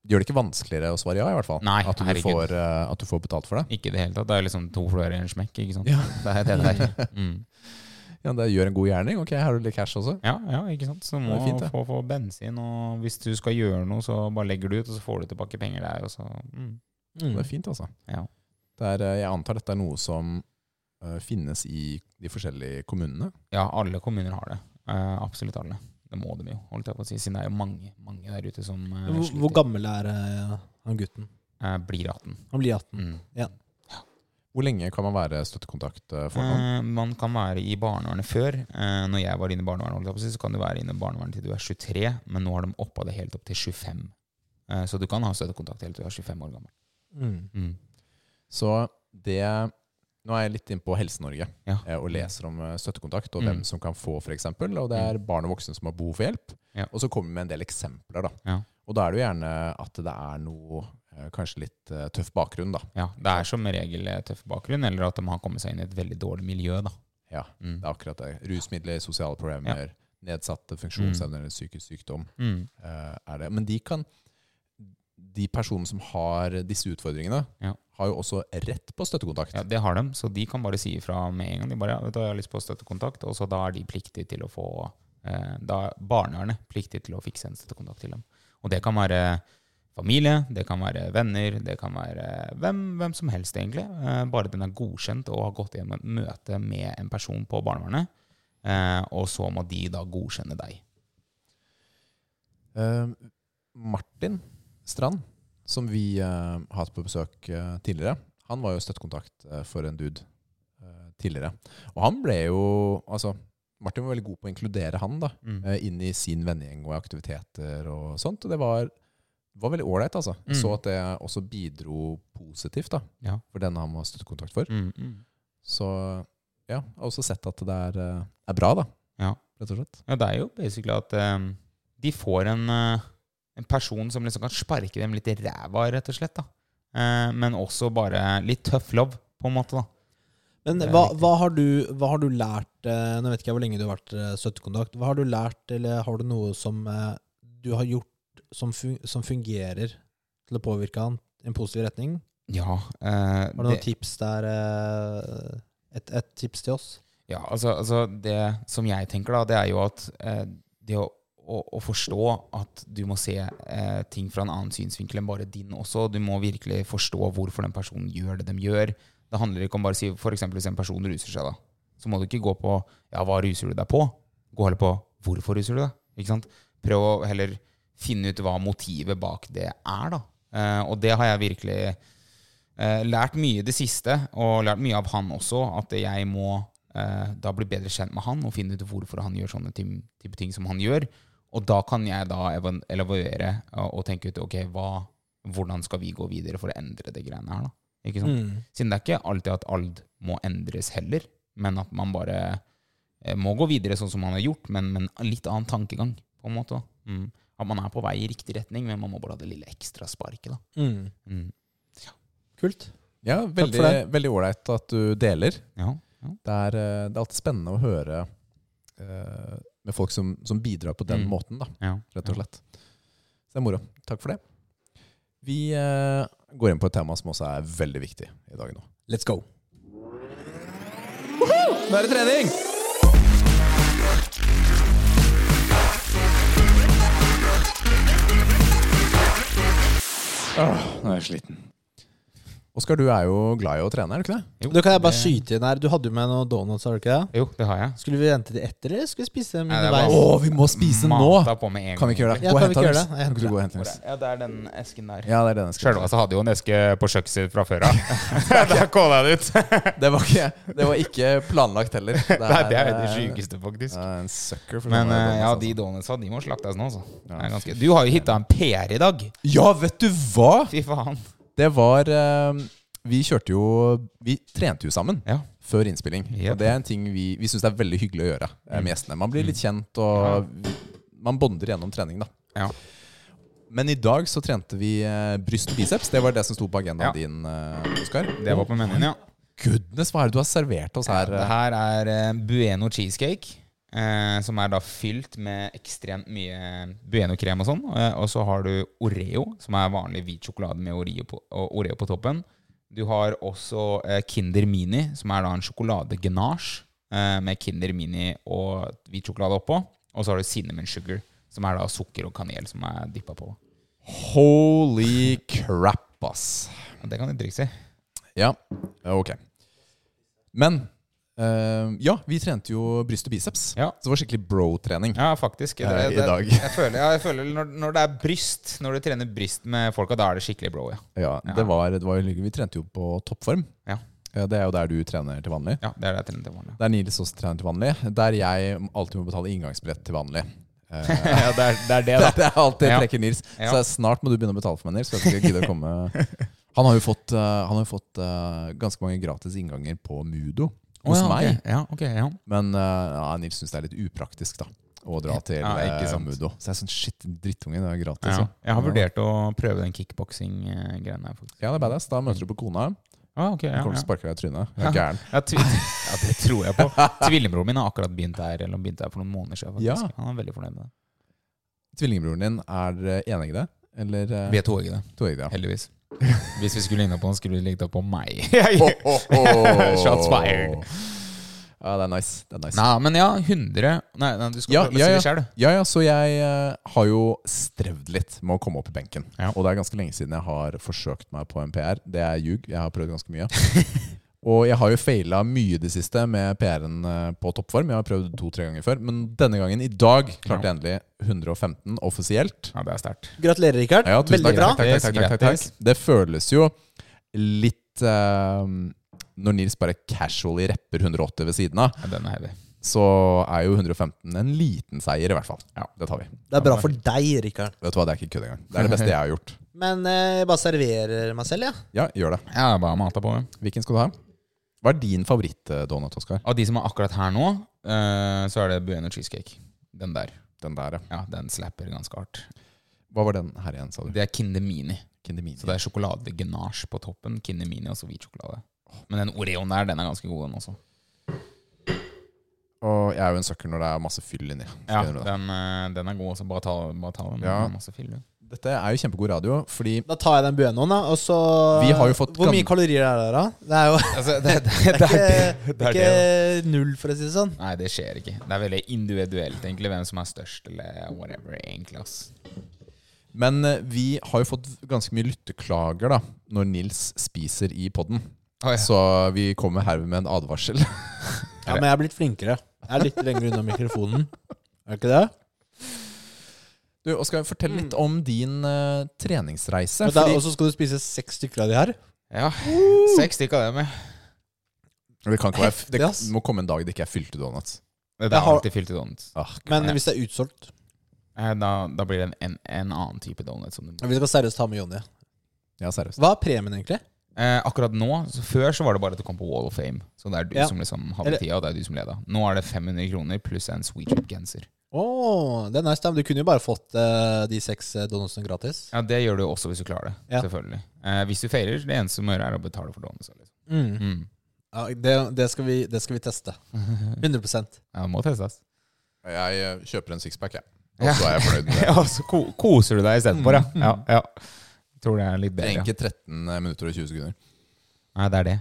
[SPEAKER 2] Gjør det ikke vanskeligere å svare ja, i hvert fall?
[SPEAKER 3] Nei,
[SPEAKER 2] at, du
[SPEAKER 3] herregud.
[SPEAKER 2] får, eh, at du får betalt for det?
[SPEAKER 3] Ikke i det hele tatt. Det er liksom to fluer i en smekk. Ikke sant?
[SPEAKER 2] Ja.
[SPEAKER 3] Det er det det er. Mm.
[SPEAKER 2] Ja, det gjør en god gjerning. Ok, her har du litt cash også.
[SPEAKER 3] Ja, ja, ikke sant. Så må
[SPEAKER 2] Det er fint,
[SPEAKER 3] du
[SPEAKER 2] det.
[SPEAKER 3] få, få bensin, og hvis du skal gjøre noe, så bare legger du ut, og så får du tilbake penger der. Og så, mm.
[SPEAKER 2] Det er
[SPEAKER 1] Mm.
[SPEAKER 2] fint, altså.
[SPEAKER 3] ja.
[SPEAKER 2] Det er, eh, jeg antar dette er noe som eh, finnes i de forskjellige kommunene.
[SPEAKER 3] ja, alle kommuner har det. Eh, absolutt alle. Det må de jo, holdt jeg på å si. Siden det er jo mange, mange der ute som eh,
[SPEAKER 1] Hvor,
[SPEAKER 3] sliter.
[SPEAKER 1] hvor gammel er eh, han gutten?
[SPEAKER 3] Eh, blir 18.
[SPEAKER 1] Han blir 18.
[SPEAKER 3] Mm.
[SPEAKER 2] Hvor lenge kan man være støttekontakt eh, for noen?
[SPEAKER 3] Eh, man kan være i barnevernet før. Eh, når jeg var inne i barnevernet, holdt jeg på å si, så kan du være inne i barnevernet til du er 23, men nå har de oppa det helt opp til 25. Eh, så du kan ha støttekontakt helt til du er 25 år gammel.
[SPEAKER 1] Mm.
[SPEAKER 2] Så det Nå er jeg litt inne på Helse-Norge
[SPEAKER 3] Ja.
[SPEAKER 2] eh, og leser om eh, støttekontakt og
[SPEAKER 3] Mm.
[SPEAKER 2] hvem som kan få, f.eks. Og det er barn og voksne som har behov for hjelp.
[SPEAKER 3] Ja.
[SPEAKER 2] Og så kommer vi med en del eksempler. da.
[SPEAKER 3] Ja.
[SPEAKER 2] Og da er det jo gjerne at det er noe eh, kanskje litt eh, tøff bakgrunn. da.
[SPEAKER 3] Ja, Det er som regel eh, tøff bakgrunn, eller at de har kommet seg inn i et veldig dårlig miljø. da.
[SPEAKER 2] Ja,
[SPEAKER 3] Mm.
[SPEAKER 2] Det er akkurat det. Rusmidler, sosiale problemer, nedsatte funksjonsevner eller psykisk sykdom.
[SPEAKER 3] Mm.
[SPEAKER 2] eh, er det. Men de kan De personene som har disse utfordringene,
[SPEAKER 3] Ja.
[SPEAKER 2] har jo også rett på støttekontakt.
[SPEAKER 3] Ja, Det har de, så de kan bare si ifra med en gang. De bare, ja, vet du, hva, 'Jeg har lyst på støttekontakt', og så da er de pliktige til å få eh, Da er barnevernet pliktig til å fikse en støttekontakt til dem. Og det kan være familie, det kan være venner, det kan være hvem, hvem som helst, egentlig. Eh, bare den er godkjent og har gått gjennom et møte med en person på barnevernet. Eh, og så må de da godkjenne deg.
[SPEAKER 2] Eh, Martin Strand, som vi eh, har hatt på besøk eh, tidligere, han var jo støttekontakt eh, for en dude eh, tidligere. Og han ble jo Altså, Martin var veldig god på å inkludere han da, eh, inn i sin vennegjeng og aktiviteter og sånt. Og det var, var veldig ålreit, altså. Jeg
[SPEAKER 3] Mm.
[SPEAKER 2] så at det også bidro positivt da,
[SPEAKER 3] Ja.
[SPEAKER 2] for denne han var støttekontakt for.
[SPEAKER 3] Mm, mm.
[SPEAKER 2] Så ja, jeg har også sett at det er, eh, er bra, da.
[SPEAKER 3] Ja.
[SPEAKER 2] Rett og slett.
[SPEAKER 3] Ja, det er jo basically at eh, de får en, eh, en person som liksom kan sparke dem litt i ræva, rett og slett. da. Eh, men også bare litt tøff love, på en måte. da.
[SPEAKER 1] Men
[SPEAKER 3] Det er
[SPEAKER 1] hva,
[SPEAKER 3] riktig.
[SPEAKER 1] hva, har du, hva har du lært eh, Nå vet ikke jeg hvor lenge du har vært eh, støttekontakt. Hva har du lært, eller har du noe som eh, du har gjort som, fun som fungerer til å påvirke han i en positiv retning?
[SPEAKER 3] Ja, eh,
[SPEAKER 1] Har du noen
[SPEAKER 3] det,
[SPEAKER 1] tips der eh, et, et tips til oss?
[SPEAKER 3] ja altså, altså det som jeg tenker, da, det er jo at eh, det å, å, å forstå at du må se eh, ting fra en annen synsvinkel enn bare din også. Du må virkelig forstå hvorfor den personen gjør det de gjør. Det handler ikke om bare å si for eksempel hvis en person ruser seg, da. Så må du ikke gå på ja, hva ruser du deg på? Gå heller på hvorfor ruser du deg? Ikke sant? Prøv å heller finne ut hva motivet bak det er, da. Eh, og det har jeg virkelig eh, lært mye i det siste, og lært mye av han også, at jeg må eh, da bli bedre kjent med han og finne ut hvorfor han gjør sånne tim- type ting som han gjør. Og da kan jeg da evan- evaluere og, og tenke ut ok, hva, hvordan skal vi gå videre for å endre det greiene her, da. Ikke sant?
[SPEAKER 1] Mm.
[SPEAKER 3] Siden det er ikke alltid at alt må endres heller, men at man bare eh, må gå videre sånn som man har gjort, men med en litt annen tankegang, på en måte. da. Mm. At man er på vei i riktig retning, men man må bare ha det lille ekstra sparket, da.
[SPEAKER 1] Mm.
[SPEAKER 3] Mm.
[SPEAKER 1] Kult.
[SPEAKER 2] Ja,
[SPEAKER 1] for
[SPEAKER 2] veldig
[SPEAKER 1] det.
[SPEAKER 2] veldig ålreit at du deler.
[SPEAKER 3] Ja, ja.
[SPEAKER 2] Det er, eh, det er alltid spennende å høre eh, med folk som, som bidrar på den
[SPEAKER 3] Mm.
[SPEAKER 2] måten, da,
[SPEAKER 3] ja.
[SPEAKER 2] rett og slett. Så det er moro. Takk for det. Vi eh, går inn på et tema som også er veldig viktig i dag nå.
[SPEAKER 1] Let's go.
[SPEAKER 2] Nå er det trening! Åh, nå er jeg sliten. Oskar, du er jo glad i å trene, er du ikke det?
[SPEAKER 3] Jo,
[SPEAKER 1] Da kan jeg bare
[SPEAKER 3] det-
[SPEAKER 1] skyte inn her. Du hadde jo med noen donuts, har du ikke det?
[SPEAKER 3] Jo, det har jeg.
[SPEAKER 1] Skulle vi vente til etter, eller skulle vi spise dem
[SPEAKER 3] Nei, det er bare-
[SPEAKER 1] underveis?
[SPEAKER 2] Å, vi må spise nå!
[SPEAKER 3] Mata på med en gang.
[SPEAKER 2] Kan vi ikke gjøre det?
[SPEAKER 1] Ja,
[SPEAKER 2] Gå og
[SPEAKER 1] kan vi
[SPEAKER 2] hente
[SPEAKER 1] ikke
[SPEAKER 2] den,
[SPEAKER 1] gjøre det? Jeg
[SPEAKER 2] Kan ikke
[SPEAKER 1] henter
[SPEAKER 2] du gå og hente den?
[SPEAKER 3] Ja, det er den esken der.
[SPEAKER 2] Ja, det er det den skal
[SPEAKER 3] Sjølva så hadde jo en eske på kjøkkenet fra før av. da kåla jeg det ut.
[SPEAKER 2] Det var ikke, det var ikke planlagt heller. Det
[SPEAKER 3] Nei, det er jo det
[SPEAKER 2] eh,
[SPEAKER 3] sjukeste, faktisk.
[SPEAKER 2] det er en sucker for
[SPEAKER 3] Men
[SPEAKER 2] sånne
[SPEAKER 3] eh,
[SPEAKER 2] donuts,
[SPEAKER 3] ja,
[SPEAKER 2] altså.
[SPEAKER 3] de donutsa, de må slaktes nå, altså. Det
[SPEAKER 2] Ja.
[SPEAKER 3] er ganske... Du har jo hitta en PR i dag.
[SPEAKER 2] altså. ja, vet du hva?
[SPEAKER 3] Fy faen.
[SPEAKER 2] Det var eh, Vi kjørte jo Vi trente jo sammen
[SPEAKER 3] Ja.
[SPEAKER 2] før innspilling.
[SPEAKER 3] Yep.
[SPEAKER 2] Og det er en ting vi, vi syns det er veldig hyggelig å gjøre eh,
[SPEAKER 3] Mm.
[SPEAKER 2] med gjestene. Man blir litt kjent, og man bonder gjennom trening, da.
[SPEAKER 3] Ja.
[SPEAKER 2] Men i dag så trente vi eh, bryst og biceps. Det var det som sto på agendaen
[SPEAKER 3] Ja.
[SPEAKER 2] din, eh, Oskar.
[SPEAKER 3] Det var på menyen, ja.
[SPEAKER 2] Goodness, hva er det du har servert oss her?
[SPEAKER 3] Det
[SPEAKER 2] eh?
[SPEAKER 3] her er eh, Bueno cheesecake. Eh, som er da fylt med ekstremt mye eh, Bueno-krem og sånn. Eh, og så har du Oreo, som er vanlig hvit sjokolade med Oreo på, og Oreo på toppen. Du har også eh, Kinder Mini, som er da en sjokoladegenasje eh, med Kinder Mini og hvit sjokolade oppå. Og så har du Cinnamon Sugar, som er da sukker og kanel som er dyppa på.
[SPEAKER 2] Holy crap, ass.
[SPEAKER 3] Og det kan du drikke seg.
[SPEAKER 2] Ja, eh, ok. Men eh, ja, vi trente jo bryst og biceps.
[SPEAKER 3] Ja.
[SPEAKER 2] Så det var skikkelig bro-trening
[SPEAKER 3] Ja, faktisk. Det,
[SPEAKER 2] eh,
[SPEAKER 3] det,
[SPEAKER 2] i dag.
[SPEAKER 3] Jeg føler, ja, jeg føler når, når det er bryst, når du trener bryst med folka, da er det skikkelig bro, ja.
[SPEAKER 2] Ja, det var, det var jo hyggelig. Vi trente jo på toppform.
[SPEAKER 3] Ja.
[SPEAKER 2] Ja, det er jo der du trener til vanlig.
[SPEAKER 3] Ja, det er det jeg trener til vanlig.
[SPEAKER 2] Der Nils også trener til vanlig. Der jeg alltid må betale inngangsbrett til vanlig. Eh,
[SPEAKER 3] ja, det er det, er det
[SPEAKER 2] det
[SPEAKER 3] da.
[SPEAKER 2] er alt jeg
[SPEAKER 3] Ja.
[SPEAKER 2] trekker Nils.
[SPEAKER 3] Ja.
[SPEAKER 2] Så snart må du begynne å betale for meg, Nils. For jeg skal ikke gidde å komme Han har jo fått, eh, han har jo fått eh, ganske mange gratis innganger på Mudo hos
[SPEAKER 3] Å,
[SPEAKER 2] meg.
[SPEAKER 3] ja, ok. Ja, ok, ja.
[SPEAKER 2] Men eh, ja, Nils syns det er litt upraktisk, da. Å dra til
[SPEAKER 3] Ja, ikke
[SPEAKER 2] eh,
[SPEAKER 3] sant.
[SPEAKER 2] Mudo. Så jeg er sånn shit, drittungen, det er gratis. altså.
[SPEAKER 3] Ja.
[SPEAKER 2] jo.
[SPEAKER 3] Jeg har vurdert å prøve den kickboksing-greia.
[SPEAKER 2] Ja, det er badass. Da møter du på kona.
[SPEAKER 3] Ah, ok, ja,
[SPEAKER 2] Hun kommer til å
[SPEAKER 3] ja.
[SPEAKER 2] sparke deg i trynet. Jeg er gæren.
[SPEAKER 3] Ja, tvi- ja, det tror jeg på. Tvillingbroren min har akkurat begynt her Eller han begynte her for noen måneder siden. faktisk
[SPEAKER 2] Ja.
[SPEAKER 3] Han er veldig fornøyd med det.
[SPEAKER 2] Tvillingbroren din er eh, eneggede? Eller eh,
[SPEAKER 3] Vi er toeggede,
[SPEAKER 2] toeggede? ja.
[SPEAKER 3] heldigvis. Hvis vi skulle ligna på han, skulle vi ligna på meg. Shots
[SPEAKER 2] Shots
[SPEAKER 3] fired.
[SPEAKER 2] Ja, det er nice. Det er nice.
[SPEAKER 3] Nei, men ja, 100 Nei, nei du skal
[SPEAKER 2] Ja,
[SPEAKER 3] prøve å
[SPEAKER 2] ja,
[SPEAKER 3] si
[SPEAKER 2] ja.
[SPEAKER 3] det sjøl, du.
[SPEAKER 2] Ja, ja, så jeg eh, har jo strevd litt med å komme opp i benken.
[SPEAKER 3] Ja.
[SPEAKER 2] Og det er ganske lenge siden jeg har forsøkt meg på en PR. Det er ljug. Jeg har prøvd ganske mye. og jeg har jo faila mye i det siste med PR-en eh, på toppform. Jeg har prøvd to-tre ganger før, men denne gangen, i dag, klarte jeg endelig 115 offisielt.
[SPEAKER 3] Ja, det er sterkt.
[SPEAKER 1] Gratulerer, Rikard.
[SPEAKER 2] Ja, ja, tusen
[SPEAKER 1] Veldig
[SPEAKER 2] takk,
[SPEAKER 1] bra.
[SPEAKER 2] Takk, takk, takk, takk, takk,
[SPEAKER 3] Grattis.
[SPEAKER 2] takk. Det føles jo litt eh, Når Nils bare casually rapper 180 ved siden av,
[SPEAKER 3] Ja, den er heavy.
[SPEAKER 2] så er jo 115 en liten seier, i hvert fall.
[SPEAKER 3] Ja.
[SPEAKER 2] Det tar vi.
[SPEAKER 1] Det er bra for deg, Rikard.
[SPEAKER 2] Vet du hva, det er ikke kødd engang. Det er det beste jeg har gjort.
[SPEAKER 1] Men eh, jeg bare serverer meg selv, jeg. Ja.
[SPEAKER 2] Ja, gjør det.
[SPEAKER 3] Ja, det er bare mata på. ja.
[SPEAKER 2] Hvilken skal du ha? Hva er din favoritt-donut, Oskar?
[SPEAKER 3] Av de som er akkurat her nå, eh, så er det Buena cheesecake. Den der.
[SPEAKER 2] Den der, ja.
[SPEAKER 3] Ja, den slapper ganske hardt.
[SPEAKER 2] Hva var den her igjen, sa du?
[SPEAKER 3] Det er Kinder Mini.
[SPEAKER 2] Kinder Mini.
[SPEAKER 3] Så det er sjokoladegenasje på toppen. Kinder Mini og så hvit sjokolade. Men den Oreoen der, den er ganske god, den også.
[SPEAKER 2] Og jeg er jo en søkker når det er masse fyll inni.
[SPEAKER 3] Ja,
[SPEAKER 2] Skal jeg innrømme det.
[SPEAKER 3] den, eh, den er god også. Bare ta, bare ta den.
[SPEAKER 2] Ja.
[SPEAKER 3] Den er Masse fyll, du.
[SPEAKER 2] Dette er jo kjempegod radio, fordi
[SPEAKER 1] Da tar jeg den buenoen, da. Og så
[SPEAKER 2] Vi har jo fått
[SPEAKER 1] Hvor mye
[SPEAKER 2] gan-
[SPEAKER 1] kalorier er det, da? Det er jo
[SPEAKER 3] Altså, det, det, det,
[SPEAKER 1] ikke,
[SPEAKER 3] er det, det, er det, da.
[SPEAKER 1] ikke null, for å si det sånn.
[SPEAKER 3] Nei, det skjer ikke. Det er veldig individuelt, egentlig, hvem som er størst, eller whatever, egentlig, ass.
[SPEAKER 2] Men eh, vi har jo fått ganske mye lytteklager da når Nils spiser i poden.
[SPEAKER 3] Å, ja.
[SPEAKER 2] Så vi kommer herved med en advarsel.
[SPEAKER 1] Ja, men jeg er blitt flinkere. Jeg er litt lenger unna mikrofonen. Er ikke det?
[SPEAKER 2] Du, Oskar, fortell litt
[SPEAKER 3] Mm.
[SPEAKER 2] om din eh, treningsreise.
[SPEAKER 1] Og da-
[SPEAKER 2] fordi-
[SPEAKER 1] Og så skal du spise seks stykker av de her.
[SPEAKER 3] Ja, seks stykk av dem, ja.
[SPEAKER 2] det, kan ikke være,
[SPEAKER 1] Heftig,
[SPEAKER 2] det
[SPEAKER 1] ass.
[SPEAKER 2] må komme en dag det ikke er fylte donuts.
[SPEAKER 3] Det
[SPEAKER 1] Jeg
[SPEAKER 3] er
[SPEAKER 1] har-
[SPEAKER 3] alltid fylt i donuts.
[SPEAKER 2] Ah,
[SPEAKER 1] Men
[SPEAKER 3] Ja.
[SPEAKER 1] hvis det er utsolgt
[SPEAKER 3] Eh, Da, da blir det en, en, en annen type donut. Som du...
[SPEAKER 1] Vi skal seriøst ta med Jonny.
[SPEAKER 2] ja, seriøst.
[SPEAKER 1] Hva er premien, egentlig?
[SPEAKER 3] eh, akkurat nå, så Før så var det bare at du kom på Wall of Fame. Så det er du
[SPEAKER 1] Ja.
[SPEAKER 3] som liksom hadde
[SPEAKER 1] Eller-
[SPEAKER 3] tida, og det er du som leda. Nå er det 500 kroner pluss en sweet trip-genser.
[SPEAKER 1] Å, det er nice. da. Men du kunne jo bare fått eh, de seks eh, donutsene gratis.
[SPEAKER 3] Ja, Det gjør du jo også hvis du klarer det.
[SPEAKER 1] Ja.
[SPEAKER 3] Selvfølgelig. Eh, hvis du feiler, det eneste du må gjøre, er å betale for donuts. Liksom.
[SPEAKER 1] Mm.
[SPEAKER 3] Mm.
[SPEAKER 1] Ja, det, det, skal vi, det skal vi teste. 100
[SPEAKER 3] Ja, det må testes.
[SPEAKER 2] Jeg eh, kjøper en sixpack, jeg.
[SPEAKER 3] Ja.
[SPEAKER 2] Og så er jeg fornøyd med det.
[SPEAKER 3] Ja, så ko koser du deg istedenfor, ja.
[SPEAKER 1] Mm.
[SPEAKER 3] ja. ja. Tror det er litt
[SPEAKER 2] Trenger
[SPEAKER 3] bedre.
[SPEAKER 2] ikke 13 minutter og 20 sekunder.
[SPEAKER 3] Nei, det er det.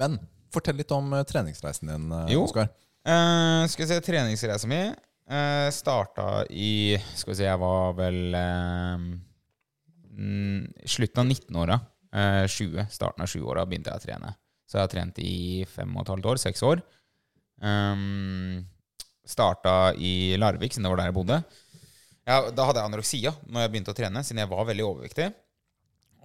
[SPEAKER 2] Men fortell litt om eh, treningsreisen din, eh,
[SPEAKER 3] Jo.
[SPEAKER 2] Oskar.
[SPEAKER 3] Eh, skal vi se, treningsreisa mi eh, starta i Skal vi se, jeg var vel eh, mm, Slutten av 19-åra. Eh, 20. Starten av 20-åra begynte jeg å trene. Så jeg har trent i fem og et halvt år. Seks år. Um, starta i Larvik, siden det var der jeg bodde. Ja, da hadde jeg anoreksia når jeg begynte å trene, siden jeg var veldig overvektig.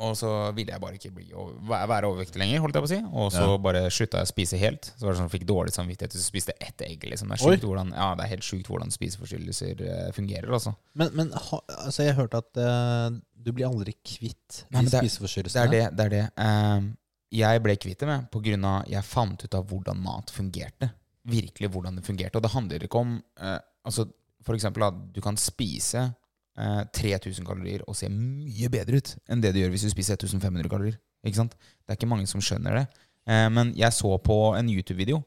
[SPEAKER 3] Og så ville jeg bare ikke bli, over- væ- være overvektig lenger, holdt jeg på å si. Og så bare slutta jeg å spise helt. Så var det sånn, fikk dårlig samvittighet. Så spiste jeg ett egg. liksom. Det er,
[SPEAKER 1] Oi.
[SPEAKER 3] sjukt hvordan, ja, det er helt sjukt hvordan spiseforstyrrelser eh, fungerer. altså.
[SPEAKER 1] Men, men ha, altså, jeg hørte at eh, du blir aldri kvitt de
[SPEAKER 3] Nei, men det er- Det
[SPEAKER 1] spiseforstyrrelsene.
[SPEAKER 3] er det. det, er det. Ehm, jeg ble kvitt det med pga. jeg fant ut av hvordan mat fungerte. Virkelig hvordan det fungerte. Og det handler ikke om eh, altså, For eksempel at du kan spise eh, 3000 kalorier og se mye bedre ut enn det du gjør hvis du spiser 1500 kalorier. Ikke sant? Det er ikke mange som skjønner det. Eh, men jeg så på en YouTube-video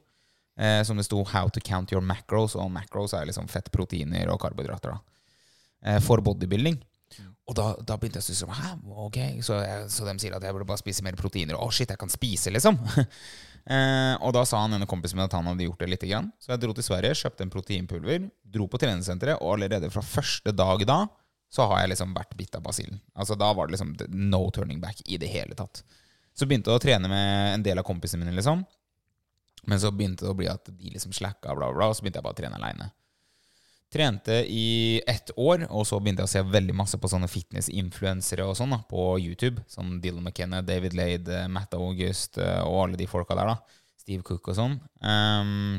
[SPEAKER 3] eh, som det sto 'How to count your macros'. Og macros er liksom fett, proteiner og karbohydrater. da eh, for bodybuilding. Og da, da begynte jeg å synes Hæ, ok så, jeg, så de sier at jeg burde bare spise mer proteiner. Å, shit, jeg kan spise, liksom. eh, og da sa han ene kompisen min at han hadde gjort det lite grann. Så jeg dro til Sverige, kjøpte en proteinpulver, dro på treningssenteret, og allerede fra første dag da så har jeg liksom vært bitt av basillen. Altså Da var det liksom no turning back i det hele tatt. Så begynte jeg å trene med en del av kompisene mine, liksom. Men så begynte det å bli at de liksom slacka, bla, bla, bla, og så begynte jeg bare å trene aleine Trente i ett år, og så begynte jeg å se veldig masse på sånne fitness-influensere og sånn da, på YouTube. Som Dylan McKenna, David Laid, eh, Matt August eh, og alle de folka der. da. Steve Cook og sånn. Ehm,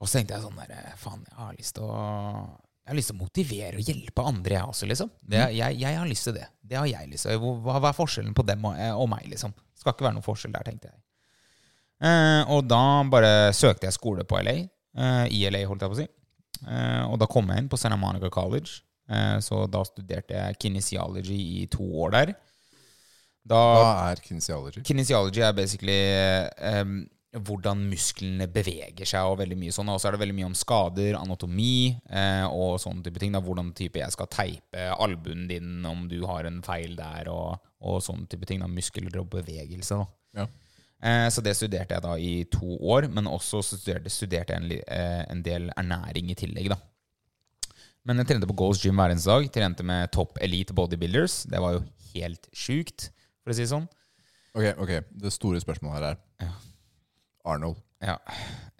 [SPEAKER 3] og så tenkte jeg sånn der eh, Faen, jeg har lyst til å jeg har lyst til å motivere og hjelpe andre, jeg også. liksom. Det, jeg, jeg har lyst til det. Det har jeg lyst til. Hva, hva er forskjellen på dem og, eh, og meg? liksom? Skal ikke være noen forskjell der, tenkte jeg. Eh, og da bare søkte jeg skole på LA. eh, I LA, holdt jeg på å si. Eh, og da kom jeg inn på Santa Monica College. Eh, så da studerte jeg kinesiology i to år der. Da,
[SPEAKER 2] Hva er kinesiology?
[SPEAKER 3] Kinesiology er basically eh, um, hvordan musklene beveger seg, og veldig mye sånn. Og så er det veldig mye om skader, anatomi eh, og sånne type ting. Da. Hvordan type jeg skal teipe albuen din om du har en feil der, og, og sånne type ting. Da. Muskler og bevegelse. da.
[SPEAKER 2] Ja.
[SPEAKER 3] Eh, Så det studerte jeg da i to år, men også så studerte, studerte jeg en, li- eh, en del ernæring i tillegg, da. Men jeg trente på Goals Gym hver eneste dag. Trente med topp elite bodybuilders. Det var jo helt sjukt, for å si det sånn.
[SPEAKER 2] Ok, ok, Det store spørsmålet her er
[SPEAKER 3] Ja.
[SPEAKER 2] Arnold.
[SPEAKER 3] Ja.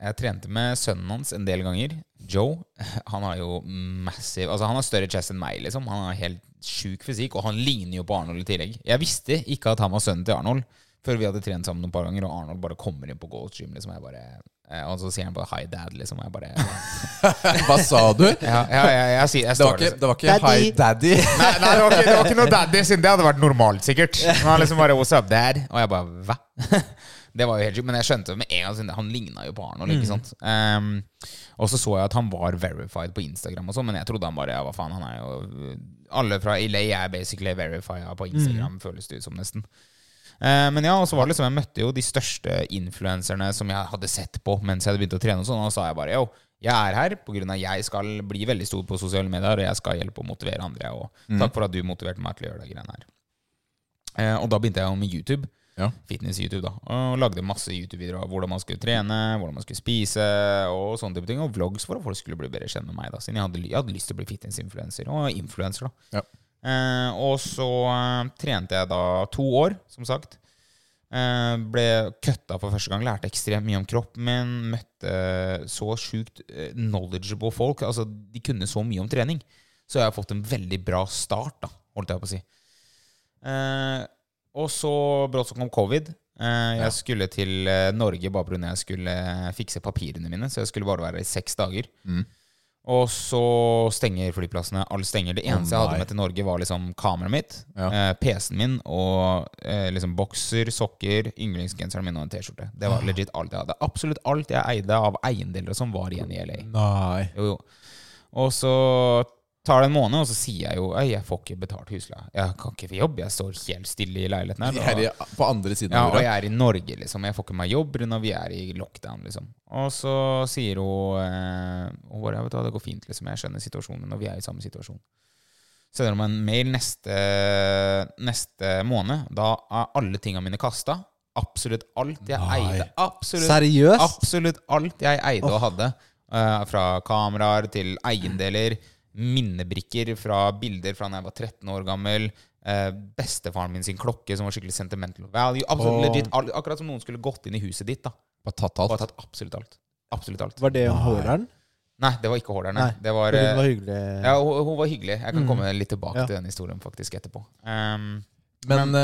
[SPEAKER 3] Jeg trente med sønnen hans en del ganger. Joe. Han har jo massive Altså han har større chest enn meg, liksom. Han har helt sjuk fysikk, og han ligner jo på Arnold i tillegg. Jeg visste ikke at han var sønnen til Arnold før vi hadde trent sammen noen par ganger, og Arnold bare kommer inn på Goals Gym, liksom. Jeg bare eh, Og så sier han bare 'hi, dad', liksom. Jeg bare
[SPEAKER 2] Hva sa du? Det
[SPEAKER 3] Ja, ja, ja jeg, sier- jeg står
[SPEAKER 2] var ikke,
[SPEAKER 3] liksom.
[SPEAKER 2] det var ikke Hi Daddy.
[SPEAKER 3] Nei, nei det, var ikke, det var ikke noe daddy, siden det hadde vært normalt, sikkert. Men han liksom bare 'what's up, dad?' Og jeg bare 'hva?' Det var jo helt sjukt, men jeg skjønte med en gang siden han ligna jo på Arnold. ikke sant? Ehm, og så så jeg at han var verified på Instagram, og sånn, men jeg trodde han bare ja, hva faen, han er jo Alle fra LA er basically verified på Instagram, føles det ut som, nesten. Eh, Men ja, og så var det liksom, jeg møtte jo de største influenserne som jeg hadde sett på mens jeg hadde begynt å trene. Og sånn, og da sa jeg bare yo, jeg er her pga. jeg skal bli veldig stor på sosiale medier, og jeg skal hjelpe og motivere andre. Og takk for at du motiverte meg til å gjøre de greiene her. Eh, Og da begynte jeg jo med YouTube.
[SPEAKER 2] Ja.
[SPEAKER 3] Fitness-YouTube, da. Og lagde masse YouTube-videoer av hvordan man skulle trene, hvordan man skulle spise, og sånne type ting. Og vlogs for at folk skulle bli bedre kjent med meg, da. Siden jeg hadde, jeg hadde lyst til å bli fitness-influencer, og influenser, da.
[SPEAKER 2] Ja.
[SPEAKER 3] Eh, og så eh, trente jeg da to år, som sagt. Eh, ble kutta for første gang, lærte ekstremt mye om kroppen min. Møtte så sjukt eh, knowledgeable folk. Altså, de kunne så mye om trening. Så jeg har fått en veldig bra start, da, holdt jeg på å si. Eh, og så brått så kom covid. Eh, jeg
[SPEAKER 2] Ja.
[SPEAKER 3] skulle til eh, Norge bare pga. jeg skulle fikse papirene mine. Så jeg skulle bare være her i seks dager.
[SPEAKER 2] Mm.
[SPEAKER 3] Og så stenger flyplassene. Alle stenger. Det eneste jeg
[SPEAKER 2] nei.
[SPEAKER 3] hadde med til Norge, var liksom kameraet mitt,
[SPEAKER 2] Ja.
[SPEAKER 3] eh, PC-en min og eh, liksom bokser, sokker, yndlingsgenseren min og en T-skjorte. Det
[SPEAKER 2] Ah.
[SPEAKER 3] var legit alt jeg hadde. Absolutt alt jeg eide av eiendeler som var igjen i LA.
[SPEAKER 2] Nei.
[SPEAKER 3] Jo, jo. Og så tar det en måned, og så sier jeg jo Ei, jeg får ikke betalt husleia. Jeg kan ikke få jobb. Jeg står helt stille i leiligheten her.
[SPEAKER 2] Vi er i, på andre siden
[SPEAKER 3] Ja,
[SPEAKER 2] av
[SPEAKER 3] og
[SPEAKER 2] jorda.
[SPEAKER 3] jeg er i Norge, liksom. Jeg får ikke meg jobb når vi er i lockdown, liksom. Og så sier hun eh, Hun bare, «Ja, vet du hva, det går fint, liksom. Jeg skjønner situasjonen, og vi er i samme situasjon. Sender hun meg en mail neste, neste måned. Da er alle tinga mine kasta. Absolutt alt jeg
[SPEAKER 2] Nei.
[SPEAKER 3] eide. Absolutt
[SPEAKER 1] Seriøst?
[SPEAKER 3] Absolutt alt jeg eide og hadde. eh, fra kameraer til eiendeler, minnebrikker fra bilder fra da jeg var 13 år gammel. eh, bestefaren min sin klokke, som var skikkelig sentimental value.
[SPEAKER 1] Åh.
[SPEAKER 3] Absolutt legit, all, Akkurat som noen skulle gått inn i huset ditt da og
[SPEAKER 2] Bare tatt alt.
[SPEAKER 3] tatt absolutt alt. Absolutt alt.
[SPEAKER 1] Var det om hårderen?
[SPEAKER 3] Nei, det var ikke Hårderne.
[SPEAKER 1] Nei,
[SPEAKER 3] Det var,
[SPEAKER 1] Fordi
[SPEAKER 3] eh,
[SPEAKER 1] det var hyggelig.
[SPEAKER 3] ja, hun, hun var hyggelig. Jeg kan
[SPEAKER 1] Mm.
[SPEAKER 3] komme litt tilbake
[SPEAKER 1] Ja.
[SPEAKER 3] til den historien faktisk etterpå. Um,
[SPEAKER 2] Men,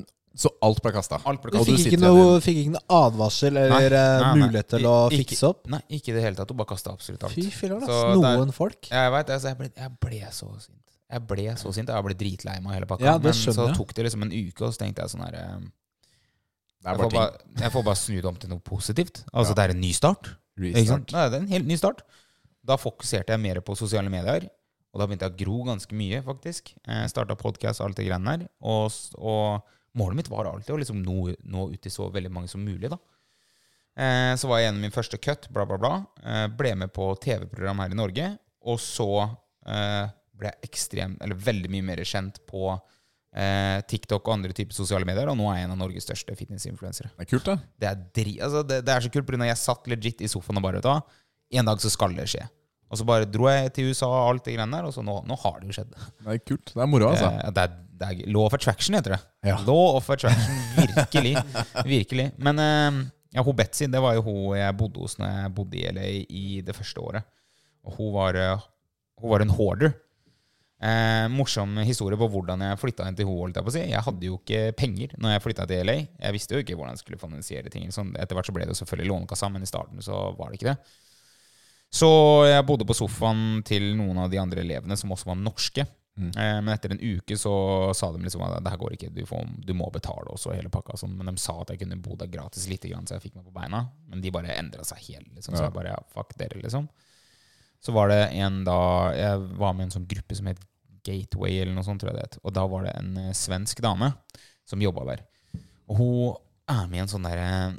[SPEAKER 2] eh, Så alt ble kasta.
[SPEAKER 3] alt ble
[SPEAKER 1] Du
[SPEAKER 2] Og du
[SPEAKER 3] kastet.
[SPEAKER 1] fikk ikke,
[SPEAKER 2] sitter
[SPEAKER 1] noe, fikk ikke noe advarsel
[SPEAKER 3] Nei,
[SPEAKER 1] eller eh,
[SPEAKER 3] nei, nei.
[SPEAKER 1] mulighet til å
[SPEAKER 3] Ik- ikke-
[SPEAKER 1] fikse opp?
[SPEAKER 3] Nei, ikke i det hele tatt. Hun bare kasta absolutt alt.
[SPEAKER 1] Fy filler'n, ass.
[SPEAKER 3] Så det er-
[SPEAKER 1] Noen folk.
[SPEAKER 3] Ja, Jeg vet, altså, jeg, ble, jeg ble så sint. Jeg ble så sint, og jeg ble dritlei meg av hele pakka.
[SPEAKER 1] Ja, det
[SPEAKER 3] men så
[SPEAKER 1] skjønner jeg.
[SPEAKER 3] tok det liksom en uke, og så tenkte jeg sånn her eh,
[SPEAKER 2] Det er
[SPEAKER 3] jeg,
[SPEAKER 2] bare ting.
[SPEAKER 3] får bare, jeg får bare snu det om til noe positivt. Altså
[SPEAKER 2] Ja.
[SPEAKER 3] det er en ny start. Ikke sant?
[SPEAKER 2] Restart.
[SPEAKER 3] Nei, det er en helt ny start. Da fokuserte jeg mer på sosiale medier, og da begynte jeg å gro ganske mye, faktisk. Jeg starta podkast og alt det greiene der. Og, s- og målet mitt var alltid å liksom nå, nå ut til så veldig mange som mulig, da. Eh, Så var jeg gjennom min første cut, bla, bla, bla. Eh, Ble med på TV-program her i Norge. Og så eh, ble jeg ekstrem, eller veldig mye mer kjent på eh, TikTok og andre typer sosiale medier, og nå er jeg en av Norges største fitnessinfluensere.
[SPEAKER 2] Det er kult, det.
[SPEAKER 3] Det er, dri, altså det, det er så kult, pga. jeg satt legit i sofaen og bare vet du hva, En dag så skal det skje. Og så bare dro jeg til USA og alt det greiene der, og så nå, nå har det jo skjedd.
[SPEAKER 2] Det er kult. Det er moro, altså.
[SPEAKER 3] Eh, det er, det er, gøy. law of attraction heter det.
[SPEAKER 2] Ja.
[SPEAKER 3] Law of attraction, virkelig. virkelig. Men ehm, eh, ja, hun Betzy, det var jo hun jeg bodde hos når jeg bodde i LA i det første året. Og hun var, eh, hun var en hoarder. Eh, morsom historie på hvordan jeg flytta inn til henne. holdt Jeg på å si. Jeg hadde jo ikke penger når jeg flytta til LA. Jeg visste jo ikke hvordan jeg skulle finansiere ting. Sånn, etter hvert så ble det jo selvfølgelig Lånekassa, men i starten så var det ikke det. Så jeg bodde på sofaen til noen av de andre elevene som også var norske.
[SPEAKER 2] Mm.
[SPEAKER 3] Eh, men etter en uke så sa de liksom at det her går ikke, du, får, du må betale også hele pakka. og Sånn. Men de sa at jeg kunne bo der gratis lite grann, så jeg fikk meg på beina. Men de bare endra seg helt. Liksom. Så
[SPEAKER 2] Ja.
[SPEAKER 3] jeg bare ja, fuck dere, liksom. Så var det en da Jeg var med i en sånn gruppe som het Gateway, eller noe sånt, tror jeg det het. Og da var det en eh, svensk dame som jobba der. Og hun er med i en sånn der eh,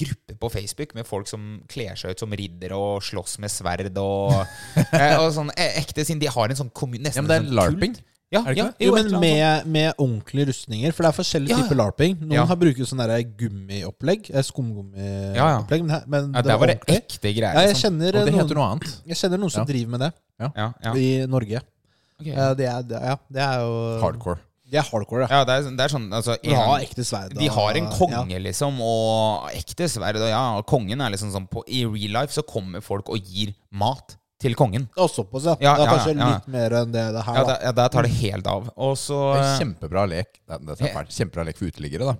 [SPEAKER 3] gruppe på Facebook med folk som kler seg ut som riddere og slåss med sverd og, eh, og sånn eh, ekte sinn. De har en sånn kommun...
[SPEAKER 2] Ja,
[SPEAKER 3] Nesten
[SPEAKER 2] men det
[SPEAKER 3] en
[SPEAKER 2] er
[SPEAKER 3] sånn
[SPEAKER 2] larping.
[SPEAKER 3] kult- Ja,
[SPEAKER 2] er det ikke
[SPEAKER 3] ja,
[SPEAKER 2] det?
[SPEAKER 1] Jo,
[SPEAKER 3] jo, et
[SPEAKER 1] men
[SPEAKER 3] eller annet
[SPEAKER 1] med, med ordentlige rustninger. For det er forskjellige
[SPEAKER 3] Ja, ja.
[SPEAKER 1] typer larping. Noen
[SPEAKER 3] Ja.
[SPEAKER 1] har bruker sånn der gummiopplegg. eh, Skumgummiopplegg.
[SPEAKER 3] Ja, ja.
[SPEAKER 1] Men, her- men
[SPEAKER 3] sånt. ja,
[SPEAKER 1] det
[SPEAKER 3] der
[SPEAKER 1] var
[SPEAKER 3] var det
[SPEAKER 1] ordentlig.
[SPEAKER 3] ekte greier.
[SPEAKER 1] Ja, jeg
[SPEAKER 3] liksom.
[SPEAKER 1] kjenner,
[SPEAKER 2] Og det
[SPEAKER 1] noen,
[SPEAKER 2] heter noe annet.
[SPEAKER 1] jeg kjenner noen som
[SPEAKER 2] Ja.
[SPEAKER 1] driver med det
[SPEAKER 3] ja, ja.
[SPEAKER 1] i Norge.
[SPEAKER 3] Ok.
[SPEAKER 1] Eh, Det er, det, ja, det er jo
[SPEAKER 2] Hardcore.
[SPEAKER 1] Det er hardcore, ja.
[SPEAKER 3] ja det, er, sånn- det er sånn altså,
[SPEAKER 1] De har
[SPEAKER 3] en-
[SPEAKER 1] ekte sverd.
[SPEAKER 3] De
[SPEAKER 1] og-
[SPEAKER 3] har en
[SPEAKER 1] ja.
[SPEAKER 3] konge, liksom, og ekte sverd. Og ja, og kongen er liksom sånn på, I real life så kommer folk og gir mat til kongen.
[SPEAKER 1] Ja, såpass, ja.
[SPEAKER 3] Ja,
[SPEAKER 1] Det er
[SPEAKER 3] ja,
[SPEAKER 1] kanskje
[SPEAKER 3] ja, ja.
[SPEAKER 1] litt mer enn det, det her,
[SPEAKER 3] Ja,
[SPEAKER 1] da.
[SPEAKER 3] der, ja, der tar det helt av. Og eh, så
[SPEAKER 2] Det er kjempebra lek. Nei, Dette er fælt. Kjempebra lek for uteliggere, da.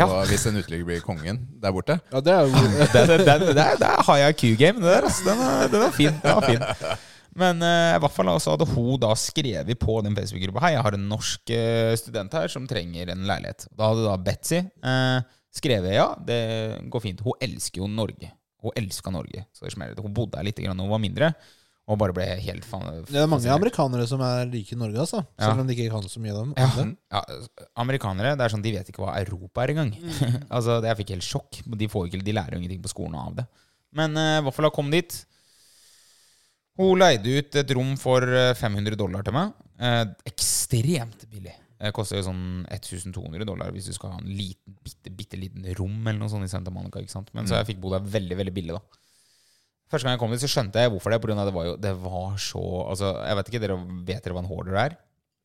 [SPEAKER 3] Ja.
[SPEAKER 2] Og hvis en uteligger blir kongen der borte
[SPEAKER 1] Ja, det er jo
[SPEAKER 3] det, det, det, det, er- det er high IQ-game, det der. Altså. Den, er, den er fin. Den er fin. Men eh, i hvert fall altså, hadde hun da skrevet på den Facebook-gruppa Hei, jeg har en norsk eh, student her som trenger en leilighet. Da hadde da Betzy eh, skrevet ja, det går fint. Hun elsker jo Norge. Hun elska Norge. Så det smeller. Hun bodde her litt grann da hun var mindre, og bare ble helt faen
[SPEAKER 1] Det er mange amerikanere som er like i Norge, altså. Selv om de ikke kan så mye av dem.
[SPEAKER 3] Ja. ja, amerikanere det er sånn, de vet ikke hva Europa er engang. altså, det- jeg fikk helt sjokk. De, får ikke, de lærer jo ingenting på skolen av det. Men eh, i hvert fall da kom dit. Hun leide ut et rom for eh, 500 dollar til meg. Eh, ekstremt billig. Det koster jo sånn 1200 dollar hvis du skal ha en liten, bitte, bitte liten rom eller noe sånt i Santa Monica. ikke sant? Men så jeg fikk bo der veldig, veldig billig, da. Første gang jeg kom dit, så skjønte jeg hvorfor det. På grunn av det var jo Det var så Altså, jeg vet ikke, dere vet dere hva en hoarder er?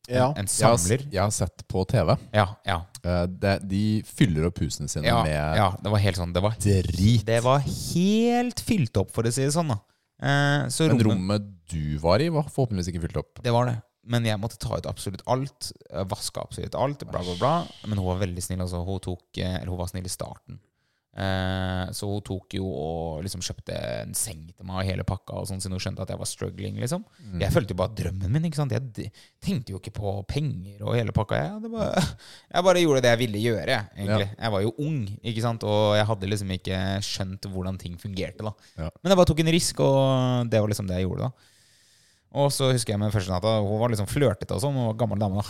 [SPEAKER 1] Ja.
[SPEAKER 3] En
[SPEAKER 2] jeg har,
[SPEAKER 3] samler?
[SPEAKER 2] jeg har sett på TV.
[SPEAKER 3] Ja, ja.
[SPEAKER 2] Eh, det, de fyller opp husene sine
[SPEAKER 3] Ja,
[SPEAKER 2] med
[SPEAKER 3] ja, det var helt sånn. Det var,
[SPEAKER 2] drit.
[SPEAKER 3] det var helt fylt opp, for å si det sånn. da. Eh, så
[SPEAKER 2] Men
[SPEAKER 3] rommet,
[SPEAKER 2] rommet du var i, var forhåpentligvis ikke fylt opp.
[SPEAKER 3] Det var det. Men jeg måtte ta ut absolutt alt. eh, Vaske absolutt alt. Bla, bla, bla. Men hun var veldig snill. Altså. Hun, tok, eh, eller hun var snill i starten. Eh, så hun tok jo og liksom kjøpte en seng til meg og hele pakka, og sånn, siden hun skjønte at jeg var struggling. liksom Jeg følte jo bare drømmen min. ikke sant? Jeg d- tenkte jo ikke på penger og hele pakka. Jeg, hadde bare, jeg bare gjorde det jeg ville gjøre. jeg, egentlig. Jeg var jo ung, ikke sant? og jeg hadde liksom ikke skjønt hvordan ting fungerte. da
[SPEAKER 2] Ja.
[SPEAKER 3] Men jeg bare tok en risk, og det var liksom det jeg gjorde. da og så husker jeg med første natta, hun var liksom flørtete og sånn, hun var gammel dame da.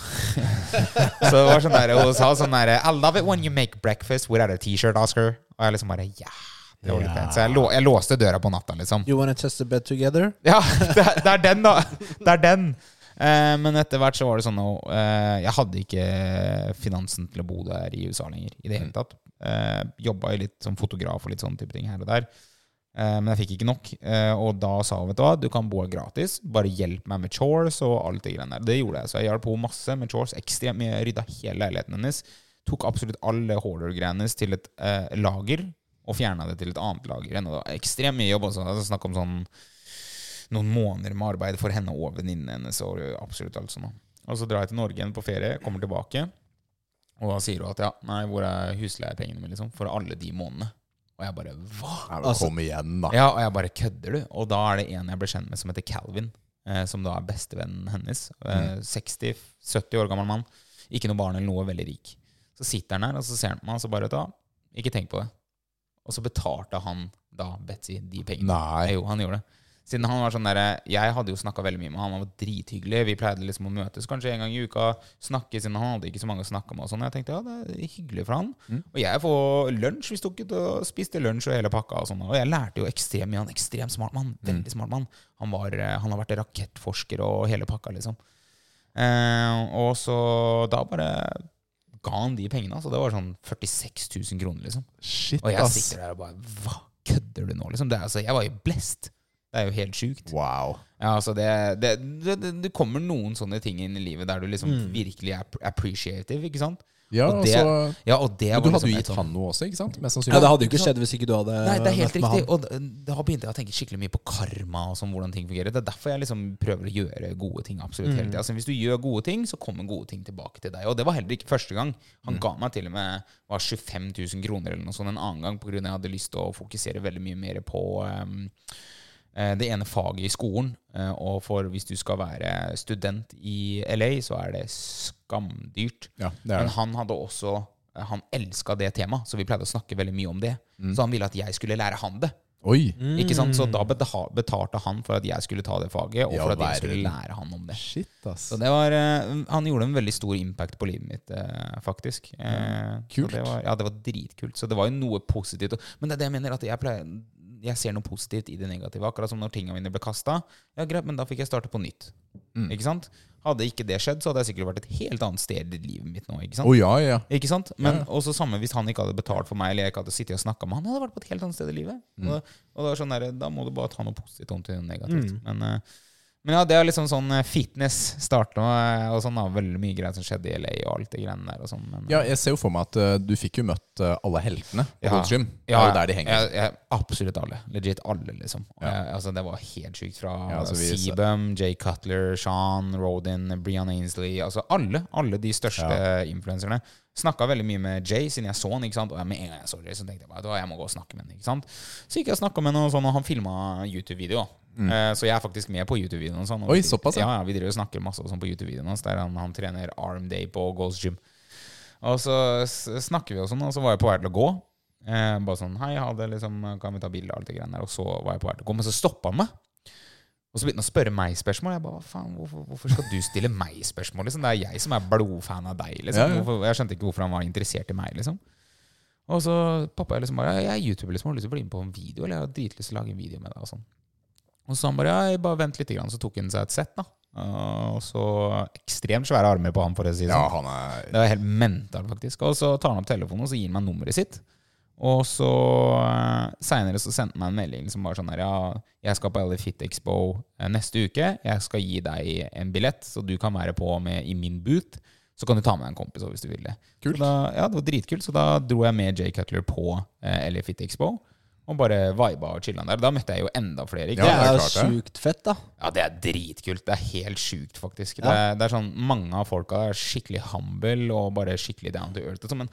[SPEAKER 3] så det var sånn der, hun sa sånn der, I love it when you make breakfast without a t-shirt, Oscar. Og jeg liksom bare, ja, det var litt pent. Så jeg, lå, jeg låste døra på natta liksom.
[SPEAKER 1] You wanna test the bed together?
[SPEAKER 3] Ja, det, er- det er den da, det er den. Eh, men etter hvert så var det sånn, og, eh, jeg hadde ikke finansen til å bo der i USA lenger, i det hele tatt. Eh, Jobba jo litt som fotograf og litt sånne type ting her og der. Eh, Men jeg fikk ikke nok. Eh, Og da sa hun vet du hva, du kan bo her gratis. Bare hjelp meg med chores og alt det greiene der. Det gjorde jeg. Så jeg hjalp henne masse med chores. Ekstremt mye. Jeg Rydda hele leiligheten hennes. Tok absolutt alle hoarder-greiene hennes til et eh, lager. Og fjerna det til et annet lager. Henne. Det var ekstremt mye jobb. Også. Altså, snakk om sånn noen måneder med arbeid for henne og venninnene hennes. Og absolutt alt sånt. da. Og så drar jeg til Norge igjen på ferie, kommer tilbake. Og da sier hun at ja, nei, hvor er husleiepengene mine, liksom? For alle de månedene. Og jeg bare hva?
[SPEAKER 2] Nei, men
[SPEAKER 1] Altså-
[SPEAKER 2] kom igjen, da.
[SPEAKER 3] Ja, og jeg bare kødder du. Og da er det en jeg ble kjent med som heter Calvin, eh, som da er bestevennen hennes. Eh, 60-70 år gammel mann. Ikke noe barn eller noe, veldig rik. Så sitter han der, og så ser han på meg, og så bare ta, ikke tenk på det. Og så betalte han da Betzy de pengene.
[SPEAKER 2] Nei.
[SPEAKER 3] Jo, han gjorde det. Siden han var sånn der, Jeg hadde jo snakka veldig mye med han, han var drithyggelig. Vi pleide liksom å møtes kanskje en gang i uka, snakke siden han hadde ikke så mange å snakke med. og sånn. Jeg tenkte ja, det er hyggelig for han. Og jeg får lunsj. Vi tok ut og spiste lunsj og hele pakka. Og sånn. Og jeg lærte jo ekstremt mye. Han er ekstremt smart mann. Veldig smart mann. Han, var, eh, han har vært rakettforsker og hele pakka, liksom. Eh, og så da bare ga han de pengene. Altså. Det var sånn 46 000 kroner, liksom.
[SPEAKER 2] Shit,
[SPEAKER 3] Og jeg
[SPEAKER 2] ass.
[SPEAKER 3] sitter der og bare Hva kødder du nå, liksom? Det er, altså, jeg var jo blest. Det er jo helt sjukt.
[SPEAKER 2] Wow.
[SPEAKER 3] Ja, altså det, det, det, det, det kommer noen sånne ting inn i livet der du liksom virkelig er app- appreciative, ikke sant?
[SPEAKER 2] Ja,
[SPEAKER 3] Og
[SPEAKER 2] og
[SPEAKER 3] det-
[SPEAKER 2] så,
[SPEAKER 3] Mm. Ja, og det
[SPEAKER 2] men
[SPEAKER 3] var
[SPEAKER 2] du hadde
[SPEAKER 3] liksom
[SPEAKER 2] jo
[SPEAKER 3] et
[SPEAKER 2] gitt
[SPEAKER 3] sånn-
[SPEAKER 2] han noe også, ikke sant? Mest sannsynlig.
[SPEAKER 1] Ja, det hadde jo ikke skjedd hvis ikke du hadde
[SPEAKER 3] Nei, det er helt
[SPEAKER 1] møtt med
[SPEAKER 3] riktig.
[SPEAKER 1] han.
[SPEAKER 3] Og da- da begynte jeg å tenke skikkelig mye på karma og sånn, hvordan ting fungerer. Det er derfor jeg liksom prøver å gjøre gode ting absolutt
[SPEAKER 1] Mm.
[SPEAKER 3] hele tiden. Altså, hvis du gjør gode ting, så kommer gode ting tilbake til deg. Og det var heller ikke første gang.
[SPEAKER 1] Mm.
[SPEAKER 3] Han ga meg til og med var 25 000 kroner eller noe sånt en annen gang pga. jeg hadde lyst til å fokusere veldig mye mer på ehm, eh, det ene faget i skolen. Eh, Og for hvis du skal være student i LA, så er det skamdyrt.
[SPEAKER 2] Ja, det er
[SPEAKER 3] Men
[SPEAKER 2] det.
[SPEAKER 3] han hadde også eh, han elska det temaet, så vi pleide å snakke veldig mye om det.
[SPEAKER 2] Mm.
[SPEAKER 3] Så han ville at jeg skulle lære han det.
[SPEAKER 2] Oi!
[SPEAKER 3] Ikke sant? Så da beta- betalte han for at jeg skulle ta det faget, og
[SPEAKER 2] Ja,
[SPEAKER 3] for at jeg
[SPEAKER 2] verden.
[SPEAKER 3] skulle lære han om det.
[SPEAKER 2] Shit, ass.
[SPEAKER 3] Så det var, eh, Han gjorde en veldig stor impact på livet mitt, eh, faktisk. Eh, så
[SPEAKER 2] Mm. Kult.
[SPEAKER 3] Det var, ja, det var dritkult. Så det var jo noe positivt. Og- Men det er det jeg mener, at jeg, pleier, jeg ser noe positivt i det negative. Akkurat som når tingene mine ble kasta. Ja, greit, men da fikk jeg starte på nytt.
[SPEAKER 2] Mm.
[SPEAKER 3] Ikke sant? Hadde ikke det skjedd, så hadde jeg sikkert vært et helt annet sted i livet mitt nå. ikke sant?
[SPEAKER 2] Å ja, ja.
[SPEAKER 3] Ikke sant? Men også samme hvis han ikke hadde betalt for meg, eller jeg ikke hadde sittet og snakka med han. Jeg hadde vært på et helt annet sted i livet.
[SPEAKER 2] Mm.
[SPEAKER 3] Og, og det var sånn der, Da må du bare ta noe positivt om til noe negativt.
[SPEAKER 2] Mm.
[SPEAKER 3] Men, eh, men ja, det er liksom sånn eh, fitness starta, eh, og sånn da, veldig mye greier som skjedde i LA og alt det greiene der. og sånn. Men,
[SPEAKER 2] Ja, jeg ser jo for meg at eh, du fikk jo møtt eh, alle heltene på
[SPEAKER 3] Ja.
[SPEAKER 2] Gold's Gym. Det
[SPEAKER 3] Ja,
[SPEAKER 2] er jo der de henger.
[SPEAKER 3] Jeg, jeg, absolutt alle. Legit alle, liksom. Jeg, altså, det var helt sjukt. Fra
[SPEAKER 2] Ja, altså, vi-
[SPEAKER 3] Sebum, Jay Cutler, Sean, Rodin, Brian Ainsley Altså alle, alle de største influenserne. Snakka veldig mye med Jay siden jeg så han. ikke sant? Og jeg, med en gang jeg så Jay, så tenkte jeg bare, «Da, jeg må gå og snakke med han. ikke sant? Så gikk jeg og snakka med han, og sånn, og han filma YouTube-video. Eh, Så jeg er faktisk med på YouTube-videoen. og Sånn, og
[SPEAKER 2] Mm. Oi,
[SPEAKER 3] vi-
[SPEAKER 2] såpass, ja.
[SPEAKER 3] ja. ja, Vi driver og snakker masse og sånn på YouTube-videoen hans, der han, han trener arm day på Goals Gym. Og så s- snakker vi og sånn, og så var jeg på vei til å gå. Eh, bare sånn Hei, ha det, liksom. Kan vi ta bilde og alt det greiene der? Og så var jeg på vei til å gå, men så stoppa han meg. Og så begynte han å spørre meg spørsmål. Jeg bare, hva faen, hvorfor, hvorfor skal du stille meg spørsmål? Liksom? Det er jeg som er blodfan av deg. Liksom.
[SPEAKER 2] Ja, ja.
[SPEAKER 3] Hvorfor, jeg skjønte ikke hvorfor han var interessert i meg. Liksom. Og så pappa jeg liksom bare, jeg er YouTuber, liksom, har du lyst til å bli med på en video. Eller jeg har dritlyst til å lage en video med deg. Og sånn. Og så han bare, ja, jeg bare vent litt. Grann. Så tok han seg et sett. da. Og så ekstremt svære armer på ham, for å si det
[SPEAKER 2] Ja, han
[SPEAKER 3] sånn.
[SPEAKER 2] er
[SPEAKER 3] Det var helt mental, faktisk. Og så tar han opp telefonen og så gir han meg nummeret sitt. Og så eh, senere så sendte han meg en melding som var sånn her Ja, jeg skal på LA Fit Expo eh, neste uke. Jeg skal gi deg en billett, så du kan være på med i min booth. Så kan du ta med deg en kompis også, hvis du vil det. Så
[SPEAKER 2] Kult.
[SPEAKER 3] Da, ja, det var dritkult. Så da dro jeg med Jay Cutler på eh, LA Fit Expo. Og bare viba og chilla der. Da møtte jeg jo enda flere. Ikke?
[SPEAKER 2] Ja,
[SPEAKER 1] det
[SPEAKER 2] det er
[SPEAKER 1] er
[SPEAKER 2] klart det.
[SPEAKER 1] sjukt fett, da.
[SPEAKER 3] Ja, det er dritkult. Det er helt sjukt, faktisk. Det, er, det er sånn, Mange av folka er skikkelig humble og bare skikkelig down to earth. og sånn, Men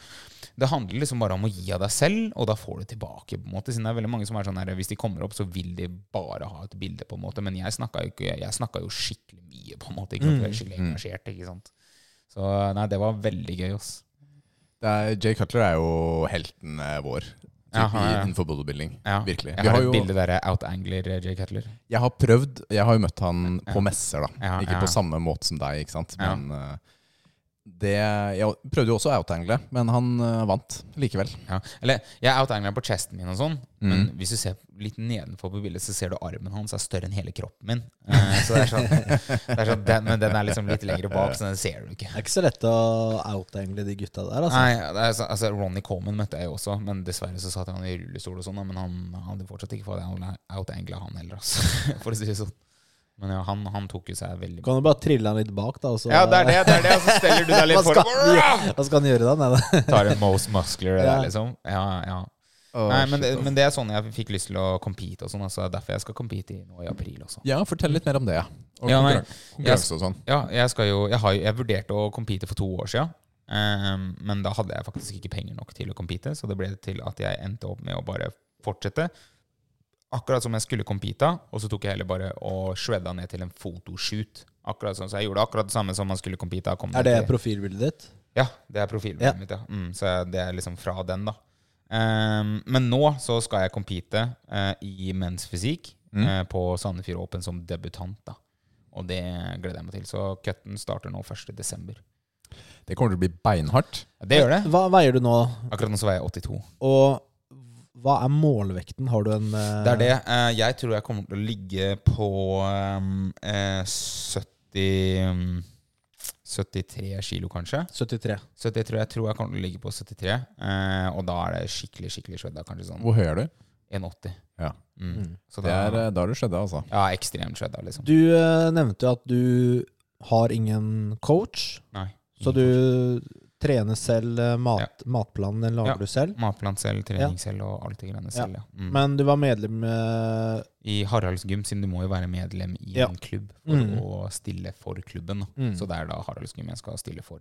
[SPEAKER 3] det handler liksom bare om å gi av deg selv, og da får du tilbake. på en måte. Siden det er veldig mange som er sånn her, Hvis de kommer opp, så vil de bare ha et bilde, på en måte. Men jeg snakka jo, ikke- jeg snakket jo skikkelig mye, på en måte. ikke sant?
[SPEAKER 2] Mm.
[SPEAKER 3] Jeg er skikkelig engasjert, ikke sant. Så nei, det var veldig gøy, ass.
[SPEAKER 2] Det er, Jay Cutler er jo helten eh, vår typ,
[SPEAKER 3] Jaha, ja.
[SPEAKER 2] i- innenfor bodybuilding.
[SPEAKER 3] Ja.
[SPEAKER 2] Virkelig.
[SPEAKER 3] Jeg
[SPEAKER 2] Vi
[SPEAKER 3] har,
[SPEAKER 2] har
[SPEAKER 3] et
[SPEAKER 2] jo,
[SPEAKER 3] bilde der jeg outangler eh, Jay Cutler.
[SPEAKER 2] jeg har prøvd Jeg har jo møtt han på messer, da.
[SPEAKER 3] Ja,
[SPEAKER 2] ikke
[SPEAKER 3] ja.
[SPEAKER 2] på samme måte som deg, ikke sant.
[SPEAKER 3] Ja.
[SPEAKER 2] Men eh, det Jeg prøvde jo også å outangle, men han eh, vant likevel.
[SPEAKER 3] Ja. Eller jeg er outangla på chesten min og sånn, men
[SPEAKER 1] Mm.
[SPEAKER 3] hvis du ser litt nedenfor på bildet, så ser du armen hans er større enn hele kroppen min. Eh, så det er sånn, det er sånn den, Men den er liksom litt lengre bak, så den ser du ikke.
[SPEAKER 1] Det er ikke så lett å oute egentlig de gutta der, altså.
[SPEAKER 3] Nei, det er, så- altså Ronny Coleman møtte jeg jo også, men dessverre så satt han i rullestol og sånn, da, men han hadde fortsatt ikke fått outangla han heller, altså, for å si det sånn. Men ja, han, han tok jo seg veldig
[SPEAKER 1] Du kan jo bare trille han litt bak, da, og så
[SPEAKER 3] Ja, det er det, det er det, og så steller du deg litt
[SPEAKER 1] Hva skal,
[SPEAKER 3] foran.
[SPEAKER 1] han, gjø- hva skal han gjøre da? Nei, da?
[SPEAKER 3] Tar en most muscular det
[SPEAKER 1] Ja.
[SPEAKER 3] der, liksom. Ja, ja. Nei, men det, men det er sånn jeg fikk lyst til å compete og sånn. Altså, det er derfor jeg skal compete i, nå i april også.
[SPEAKER 2] Ja, fortell litt mer om det, ja. Og
[SPEAKER 3] Ja, nei,
[SPEAKER 2] konkurran- konkurranse og sånn.
[SPEAKER 3] Ja, jeg, skal jo, jeg, har, jo- jeg vurderte å compete for to år siden, ehm, men da hadde jeg faktisk ikke penger nok til å compete, så det ble til at jeg endte opp med å bare fortsette. Akkurat som jeg skulle compete, og så tok jeg heller bare og shredda ned til en fotoshoot. Akkurat sånn, Så jeg gjorde akkurat det samme som man skulle compete. da kom
[SPEAKER 1] Er det
[SPEAKER 3] til-
[SPEAKER 1] profilbildet ditt?
[SPEAKER 3] Ja, det er profilbildet
[SPEAKER 1] Ja.
[SPEAKER 3] mitt. Ja. Mm, så jeg- det er liksom fra den, da. Ehm, men nå så skal jeg compete eh, i menns fysikk eh, på Sandefjord Open som debutant. da. Og det gleder jeg meg til. Så cutten starter nå 1.12.
[SPEAKER 2] Det kommer til å bli beinhardt.
[SPEAKER 3] Det gjør det.
[SPEAKER 1] Hva veier du nå?
[SPEAKER 3] Akkurat nå så veier jeg 82.
[SPEAKER 1] Og hva er målvekten? Har du en eh,
[SPEAKER 3] Det er det. Eh, jeg tror jeg kommer til å ligge på ehm, eh, 70 mm, 73 kilo, kanskje.
[SPEAKER 1] 73.
[SPEAKER 3] 73, jeg tror jeg kommer til å ligge på 73. Eh, og da er det skikkelig skikkelig shredda. Kanskje sånn
[SPEAKER 2] Hvor høy er du?
[SPEAKER 3] 1,80.
[SPEAKER 2] Ja.
[SPEAKER 3] Mm. Så
[SPEAKER 2] Det
[SPEAKER 3] da,
[SPEAKER 2] er, eh, da har du skjedd det, altså.
[SPEAKER 3] ja, ekstremt shredda, liksom.
[SPEAKER 1] Du eh, nevnte jo at du har ingen coach,
[SPEAKER 3] Nei.
[SPEAKER 1] så du Trene selv, eh, mat, matplanen den lager
[SPEAKER 3] Ja.
[SPEAKER 1] du selv.
[SPEAKER 3] Matplan selv, trening selv og alt det greiene selv. Ja. Mm.
[SPEAKER 1] Men du var medlem eh,
[SPEAKER 3] I Haraldsgym, siden du må jo være medlem i
[SPEAKER 1] Ja.
[SPEAKER 3] en klubb for
[SPEAKER 1] Mm.
[SPEAKER 3] å stille for klubben. da.
[SPEAKER 1] Mm.
[SPEAKER 3] Så det er da Haraldsgym jeg skal stille for.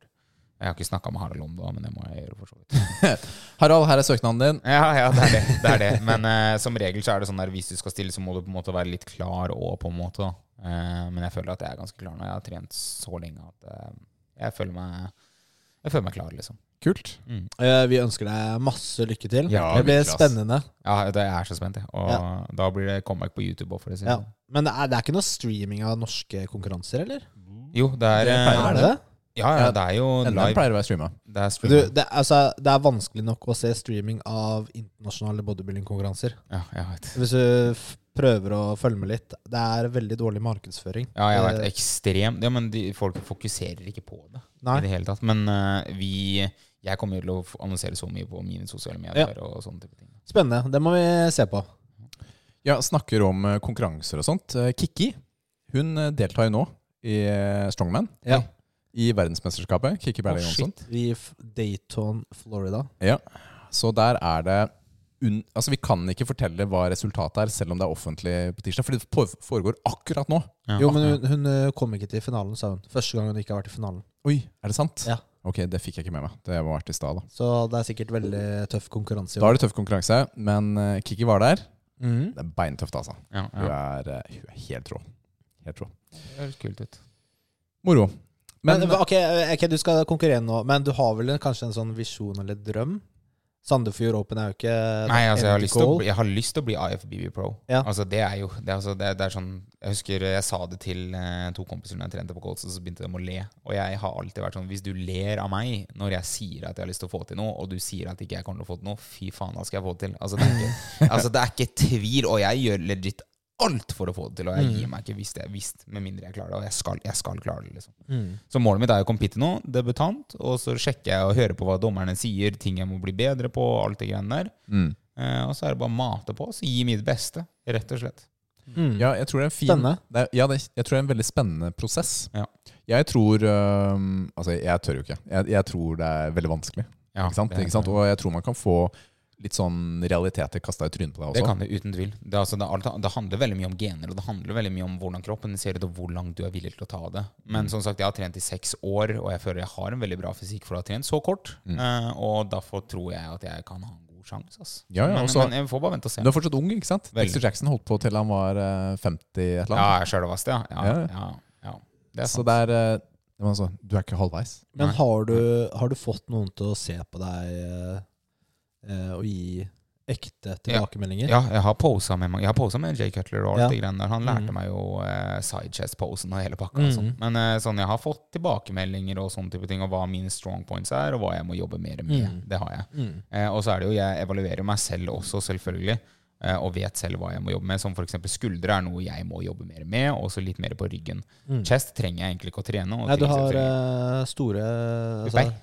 [SPEAKER 3] Jeg har ikke snakka med Harald om det, men det må jeg gjøre. for så vidt.
[SPEAKER 2] Harald, her er søknaden din.
[SPEAKER 3] Ja, ja, det er det. det, er det. Men eh, som regel så er det sånn der hvis du skal stille, så må du på en måte være litt klar og på en måte. da. Eh, men jeg føler at jeg er ganske klar nå. Jeg har trent så lenge at eh, jeg, føler meg, jeg føler meg klar, liksom.
[SPEAKER 2] Kult.
[SPEAKER 3] Mm.
[SPEAKER 1] eh, Vi ønsker deg masse lykke til.
[SPEAKER 3] Ja,
[SPEAKER 1] det blir
[SPEAKER 2] virkelig, ass.
[SPEAKER 1] spennende.
[SPEAKER 3] Ja, det- jeg er så spent, jeg. Og da blir det comeback på YouTube òg, for å si det
[SPEAKER 1] Ja.
[SPEAKER 3] sånn.
[SPEAKER 1] Men det er, det er ikke noe streaming av norske konkurranser, eller?
[SPEAKER 3] Jo, det er,
[SPEAKER 2] Det
[SPEAKER 3] eh,
[SPEAKER 2] pleier
[SPEAKER 1] Er det?
[SPEAKER 3] Ja, ja, det er jo
[SPEAKER 2] NM
[SPEAKER 3] live.
[SPEAKER 2] pleier å være streama.
[SPEAKER 3] Det er
[SPEAKER 1] Du,
[SPEAKER 3] streaming.
[SPEAKER 1] det, altså, det er vanskelig nok å se streaming av internasjonale bodybuilding-konkurranser.
[SPEAKER 3] Ja, jeg vet.
[SPEAKER 1] Hvis du f prøver å følge med litt. Det er veldig dårlig markedsføring.
[SPEAKER 3] Ja, jeg vet.
[SPEAKER 1] Eh,
[SPEAKER 3] Ekstremt. Ja, men de, folk fokuserer ikke på det
[SPEAKER 1] Nei.
[SPEAKER 3] i det hele tatt. Men eh, vi Jeg kommer jo til å f- annonsere så mye på mine sosiale medier og sånne type ting.
[SPEAKER 1] Spennende. Det må vi se på.
[SPEAKER 2] Ja, snakker om eh, konkurranser og sånt. Eh, Kikki hun eh, deltar jo nå i eh, Strongman.
[SPEAKER 1] Ja.
[SPEAKER 2] I verdensmesterskapet. Kikki Berling
[SPEAKER 1] Å,
[SPEAKER 2] Jonsson.
[SPEAKER 1] shit. Vi f- Dayton, Florida.
[SPEAKER 2] Så der er det un Altså Vi kan ikke fortelle hva resultatet er, selv om det er offentlig på tirsdag. For det på- foregår akkurat nå.
[SPEAKER 3] Ja.
[SPEAKER 1] Jo, men hun, hun eh, kom ikke til finalen, sa hun. Første gang hun ikke har vært i finalen.
[SPEAKER 2] Oi, er det sant?
[SPEAKER 1] Ja.
[SPEAKER 2] Ok, det fikk jeg ikke med meg. Det var vært i stad, da.
[SPEAKER 1] Så det er sikkert veldig tøff konkurranse. i
[SPEAKER 2] Da
[SPEAKER 1] år.
[SPEAKER 2] er det tøff konkurranse, men eh, Kikki var der.
[SPEAKER 1] Mhm.
[SPEAKER 2] Det er beintøft, altså.
[SPEAKER 3] ja,
[SPEAKER 2] Hun
[SPEAKER 3] ja.
[SPEAKER 2] er, eh, hun er helt rå. Helt rå.
[SPEAKER 3] Det høres kult ut.
[SPEAKER 2] Moro. Men,
[SPEAKER 1] Men, ok, eh, ok, du skal konkurrere nå, men du har vel en, kanskje en sånn visjon eller drøm? Sandefjord Open er jo ikke
[SPEAKER 3] Nei, altså, jeg har,
[SPEAKER 1] end
[SPEAKER 3] lyst til å,
[SPEAKER 1] goal.
[SPEAKER 3] bli- jeg har lyst til å bli IFBB Pro.
[SPEAKER 1] Ja.
[SPEAKER 3] Altså, det er jo det er, altså, det, er, det er sånn Jeg husker jeg sa det til eh, to kompiser når jeg trente på Colts, og så begynte de å le. Og jeg har alltid vært sånn Hvis du ler av meg når jeg sier at jeg har lyst til å få til noe, og du sier at ikke jeg kommer til å få til noe, fy faen, da skal jeg få det til. Altså, det er ikke, altså, det er ikke tvil, og jeg gjør legit alt for å få det til, og jeg gir meg ikke hvis det er visst, med mindre jeg klarer det. Og jeg skal, jeg skal klare det, liksom.
[SPEAKER 1] Mm.
[SPEAKER 3] Så målet mitt er å komme hit til nå, debutant, og så sjekker jeg og hører på hva dommerne sier, ting jeg må bli bedre på, og alt det greiene der.
[SPEAKER 2] mm.
[SPEAKER 3] Eh, og så er det bare å mate på, så gi mitt beste, rett og slett.
[SPEAKER 1] Mm.
[SPEAKER 2] Ja, jeg tror det er en fin
[SPEAKER 1] Spennende.
[SPEAKER 2] det er, Ja, det, jeg tror det er en veldig spennende prosess.
[SPEAKER 3] Ja.
[SPEAKER 2] Jeg tror øhm, Altså, jeg tør jo ikke. Jeg, jeg tror det er veldig vanskelig.
[SPEAKER 3] Ja,
[SPEAKER 2] ikke sant?
[SPEAKER 3] det-
[SPEAKER 2] Ikke sant? Og jeg tror man kan få litt sånn realiteter kasta i trynet på deg også.
[SPEAKER 3] Det kan det uten tvil. Det, er altså, det, er alt, det handler veldig mye om gener, og det handler veldig mye om hvordan kroppen ser ut, og hvor langt du er villig til å ta det.
[SPEAKER 2] Mm.
[SPEAKER 3] Men som sagt, jeg har trent i seks år, og jeg føler jeg har en veldig bra fysikk for å ha trent så kort.
[SPEAKER 2] Mm.
[SPEAKER 3] Eh, og derfor tror jeg at jeg kan ha en god sjanse. ass.
[SPEAKER 2] Ja, ja,
[SPEAKER 3] men,
[SPEAKER 2] og så-
[SPEAKER 3] men jeg får bare vente og se.
[SPEAKER 2] Du er fortsatt ung, ikke sant?
[SPEAKER 3] Veldig.
[SPEAKER 2] Dexter Jackson holdt på til han var øh, 50 et eller
[SPEAKER 3] Ja,
[SPEAKER 2] annet.
[SPEAKER 3] jeg er sjølvest, ja. Ja,
[SPEAKER 2] Ja.
[SPEAKER 3] ja, ja. Det er
[SPEAKER 2] så
[SPEAKER 3] sant.
[SPEAKER 2] det er øh, men altså, Du er ikke halvveis.
[SPEAKER 1] Men
[SPEAKER 3] Nei.
[SPEAKER 1] har du, har du fått noen til å se på deg eh, eh, og gi ekte tilbakemeldinger?
[SPEAKER 3] Ja, jeg har posa med, mange- jeg har posa med Jay Cutler og alt
[SPEAKER 1] Ja.
[SPEAKER 3] det greiene der. Han lærte
[SPEAKER 1] Mm.
[SPEAKER 3] meg jo eh, side chest-posen og hele pakka.
[SPEAKER 1] Mm.
[SPEAKER 3] Og sånn. Men eh, sånn, jeg har fått tilbakemeldinger og sånne type ting, og hva mine strong points er, og hva jeg må jobbe mer med.
[SPEAKER 1] Mm.
[SPEAKER 3] Det har jeg.
[SPEAKER 1] Mm.
[SPEAKER 3] Eh, og så er det jo, jeg evaluerer meg selv også, selvfølgelig. eh, Og vet selv hva jeg må jobbe med. Som f.eks. skuldre er noe jeg må jobbe mer med. Og så litt mer på ryggen.
[SPEAKER 1] Mm.
[SPEAKER 3] Chest trenger jeg egentlig ikke å trene. Og
[SPEAKER 1] Nei, du
[SPEAKER 3] triceps
[SPEAKER 1] har
[SPEAKER 3] trenger-
[SPEAKER 1] eh, store altså,
[SPEAKER 3] Pupper.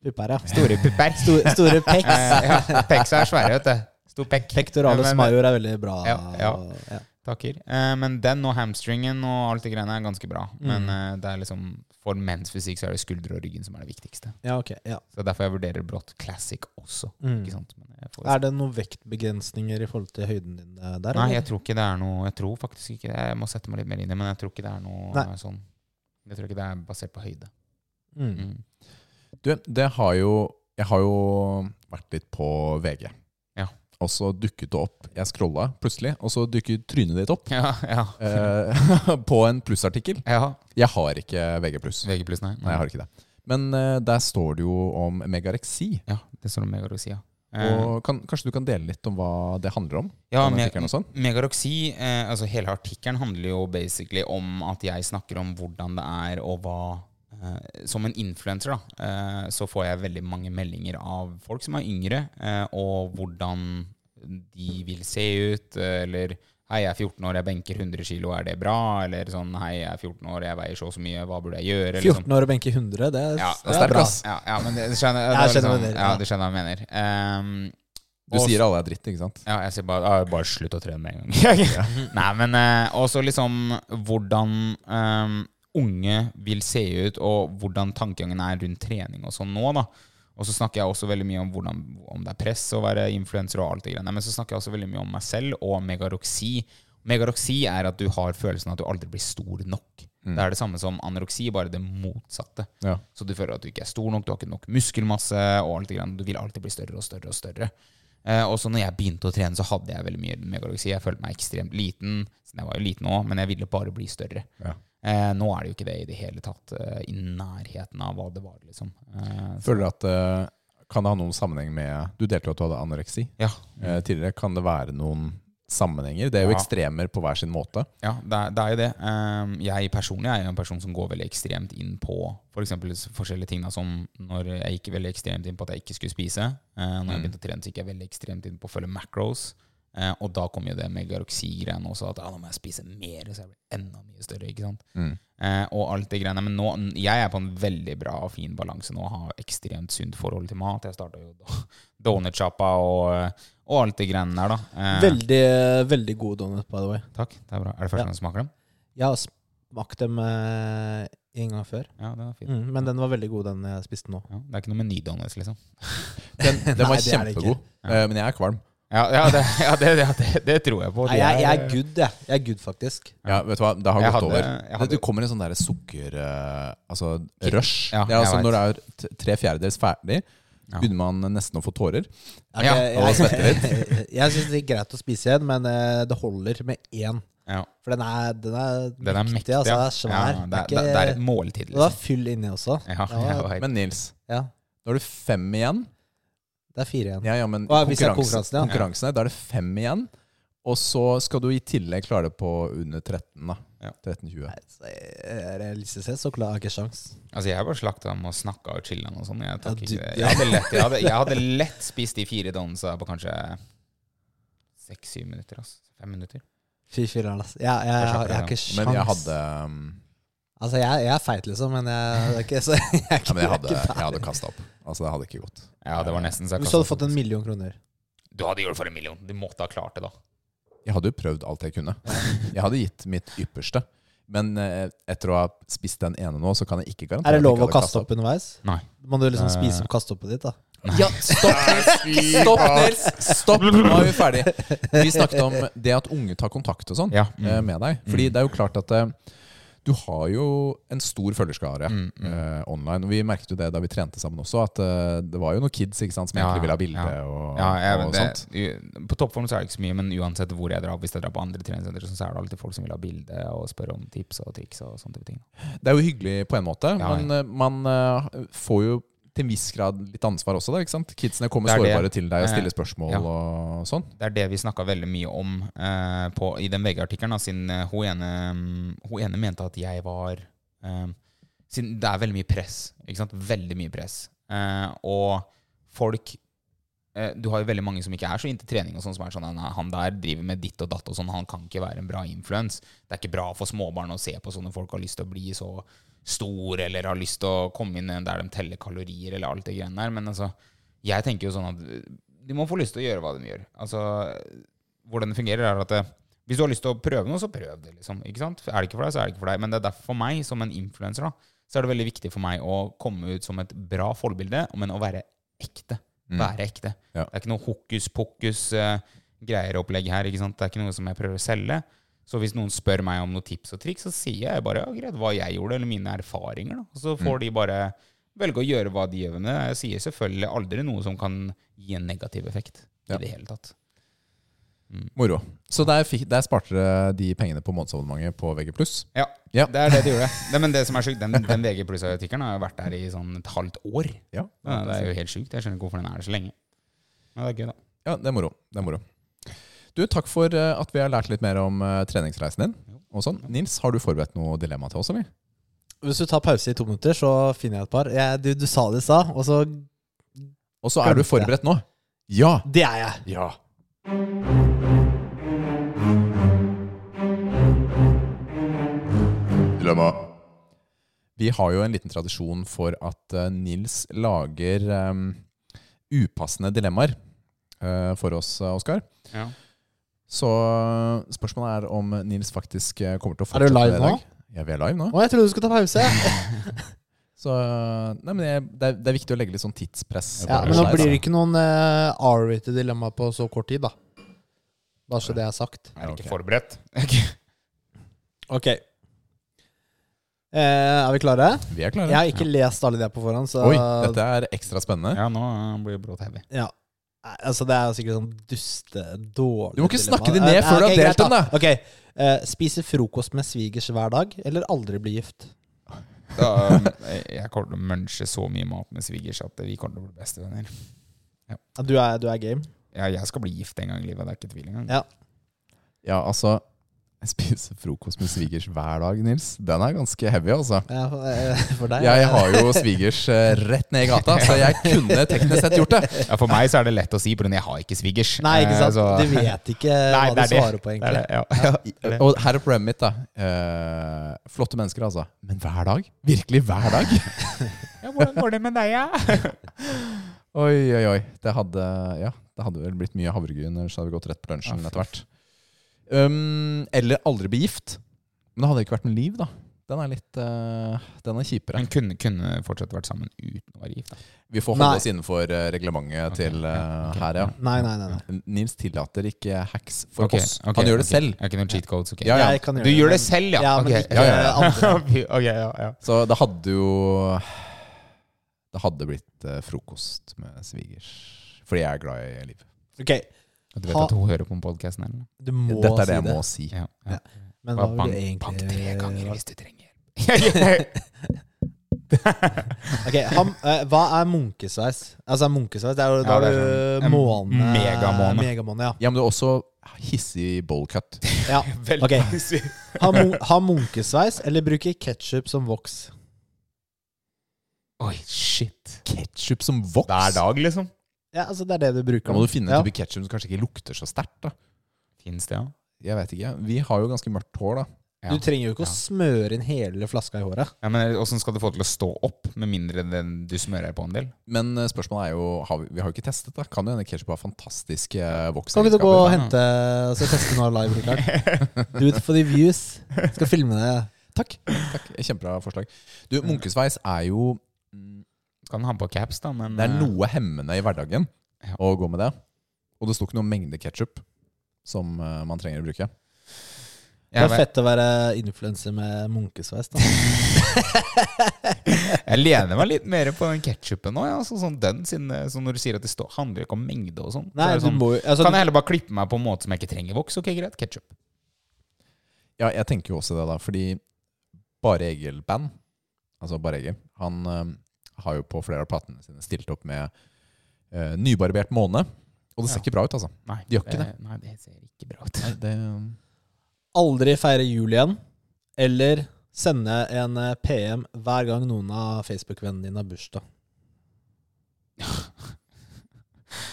[SPEAKER 1] Pupper, ja.
[SPEAKER 3] Store pupper.
[SPEAKER 1] Store, store pecs.
[SPEAKER 3] Eh, ja, Pecs er svære, vet du. Stor pekk.
[SPEAKER 1] Pectoralis
[SPEAKER 3] Men-
[SPEAKER 1] major er veldig bra.
[SPEAKER 3] Ja, ja.
[SPEAKER 1] og- ja.
[SPEAKER 3] Takker. Eh, men den og hamstringen og alt det greiene er ganske bra.
[SPEAKER 1] Mm.
[SPEAKER 3] Men eh, det er liksom for menns fysikk så er det skuldre og ryggen som er det viktigste.
[SPEAKER 1] Ja, ok. Ja.
[SPEAKER 3] Så det er derfor jeg vurderer brått classic også.
[SPEAKER 1] Mm.
[SPEAKER 3] Ikke sant? Men jeg får
[SPEAKER 1] Er det noen vektbegrensninger i forhold til høyden din eh, der?
[SPEAKER 3] Nei,
[SPEAKER 1] eller?
[SPEAKER 3] jeg tror ikke det er noe Jeg tror faktisk ikke det. Jeg må sette meg litt mer inn i det, men jeg tror ikke det er noe
[SPEAKER 1] Nei.
[SPEAKER 3] eh, sånn Jeg tror ikke det er basert på høyde.
[SPEAKER 1] mm.
[SPEAKER 3] Mm.
[SPEAKER 2] Du, det har jo Jeg har jo vært litt på VG.
[SPEAKER 3] Ja.
[SPEAKER 2] Og så dukket det opp. Jeg scrolla plutselig, og så dukket trynet ditt opp.
[SPEAKER 3] Ja, ja.
[SPEAKER 2] Eh, på en plussartikkel.
[SPEAKER 3] ja.
[SPEAKER 2] Jeg har ikke VG+. Pluss.
[SPEAKER 3] VG pluss, nei.
[SPEAKER 2] Nei, jeg har ikke det. Men eh, der står det jo om megareksi.
[SPEAKER 3] Ja, Eh, det står om megarosia.
[SPEAKER 2] Og kan, kanskje du kan dele litt om hva det handler om?
[SPEAKER 3] Ja,
[SPEAKER 2] Den
[SPEAKER 3] me
[SPEAKER 2] artikkelen og sånn?
[SPEAKER 3] Megaroxy, eh, altså hele artikkelen handler jo basically om at jeg snakker om hvordan det er og hva eh, Som en influenser, da, eh, så får jeg veldig mange meldinger av folk som er yngre, eh, og hvordan de vil se ut, eh, eller Hei, jeg er 14 år, jeg benker 100 kilo, er det bra? Eller sånn, hei, jeg er 14 år, jeg veier så og så mye, hva burde jeg gjøre? liksom.
[SPEAKER 1] 14 år og benke 100, det, er-
[SPEAKER 3] Ja,
[SPEAKER 1] det
[SPEAKER 2] sterk,
[SPEAKER 1] er bra.
[SPEAKER 2] ass.
[SPEAKER 3] Ja, ja, men det, skjønner, det
[SPEAKER 1] Jeg skjønner hva
[SPEAKER 3] var
[SPEAKER 1] du
[SPEAKER 3] liksom-
[SPEAKER 1] mener,
[SPEAKER 3] Ja,
[SPEAKER 1] ja.
[SPEAKER 3] du skjønner hva jeg mener. Um,
[SPEAKER 2] Du
[SPEAKER 3] og
[SPEAKER 2] sier alle er dritt, ikke sant?
[SPEAKER 3] ja, jeg sier bare, ja, bare slutt å trene med en gang. Nei, men eh, også liksom hvordan ehm, eh, unge vil se ut, og hvordan tankegangen er rundt trening og sånn nå, da. Og så snakker jeg også veldig mye om hvordan, om det er press å være influenser og alt det greiene. Men så snakker jeg også veldig mye om meg selv og megaroksi. Megaroksi er at du har følelsen av at du aldri blir stor nok. Det er det samme som anoreksi, bare det motsatte.
[SPEAKER 2] Ja.
[SPEAKER 3] Så du føler at du ikke er stor nok, du har ikke nok muskelmasse, og alt det grann. du vil alltid bli større og større og større. Eh, og så når jeg begynte å trene, så hadde jeg veldig mye megaloksi. Jeg følte meg ekstremt liten. Jeg var jo liten òg, men jeg ville bare bli større.
[SPEAKER 2] Ja.
[SPEAKER 3] Eh, nå er det jo ikke det i det hele tatt, eh, i nærheten av hva det var, liksom. Eh, så,
[SPEAKER 2] Føler du at eh, Kan det ha noen sammenheng med Du delte jo at du hadde anoreksi
[SPEAKER 3] ja,
[SPEAKER 1] Mm.
[SPEAKER 2] eh, tidligere. Kan det være noen sammenhenger? Det er jo
[SPEAKER 3] Ja.
[SPEAKER 2] ekstremer på hver sin måte.
[SPEAKER 3] ja det, er, det er jo det. Eh, jeg personlig er jo en person som går veldig ekstremt inn på for eksempel s- forskjellige ting, da, som når jeg gikk veldig ekstremt inn på at jeg ikke skulle spise. Eh, når jeg
[SPEAKER 2] Mm.
[SPEAKER 3] begynte å trene, så gikk jeg veldig ekstremt inn på å følge macros. Eh, og da kom jo det megaroksi-greiene også, at ja, nå må jeg spise mer, så jeg blir enda mye større. ikke sant?
[SPEAKER 1] Mm.
[SPEAKER 3] Eh, og alt det greiene. Men nå, jeg er på en veldig bra og fin balanse nå. Har ekstremt sunt forhold til mat. Jeg starta jo do- donutsjappa og, og alt det greiene der, da. Eh,
[SPEAKER 1] Veldig, veldig god donut, by the way.
[SPEAKER 3] Takk, det er bra. Er det første
[SPEAKER 1] Ja.
[SPEAKER 3] gang du smaker dem?
[SPEAKER 1] Jeg har smakt dem eh, en gang før,
[SPEAKER 3] Ja, det var fint.
[SPEAKER 1] mm, men den var veldig god, den jeg spiste nå.
[SPEAKER 3] Ja, det er ikke noe menydonuts, liksom.
[SPEAKER 2] Den, den
[SPEAKER 1] Nei, det er
[SPEAKER 2] var
[SPEAKER 1] det ikke.
[SPEAKER 2] kjempegod, eh, men jeg er kvalm.
[SPEAKER 3] Ja, ja, det, ja, det, ja det, det tror jeg på. De
[SPEAKER 1] Nei, jeg, jeg er
[SPEAKER 3] er-
[SPEAKER 1] good, jeg. Jeg er good, faktisk.
[SPEAKER 2] Ja, vet du hva, Det har
[SPEAKER 3] Jeg
[SPEAKER 2] gått
[SPEAKER 3] hadde-
[SPEAKER 2] over.
[SPEAKER 3] jeg
[SPEAKER 2] Det,
[SPEAKER 3] hadde-
[SPEAKER 2] det kommer en sånn der sukker... eh, altså rush.
[SPEAKER 3] Ja,
[SPEAKER 2] det er
[SPEAKER 3] jeg
[SPEAKER 2] altså
[SPEAKER 3] vet.
[SPEAKER 2] Når det er t- tre fjerdedels ferdig,
[SPEAKER 3] Ja.
[SPEAKER 2] begynner man nesten å få tårer.
[SPEAKER 1] Jeg,
[SPEAKER 3] Ja,
[SPEAKER 2] og
[SPEAKER 1] jeg, jeg, jeg syns det er greit å spise igjen, men eh, det holder med én.
[SPEAKER 3] Ja,
[SPEAKER 1] For den er, den er,
[SPEAKER 3] den er mektig,
[SPEAKER 1] altså. Den
[SPEAKER 3] ja.
[SPEAKER 1] er svær.
[SPEAKER 3] Ja,
[SPEAKER 1] det,
[SPEAKER 3] det,
[SPEAKER 1] er
[SPEAKER 3] er- det, det er et
[SPEAKER 1] ikke,
[SPEAKER 3] måltid,
[SPEAKER 1] det
[SPEAKER 3] liksom.
[SPEAKER 1] er fyll inni også.
[SPEAKER 3] Ja,
[SPEAKER 1] Ja,
[SPEAKER 3] jeg vet.
[SPEAKER 2] Men Nils,
[SPEAKER 1] Ja,
[SPEAKER 2] nå er det fem igjen.
[SPEAKER 1] det er fire igjen.
[SPEAKER 2] Ja, ja, men
[SPEAKER 1] Å, ja, hvis det er
[SPEAKER 2] konkurranse-
[SPEAKER 1] konkurransen, ja.
[SPEAKER 2] konkurransen er, Da er det fem igjen. Og så skal du i tillegg klare det på under 13, da.
[SPEAKER 3] Ja.
[SPEAKER 2] 13-20.
[SPEAKER 1] Nei, så jeg- Realistisk sett så klarer jeg ikke sjans.
[SPEAKER 3] Altså, jeg bare slakta dem og snakka og chilla og sånn. Jeg, tok
[SPEAKER 1] Ja,
[SPEAKER 3] ikke
[SPEAKER 1] du-
[SPEAKER 3] det. jeg, hadde lett- jeg, hadde- jeg hadde lett spist de fire donutsa på kanskje seks-syv minutter. ass. Fem minutter.
[SPEAKER 1] Fy filler'n, ass. Jeg, jeg, jeg, har- jeg har ikke sjans.
[SPEAKER 2] Men jeg hadde um,
[SPEAKER 1] Altså, jeg, jeg er feit, liksom, men jeg, det er ikke, så jeg, er
[SPEAKER 2] ja,
[SPEAKER 1] ikke,
[SPEAKER 2] men jeg
[SPEAKER 1] jeg
[SPEAKER 2] hadde,
[SPEAKER 1] er ikke
[SPEAKER 2] jeg
[SPEAKER 1] feit.
[SPEAKER 2] hadde kasta opp. Altså, det hadde ikke gått.
[SPEAKER 3] Ja, det var nesten så jeg
[SPEAKER 1] Hvis du
[SPEAKER 3] kastet
[SPEAKER 1] hadde fått en million kroner
[SPEAKER 3] Du hadde gjort det for en million. Du måtte ha klart det, da.
[SPEAKER 2] Jeg hadde jo prøvd alt jeg kunne. Jeg hadde gitt mitt ypperste. Men eh, etter å ha spist den ene nå, så kan jeg ikke garantere
[SPEAKER 1] Er det lov
[SPEAKER 2] at
[SPEAKER 1] å
[SPEAKER 2] jeg ikke hadde
[SPEAKER 1] kaste
[SPEAKER 2] kastet
[SPEAKER 1] opp underveis?
[SPEAKER 3] Nei.
[SPEAKER 1] Må du liksom
[SPEAKER 3] Eh.
[SPEAKER 1] spise opp kasteoppet ditt, da?
[SPEAKER 2] Ja, stopp, stopp, Nils! Stopp! Nå er vi ferdige. Vi snakket om det at unge tar kontakt og sånn
[SPEAKER 3] Ja.
[SPEAKER 2] eh, med deg. Fordi det er jo klart at eh, du har jo en stor følgerskare
[SPEAKER 3] Mm, mm.
[SPEAKER 2] eh, online. Og vi merket jo det da vi trente sammen også, at eh, det var jo noen kids ikke sant, som
[SPEAKER 3] Ja,
[SPEAKER 2] egentlig ville ha
[SPEAKER 3] ja.
[SPEAKER 2] bilde og,
[SPEAKER 3] Ja, jeg,
[SPEAKER 2] og
[SPEAKER 3] det,
[SPEAKER 2] sånt.
[SPEAKER 3] u- på toppform så er det ikke så mye, men uansett hvor jeg drar, hvis jeg drar på andre treningssentre, så er det alltid folk som vil ha bilde og spørre om tips og triks og sånne type ting.
[SPEAKER 2] Det er jo hyggelig på en måte,
[SPEAKER 3] Ja,
[SPEAKER 2] men eh, man eh, får jo til en viss grad litt ansvar også. Da, ikke sant? Kidsene kommer
[SPEAKER 3] Det er det.
[SPEAKER 2] sårbare til deg og
[SPEAKER 3] Eh,
[SPEAKER 2] stiller spørsmål
[SPEAKER 3] ja.
[SPEAKER 2] og sånn.
[SPEAKER 3] Det er det vi snakka veldig mye om eh, på, i den VG-artikkelen, da, siden eh, hun, ene, mm, hun ene mente at jeg var eh, Siden det er veldig mye press. Ikke sant? Veldig mye press. Eh, og folk eh, Du har jo veldig mange som ikke er så inntil trening, og sånn som er sånn "Nei, Han der driver med ditt og datt og sånn, han kan ikke være en bra influens. Det er ikke bra for småbarn å se på sånne folk har lyst til å bli så stor, eller har lyst til å komme inn der de teller kalorier, eller alt det greiene der. Men altså, jeg tenker jo sånn at de må få lyst til å gjøre hva de gjør. Altså, hvordan det fungerer, er at eh, hvis du har lyst til å prøve noe, så prøv det, liksom. Ikke sant? Er det ikke for deg, så er det ikke for deg. Men det er derfor for meg, som en influenser, da, så er det veldig viktig for meg å komme ut som et bra forbilde, men å være ekte.
[SPEAKER 2] Mm.
[SPEAKER 3] Være ekte.
[SPEAKER 2] Ja.
[SPEAKER 3] Det er ikke noe hokus pokus eh, greier opplegg her, ikke sant. Det er ikke noe som jeg prøver å selge. Så hvis noen spør meg om noen tips og triks, så sier jeg bare ja, greit, hva jeg gjorde, eller mine erfaringer. Da. Og så
[SPEAKER 2] Mm.
[SPEAKER 3] får de bare velge å gjøre hva de gjør med det. Jeg sier selvfølgelig aldri noe som kan gi en negativ effekt
[SPEAKER 2] Ja.
[SPEAKER 3] i det hele tatt.
[SPEAKER 2] Moro. Så der, fikk, der sparte dere de pengene på månedsabonnementet på VG+.
[SPEAKER 3] Ja,
[SPEAKER 2] Ja.
[SPEAKER 3] det er det de gjorde. Nei, men det som er sjukt, den, den VG pluss-artikkelen har jo vært der i sånn et halvt år.
[SPEAKER 2] Ja.
[SPEAKER 3] Ja, det er jo helt sjukt. Jeg skjønner ikke hvorfor den er der så lenge. Men det er gøy, da.
[SPEAKER 2] ja, det er moro. Det er moro. Du, takk for eh, at vi har lært litt mer om eh, treningsreisen din. og sånn. Nils, har du forberedt noe dilemma til oss, eller?
[SPEAKER 1] Hvis du tar pause i to minutter, så finner jeg et par. Jeg, du, du sa det i stad, og så
[SPEAKER 2] Og så er du
[SPEAKER 1] Glemte
[SPEAKER 2] forberedt nå? Ja!
[SPEAKER 1] Det er jeg!
[SPEAKER 2] Ja. Dilemma. Vi har jo en liten tradisjon for at eh, Nils lager eh, upassende dilemmaer eh, for oss, eh, Oskar.
[SPEAKER 3] Ja.
[SPEAKER 2] Så spørsmålet er om Nils faktisk eh, kommer til
[SPEAKER 1] Er
[SPEAKER 2] å
[SPEAKER 1] du
[SPEAKER 2] fortsette
[SPEAKER 1] live
[SPEAKER 2] det i dag. Ja, vi er live nå.
[SPEAKER 1] Å, jeg trodde du skulle ta pause!
[SPEAKER 2] Så eh, nei, men jeg, det, er, det er viktig å legge litt sånn tidspress.
[SPEAKER 1] Ja, men nå blir det ikke noen eh, R-rated dilemma på så kort tid, da. Bare så det er sagt.
[SPEAKER 3] Jeg er
[SPEAKER 2] ok.
[SPEAKER 3] ikke forberedt.
[SPEAKER 1] Ok. Eh, er vi klare?
[SPEAKER 2] Vi er klare.
[SPEAKER 1] Jeg har ikke lest alle de her på forhånd, så
[SPEAKER 2] Oi, dette er ekstra spennende.
[SPEAKER 3] ja, nå eh, blir det brått heavy.
[SPEAKER 1] Ja. Nei, Altså, det er sikkert sånn duste, dårlig
[SPEAKER 2] Du må ikke
[SPEAKER 1] dilemma.
[SPEAKER 2] snakke de ned
[SPEAKER 1] Eh,
[SPEAKER 2] før du
[SPEAKER 1] ok,
[SPEAKER 2] har delt
[SPEAKER 1] greit da.
[SPEAKER 2] dem, da.
[SPEAKER 1] Ok. Eh, spise frokost med svigers hver dag, eller aldri bli gift?
[SPEAKER 3] Da, eh, jeg kommer til å munche så mye mat med svigers at vi kommer til å bli bestevenner.
[SPEAKER 1] Ja, Du er, du er game?
[SPEAKER 3] Ja, jeg skal bli gift en gang i livet, det er ikke tvil engang.
[SPEAKER 1] Ja.
[SPEAKER 2] Ja, altså Jeg spiser frokost med svigers hver dag, Nils. Den er ganske heavy, altså.
[SPEAKER 1] Ja, for- eh, for deg?
[SPEAKER 2] Jeg har jo svigers eh, rett ned i gata, så jeg kunne teknisk sett gjort det.
[SPEAKER 3] Ja, for meg så er det lett å si, for jeg har ikke svigers.
[SPEAKER 1] Nei, ikke sant?
[SPEAKER 3] Eh, så-
[SPEAKER 1] Du vet ikke
[SPEAKER 3] Nei,
[SPEAKER 1] hva
[SPEAKER 3] det
[SPEAKER 1] du
[SPEAKER 3] er det.
[SPEAKER 1] svarer på,
[SPEAKER 3] Det er
[SPEAKER 1] egentlig.
[SPEAKER 3] det, ja. Ja, det er det.
[SPEAKER 2] Og her er problemet mitt, da. Eh, flotte mennesker, altså. Men hver dag? Virkelig hver dag?
[SPEAKER 3] Ja, hvordan går det med deg, ja?
[SPEAKER 2] Oi, oi, oi. Det hadde, ja, det hadde vel blitt mye havregryn, ellers hadde vi gått rett på lunsjen
[SPEAKER 3] Ah,
[SPEAKER 2] etter hvert. Um, eller aldri bli gift. Men det hadde ikke vært med Liv, da. Den er litt eh, Den er kjipere.
[SPEAKER 3] Men kunne, kunne fortsatt vært sammen uten å være gift. Da.
[SPEAKER 2] Vi får holde
[SPEAKER 1] Nei.
[SPEAKER 2] oss innenfor eh, reglementet
[SPEAKER 3] Ok,
[SPEAKER 2] til eh,
[SPEAKER 3] ja, ok.
[SPEAKER 2] her, ja.
[SPEAKER 1] Nei, nei, nei. nei.
[SPEAKER 2] Nils tillater ikke hacks for
[SPEAKER 3] Ok,
[SPEAKER 2] oss.
[SPEAKER 3] ok,
[SPEAKER 2] Han gjør det
[SPEAKER 3] ok.
[SPEAKER 2] selv.
[SPEAKER 3] Det er ikke noen cheat codes, ok?
[SPEAKER 2] Ja, ja.
[SPEAKER 1] Jeg kan gjøre
[SPEAKER 3] Du gjør det
[SPEAKER 1] men-
[SPEAKER 3] selv, ja?
[SPEAKER 1] Ja, men
[SPEAKER 3] Ok,
[SPEAKER 1] ikke
[SPEAKER 2] ja, ja,
[SPEAKER 1] andre.
[SPEAKER 3] ok, ja, ja.
[SPEAKER 2] Så det hadde jo Det hadde blitt eh, frokost med svigers. Fordi jeg er glad i Liv.
[SPEAKER 1] Ok,
[SPEAKER 3] Du vet
[SPEAKER 1] Ha-
[SPEAKER 3] at hun hører på podkasten her? eller?
[SPEAKER 1] du må
[SPEAKER 2] Dette
[SPEAKER 1] si
[SPEAKER 2] er det jeg
[SPEAKER 1] det.
[SPEAKER 2] må si.
[SPEAKER 3] Ja.
[SPEAKER 1] Ja. Men hva
[SPEAKER 3] Bare
[SPEAKER 1] vil du
[SPEAKER 3] bank, bank tre
[SPEAKER 1] egentlig
[SPEAKER 3] ganger hvis du trenger.
[SPEAKER 1] Ok, ham, eh, Hva er munkesveis? Altså, er munkesveis det er jo
[SPEAKER 3] Ja,
[SPEAKER 1] da
[SPEAKER 3] det er
[SPEAKER 1] du
[SPEAKER 3] sånn en
[SPEAKER 1] måne
[SPEAKER 3] megamåne.
[SPEAKER 1] megamåne, ja.
[SPEAKER 2] Ja, men du er også hissig bowlcut.
[SPEAKER 1] ja.
[SPEAKER 3] Veldig
[SPEAKER 1] Ok.
[SPEAKER 3] sykt.
[SPEAKER 1] Ha, mun ha munkesveis eller bruke ketsjup som voks?
[SPEAKER 3] Oi, shit.
[SPEAKER 2] Ketsjup som voks?
[SPEAKER 3] Hver dag, liksom.
[SPEAKER 1] Ja, altså Det er det du bruker.
[SPEAKER 2] Da må
[SPEAKER 1] nå.
[SPEAKER 2] du finne en type ketsjup som kanskje ikke lukter så sterkt. da.
[SPEAKER 3] Fins det, ja?
[SPEAKER 2] Jeg vet ikke. Vi har jo ganske mørkt hår, da.
[SPEAKER 1] ja. Du trenger jo ikke
[SPEAKER 3] Ja.
[SPEAKER 1] å smøre inn hele flaska i håret.
[SPEAKER 3] ja men Åssen skal du få til å stå opp, med mindre den du smører på en del?
[SPEAKER 2] Men eh, spørsmålet er jo har vi, vi har jo ikke testet, da. Kan jo hende ketsjup har fantastiske eh,
[SPEAKER 1] Skal ikke du gå og
[SPEAKER 2] voksegenskaper.
[SPEAKER 1] hente Så teste nå live, Rikard? Do it for the views. Skal filme det.
[SPEAKER 2] Takk. Takk. Kjempebra forslag. Du,
[SPEAKER 3] Mm.
[SPEAKER 2] munkesveis er jo mm,
[SPEAKER 3] Du kan ha på caps, da, men
[SPEAKER 2] Det er
[SPEAKER 3] eh,
[SPEAKER 2] noe hemmende i hverdagen
[SPEAKER 3] Ja.
[SPEAKER 2] å gå med det. Og det sto ikke noen mengde ketsjup som eh, man trenger å bruke.
[SPEAKER 1] Det
[SPEAKER 3] jeg,
[SPEAKER 1] er fett å være influenser med munkesveis. da
[SPEAKER 3] vet- jeg lener meg litt mer på den ketsjupen nå. Ja. Sånn, sånn den, siden eh, sånn når du sier at det står, handler ikke om mengde og sånn. Så
[SPEAKER 1] Nei,
[SPEAKER 3] er det
[SPEAKER 1] du
[SPEAKER 3] sånn,
[SPEAKER 1] må jo altså,
[SPEAKER 3] Kan jeg heller bare klippe meg på en måte som jeg ikke trenger voks? Ok, greit. Ketsjup.
[SPEAKER 2] Ja, jeg tenker jo også det, da. Fordi Bare Egil-band, altså Bare Egil, han eh, har jo på flere av platene sine stilt opp med eh, nybarbert måne. Og det ser
[SPEAKER 3] Ja.
[SPEAKER 2] ikke bra ut, altså.
[SPEAKER 3] Nei, eh,
[SPEAKER 2] De gjør ikke det.
[SPEAKER 3] Nei, det eh, ser ikke bra ut.
[SPEAKER 2] Nei, det,
[SPEAKER 1] Aldri feire jul igjen, eller sende en eh, PM hver gang noen av Facebook-vennene dine har bursdag.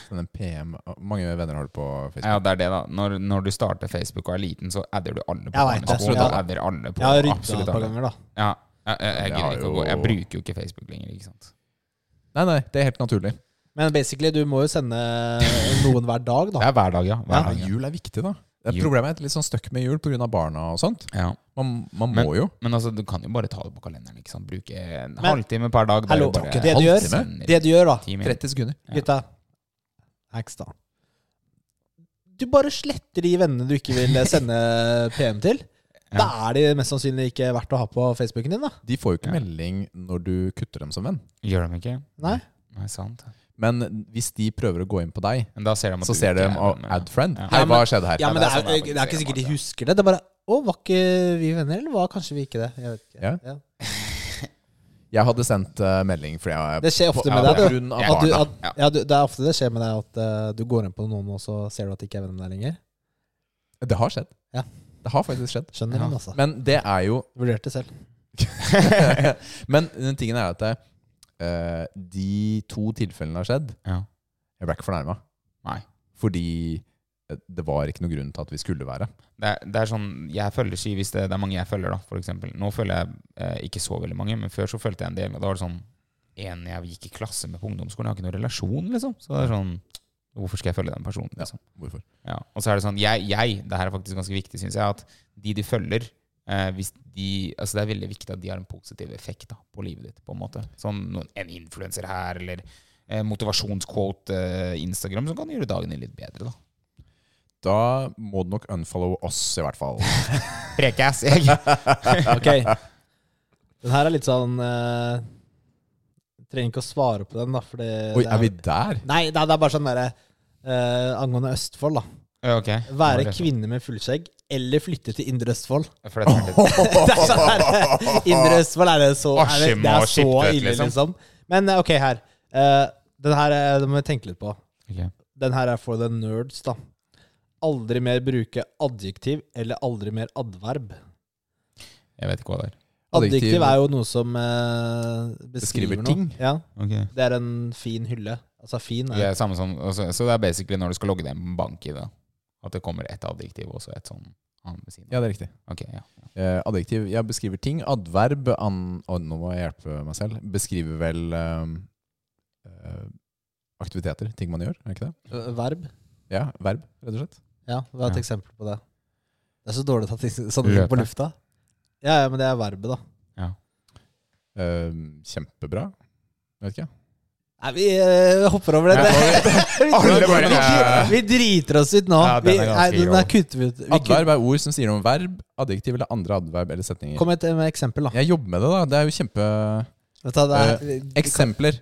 [SPEAKER 2] den PM Hvor mange venner har du på Facebook?
[SPEAKER 3] Ja, det er det, da. Når, når du starter Facebook og er liten, så adder du alle på
[SPEAKER 1] Jeg vet
[SPEAKER 3] barnets
[SPEAKER 1] det.
[SPEAKER 3] skole.
[SPEAKER 1] Ja.
[SPEAKER 3] Da adder alle på
[SPEAKER 1] Jeg har rydda
[SPEAKER 3] absolutt
[SPEAKER 1] et par
[SPEAKER 3] alle.
[SPEAKER 1] ganger, da.
[SPEAKER 3] Ja, jeg, jeg, jeg,
[SPEAKER 2] Det
[SPEAKER 3] gidder
[SPEAKER 2] har
[SPEAKER 3] ikke å
[SPEAKER 2] jo-
[SPEAKER 3] gå. jeg bruker jo ikke Facebook lenger, ikke sant.
[SPEAKER 2] Nei, nei, det er helt naturlig.
[SPEAKER 1] Men basically, du må jo sende noen hver dag,
[SPEAKER 3] Det
[SPEAKER 1] da.
[SPEAKER 3] er hver dag, ja. Hver
[SPEAKER 2] Ja,
[SPEAKER 3] dag, ja.
[SPEAKER 2] jul er viktig, da. Det er
[SPEAKER 3] Jul.
[SPEAKER 2] problemet er et litt sånn støkk med jul pga. barna og sånt.
[SPEAKER 3] Ja.
[SPEAKER 2] Man, man må
[SPEAKER 3] Men-
[SPEAKER 2] jo.
[SPEAKER 3] Men altså, du kan jo bare ta det på kalenderen. ikke sant? Bruke en halvtime per dag.
[SPEAKER 1] Hallo,
[SPEAKER 3] det
[SPEAKER 1] det du gjør- Det du gjør, da,
[SPEAKER 3] Timer.
[SPEAKER 2] 30 sekunder.
[SPEAKER 3] Ja.
[SPEAKER 1] gutta Hacks, da. Du bare sletter de vennene du ikke vil sende PM til. Da er de mest sannsynlig ikke verdt å ha på Facebooken din, da.
[SPEAKER 2] De får jo ikke
[SPEAKER 3] Ja.
[SPEAKER 2] melding når du kutter dem som venn.
[SPEAKER 3] Gjør de ikke?
[SPEAKER 1] Nei.
[SPEAKER 3] Nei, sant.
[SPEAKER 2] Men hvis de prøver å gå inn på deg,
[SPEAKER 3] Men da ser de at
[SPEAKER 2] så
[SPEAKER 3] du
[SPEAKER 2] ser de
[SPEAKER 3] ikke er
[SPEAKER 2] oh,
[SPEAKER 3] med.
[SPEAKER 2] ad friend.
[SPEAKER 3] Ja.
[SPEAKER 2] Hei,
[SPEAKER 1] Ja,
[SPEAKER 2] hva
[SPEAKER 1] men-
[SPEAKER 2] har skjedd her?
[SPEAKER 1] Ja, men det er,
[SPEAKER 3] det er sånn det er på
[SPEAKER 1] det er ikke
[SPEAKER 3] Instagram,
[SPEAKER 1] sikkert de
[SPEAKER 3] altså.
[SPEAKER 1] husker det. Det er bare Å, var ikke vi venner, eller var kanskje vi ikke det? Jeg vet ikke.
[SPEAKER 2] Ja. Jeg hadde sendt eh, melding fordi jeg
[SPEAKER 1] Det skjer ofte
[SPEAKER 2] på-
[SPEAKER 1] med
[SPEAKER 2] ja,
[SPEAKER 1] deg,
[SPEAKER 2] på
[SPEAKER 1] du.
[SPEAKER 2] grunn av
[SPEAKER 1] At du,
[SPEAKER 2] barna.
[SPEAKER 1] at, ja. du, det er ofte det skjer med deg at eh, du går inn på noen, og så ser du at de ikke er venn med deg lenger.
[SPEAKER 2] Det har skjedd.
[SPEAKER 1] Ja.
[SPEAKER 2] Det har faktisk skjedd.
[SPEAKER 1] Skjønner
[SPEAKER 3] Ja.
[SPEAKER 1] den, altså.
[SPEAKER 2] Men det er jo
[SPEAKER 1] Vurderte selv.
[SPEAKER 2] Men den tingen er at det, eh, de to tilfellene har skjedd.
[SPEAKER 3] Ja.
[SPEAKER 2] Jeg ble ikke fornærma.
[SPEAKER 3] Nei.
[SPEAKER 2] Fordi eh, det var ikke noen grunn til at vi skulle være.
[SPEAKER 3] Det er, det er sånn, jeg følger ikke hvis det, det er mange jeg følger, da, for eksempel. Nå følger jeg eh, ikke så veldig mange, men før så følte jeg en del. Og da var det sånn En jeg gikk i klasse med på ungdomsskolen, jeg har ikke noen relasjon, liksom. Så det er sånn Hvorfor skal jeg følge den personen? liksom?
[SPEAKER 2] Hvorfor?
[SPEAKER 3] Ja. Og så er det sånn jeg, jeg, Det her er faktisk ganske viktig, syns jeg, at de de følger, eh, hvis de, altså det er veldig viktig at de har en positiv effekt da, på livet ditt. på En måte. Sånn noen, en influenser her, eller eh, motivasjonsquote eh, Instagram, som kan gjøre dagen din litt bedre. da.
[SPEAKER 2] Da må du nok unfollow oss, i hvert fall.
[SPEAKER 3] Prekass, jeg.
[SPEAKER 1] Ok. Den her er litt sånn eh, Trenger ikke å svare på den, da. For det,
[SPEAKER 2] Oi,
[SPEAKER 1] det
[SPEAKER 2] er vi der?
[SPEAKER 1] Nei, det er, det er bare sånn derre eh, Angående Østfold, da.
[SPEAKER 3] Ja, ok.
[SPEAKER 1] Være kvinne med fullskjegg eller flytte til Indre Østfold.
[SPEAKER 3] sånn. For det er litt-
[SPEAKER 1] Det er sånn her, Indre Østfold er det så, er det, det er så
[SPEAKER 3] Askim og Skiptvet,
[SPEAKER 1] ille,
[SPEAKER 3] liksom.
[SPEAKER 1] liksom. Men eh, ok, her. Eh, den her eh, den må jeg tenke litt på.
[SPEAKER 3] Ok.
[SPEAKER 1] Den her er for the nerds, da. Aldri mer bruke adjektiv eller aldri mer adverb.
[SPEAKER 3] Jeg vet ikke hva det er.
[SPEAKER 1] Adjektiv er jo noe som eh, beskriver,
[SPEAKER 2] Beskriver
[SPEAKER 1] noe.
[SPEAKER 2] ting.
[SPEAKER 1] Ja,
[SPEAKER 3] Ok.
[SPEAKER 1] det er en fin hylle. Altså fin
[SPEAKER 3] Det
[SPEAKER 1] er
[SPEAKER 3] er samme som, altså, så det er basically når du skal logge deg inn på en bank-ID, at det kommer et adjektiv og så et sånn annet ved siden av.
[SPEAKER 2] Ja, det er riktig.
[SPEAKER 3] Ok, ja.
[SPEAKER 2] Eh, adjektiv. Jeg beskriver ting. Adverb an... Å, nå må jeg hjelpe meg selv. Beskriver vel eh, eh, aktiviteter. Ting man gjør, er det ikke det?
[SPEAKER 1] eh, verb.
[SPEAKER 2] Ja, verb, rett og slett.
[SPEAKER 1] Ja, det var et
[SPEAKER 3] Ja.
[SPEAKER 1] eksempel på det. Det er så dårlig tatt sånn ting på
[SPEAKER 3] Løpe.
[SPEAKER 1] lufta. Ja, ja, men det er verbet, da.
[SPEAKER 2] Eh, kjempebra. Vet ikke.
[SPEAKER 1] Nei, vi eh, hopper over det. vi,
[SPEAKER 3] Alle bare-
[SPEAKER 1] vi- vi driter oss ut nå.
[SPEAKER 3] Ja, den er
[SPEAKER 1] vi, nei,
[SPEAKER 3] ganske
[SPEAKER 1] den
[SPEAKER 3] grov.
[SPEAKER 1] der kutter vi ut. Vi kutter.
[SPEAKER 2] Adverb er ord som sier noe om verb, adjektiv eller andre adverb eller setninger.
[SPEAKER 1] Kom med et med eksempel, da.
[SPEAKER 2] Jeg jobber med det, da. Det er jo kjempe...
[SPEAKER 1] Vet du, hva, det er,
[SPEAKER 2] Eksempler.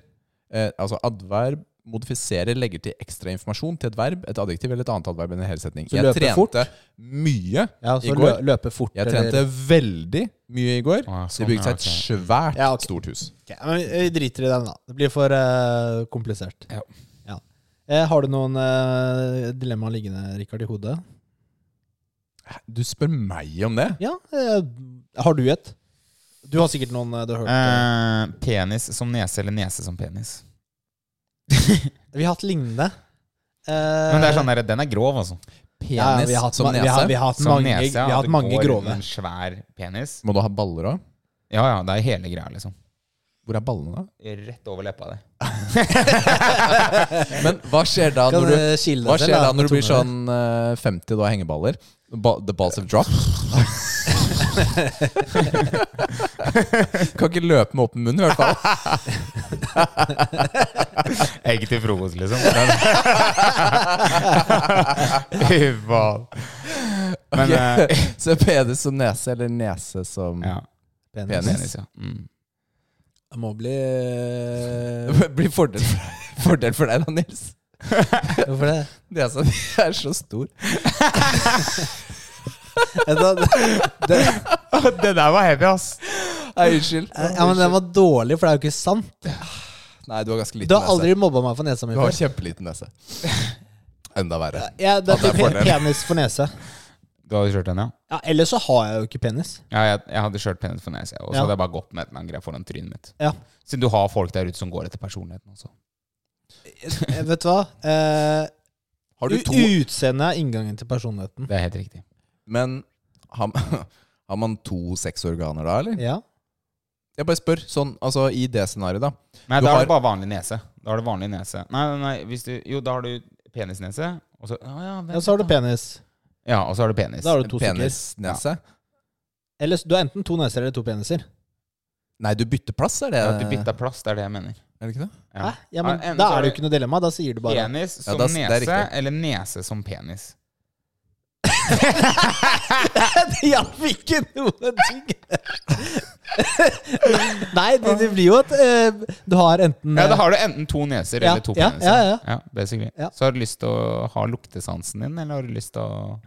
[SPEAKER 2] Eh, altså adverb modifiserer, legger til ekstra informasjon til et verb, et adjektiv eller et annet adverb. enn en hel setning.
[SPEAKER 1] Så
[SPEAKER 2] Jeg
[SPEAKER 1] løpe
[SPEAKER 2] trente
[SPEAKER 1] fort?
[SPEAKER 2] mye
[SPEAKER 1] ja,
[SPEAKER 2] i
[SPEAKER 1] så lø,
[SPEAKER 2] går.
[SPEAKER 1] løpe fort.
[SPEAKER 2] Jeg
[SPEAKER 1] eller-
[SPEAKER 2] trente veldig mye i går.
[SPEAKER 3] Å, ja,
[SPEAKER 2] Så de
[SPEAKER 3] sånn,
[SPEAKER 2] bygde seg et
[SPEAKER 3] ja,
[SPEAKER 2] svært,
[SPEAKER 1] Ja, ok.
[SPEAKER 2] stort hus.
[SPEAKER 1] Ok, men vi- vi driter i den, da. Det blir for eh, komplisert.
[SPEAKER 3] Ja.
[SPEAKER 1] Ja. Eh, har du noen uh, dilemmaer liggende, Rikard, i hodet?
[SPEAKER 2] Du spør meg om det?
[SPEAKER 1] Ja. eh, har du et? Du har sikkert noen eh, du har hørt. eh.
[SPEAKER 3] Eh, penis som nese eller nese som penis?
[SPEAKER 1] Vi har hatt lignende. Eh,
[SPEAKER 3] Men det er sånn der, den er grov, altså.
[SPEAKER 2] Penis
[SPEAKER 1] ja, vi har hatt,
[SPEAKER 2] som
[SPEAKER 1] ma-
[SPEAKER 2] nese?
[SPEAKER 1] Vi har, vi har hatt
[SPEAKER 3] Som
[SPEAKER 1] mange,
[SPEAKER 3] nese,
[SPEAKER 1] vi har
[SPEAKER 3] at
[SPEAKER 1] hatt
[SPEAKER 3] det
[SPEAKER 1] mange
[SPEAKER 3] går
[SPEAKER 1] grove.
[SPEAKER 3] En svær penis.
[SPEAKER 2] Må du ha baller òg?
[SPEAKER 3] Ja, ja, det er hele greia, liksom.
[SPEAKER 2] Hvor er ballene, da?
[SPEAKER 3] Rett over leppa di.
[SPEAKER 2] Men hva skjer da
[SPEAKER 1] Kan
[SPEAKER 2] når du,
[SPEAKER 1] du skille
[SPEAKER 2] hva
[SPEAKER 1] deg
[SPEAKER 2] skjer
[SPEAKER 1] selv,
[SPEAKER 2] da
[SPEAKER 1] da,
[SPEAKER 2] når du blir
[SPEAKER 1] Tone?
[SPEAKER 2] sånn eh, 50 og har hengeballer? Ba the balls have dropped? kan ikke løpe med åpen munn, i hvert fall.
[SPEAKER 3] Egg til frokost, liksom. Fy faen. Men
[SPEAKER 2] Ok.
[SPEAKER 3] eh,
[SPEAKER 2] Så penis som nese, eller nese som
[SPEAKER 3] ja.
[SPEAKER 1] Penis.
[SPEAKER 2] Penis.
[SPEAKER 3] Penis, ja. Mm.
[SPEAKER 1] Det må bli eh,
[SPEAKER 2] Det blir fordel for, fordel for deg da, Nils.
[SPEAKER 1] Hvorfor det?
[SPEAKER 2] Nesa di er så stor.
[SPEAKER 1] Vet du hva, det- det-
[SPEAKER 3] det der var heavy, ass.
[SPEAKER 2] Nei, unnskyld.
[SPEAKER 1] Ja, men Den var dårlig, for det er jo ikke sant.
[SPEAKER 2] Nei, du har ganske liten
[SPEAKER 1] Du har
[SPEAKER 2] nese.
[SPEAKER 1] aldri mobba meg for nesa mi
[SPEAKER 2] Du har
[SPEAKER 1] før.
[SPEAKER 2] kjempeliten nese. Enda verre.
[SPEAKER 1] Ja, det er
[SPEAKER 2] det er
[SPEAKER 1] pe-
[SPEAKER 2] fordel.
[SPEAKER 1] penis for nese.
[SPEAKER 3] Du hadde kjørt den, ja?
[SPEAKER 1] Ja, Ellers så har jeg jo ikke penis.
[SPEAKER 3] Ja, jeg, jeg hadde kjørt penis for nesa, og så
[SPEAKER 1] Ja.
[SPEAKER 3] hadde jeg bare gått med den greia foran trynet mitt.
[SPEAKER 1] Ja.
[SPEAKER 3] Siden du har folk der ute som går etter personligheten også.
[SPEAKER 1] Eh, Vet du hva? Eh,
[SPEAKER 2] Har du to
[SPEAKER 1] Utseendet er inngangen til personligheten.
[SPEAKER 3] Det er helt riktig.
[SPEAKER 2] Men har, man- har man to sexorganer da, eller?
[SPEAKER 1] Ja.
[SPEAKER 2] Jeg bare spør. Sånn, altså i det scenarioet, da.
[SPEAKER 3] Nei,
[SPEAKER 2] Du
[SPEAKER 3] da har
[SPEAKER 2] har-
[SPEAKER 3] du bare vanlig nese. Da har du vanlig nese. Nei, nei, nei hvis du, jo, da har du penisnese, og så ja, ja, vent
[SPEAKER 1] ja, så har du
[SPEAKER 3] litt da.
[SPEAKER 1] penis.
[SPEAKER 3] Ja, og så har du penis.
[SPEAKER 1] Da har du to stykker.
[SPEAKER 2] Penisnese.
[SPEAKER 1] Eller s- du har enten to neser eller to peniser.
[SPEAKER 2] Nei, du bytter plass, er det?
[SPEAKER 3] Ja, at du bytta plass, det er det jeg mener.
[SPEAKER 2] Er det ikke det?
[SPEAKER 3] Ja.
[SPEAKER 1] Hæ? Ja, men
[SPEAKER 3] Ja, enten så
[SPEAKER 1] Da
[SPEAKER 3] har
[SPEAKER 1] er det jo
[SPEAKER 3] du-
[SPEAKER 1] ikke noe dilemma. Da sier du bare
[SPEAKER 3] Penis
[SPEAKER 2] Ja,
[SPEAKER 3] som
[SPEAKER 2] da s- det er
[SPEAKER 3] nese,
[SPEAKER 2] riktig.
[SPEAKER 3] eller nese som penis.
[SPEAKER 1] Det hjalp ikke noe ting. Nei, det, det blir jo at eh, du har enten eh,
[SPEAKER 3] Ja, da har du enten to neser
[SPEAKER 1] Ja,
[SPEAKER 3] eller to
[SPEAKER 1] ja,
[SPEAKER 3] peniser.
[SPEAKER 1] ja, ja.
[SPEAKER 3] basically.
[SPEAKER 1] Ja.
[SPEAKER 3] Så har du lyst til å ha luktesansen din, eller har du lyst til å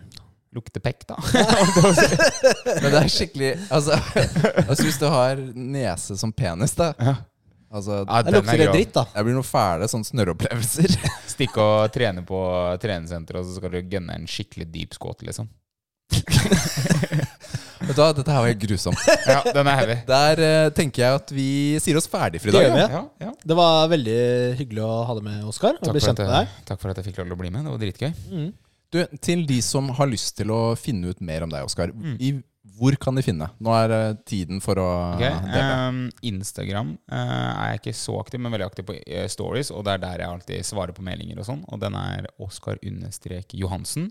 [SPEAKER 3] lukte pekk, da?
[SPEAKER 2] Men det er skikkelig Altså, altså hvis du har nese som penis, da
[SPEAKER 3] Ja.
[SPEAKER 2] Altså,
[SPEAKER 3] Ja,
[SPEAKER 1] Da lukter det
[SPEAKER 3] grov.
[SPEAKER 1] dritt, da.
[SPEAKER 2] det blir noen fæle sånne snørropplevelser.
[SPEAKER 3] Stikke og trene på treningssenteret, og så skal du gønne en skikkelig deep squat, liksom.
[SPEAKER 2] Vet du hva, dette her var helt grusomt.
[SPEAKER 3] Ja, den er heavy.
[SPEAKER 2] Der eh, tenker jeg at vi sier oss ferdig for i
[SPEAKER 1] Det
[SPEAKER 2] dag.
[SPEAKER 1] gjør vi.
[SPEAKER 2] ja.
[SPEAKER 1] Ja.
[SPEAKER 3] Ja, ja.
[SPEAKER 1] Det var veldig hyggelig å ha deg med, Oskar. Og
[SPEAKER 3] Takk,
[SPEAKER 1] bli
[SPEAKER 3] for
[SPEAKER 1] kjent
[SPEAKER 3] at
[SPEAKER 1] med
[SPEAKER 3] jeg,
[SPEAKER 1] deg.
[SPEAKER 3] takk for at jeg fikk lov til å bli med. Det var dritgøy.
[SPEAKER 1] Mm.
[SPEAKER 2] Du, til de som har lyst til å finne ut mer om deg, Oskar.
[SPEAKER 3] Mm.
[SPEAKER 2] i- Hvor kan de finne? Nå er eh, tiden for å
[SPEAKER 3] Ok,
[SPEAKER 2] dele.
[SPEAKER 3] ehm, Instagram eh, er jeg ikke så aktiv, men veldig aktiv på eh, stories. Og det er der jeg alltid svarer på meldinger og sånn. Og den er Oskar-Johansen.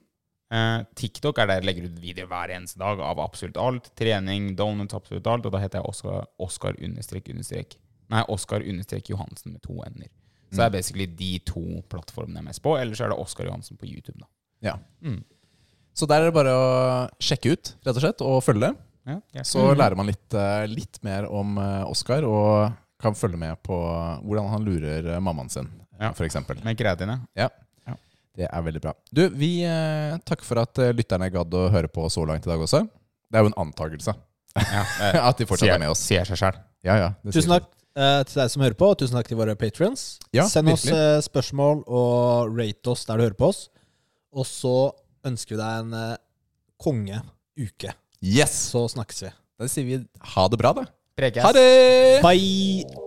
[SPEAKER 3] Eh, TikTok er der jeg legger ut videoer hver eneste dag av absolutt alt. Trening, donuts, absolutt alt. Og da heter jeg Oskar, Oskar understrek understrek Nei, Oskar understrek Johansen med to n-er. Så det er basically de to plattformene jeg er mest på. Ellers er det Oskar Johansen på YouTube, da.
[SPEAKER 2] Ja.
[SPEAKER 3] Mm.
[SPEAKER 2] Så der er det bare å sjekke ut, rett og slett, og følge.
[SPEAKER 3] Ja, ja.
[SPEAKER 2] Så lærer man litt, eh, litt mer om eh, Oscar, og kan følge med på hvordan han lurer eh, mammaen sin,
[SPEAKER 3] Ja.
[SPEAKER 2] for eksempel.
[SPEAKER 3] Med greia dine.
[SPEAKER 2] Det er veldig bra. Du, vi eh, takker for at eh, lytterne gadd å høre på så langt i dag også. Det er jo en antakelse
[SPEAKER 3] Ja, det
[SPEAKER 2] at de fortsatt
[SPEAKER 3] sier-
[SPEAKER 2] er med oss.
[SPEAKER 3] Sier seg selv
[SPEAKER 2] Ja, ja, det sier
[SPEAKER 1] Tusen takk eh, til deg som hører på, og tusen takk til våre patrions.
[SPEAKER 2] Ja,
[SPEAKER 1] Send oss
[SPEAKER 2] virkelig.
[SPEAKER 1] eh, spørsmål og rate oss der du hører på oss. Og så ønsker vi deg en eh, kongeuke.
[SPEAKER 2] Yes!
[SPEAKER 1] Så snakkes vi.
[SPEAKER 2] Da sier vi ha det bra, da.
[SPEAKER 3] Prekes.
[SPEAKER 2] Ha det!
[SPEAKER 1] Bye!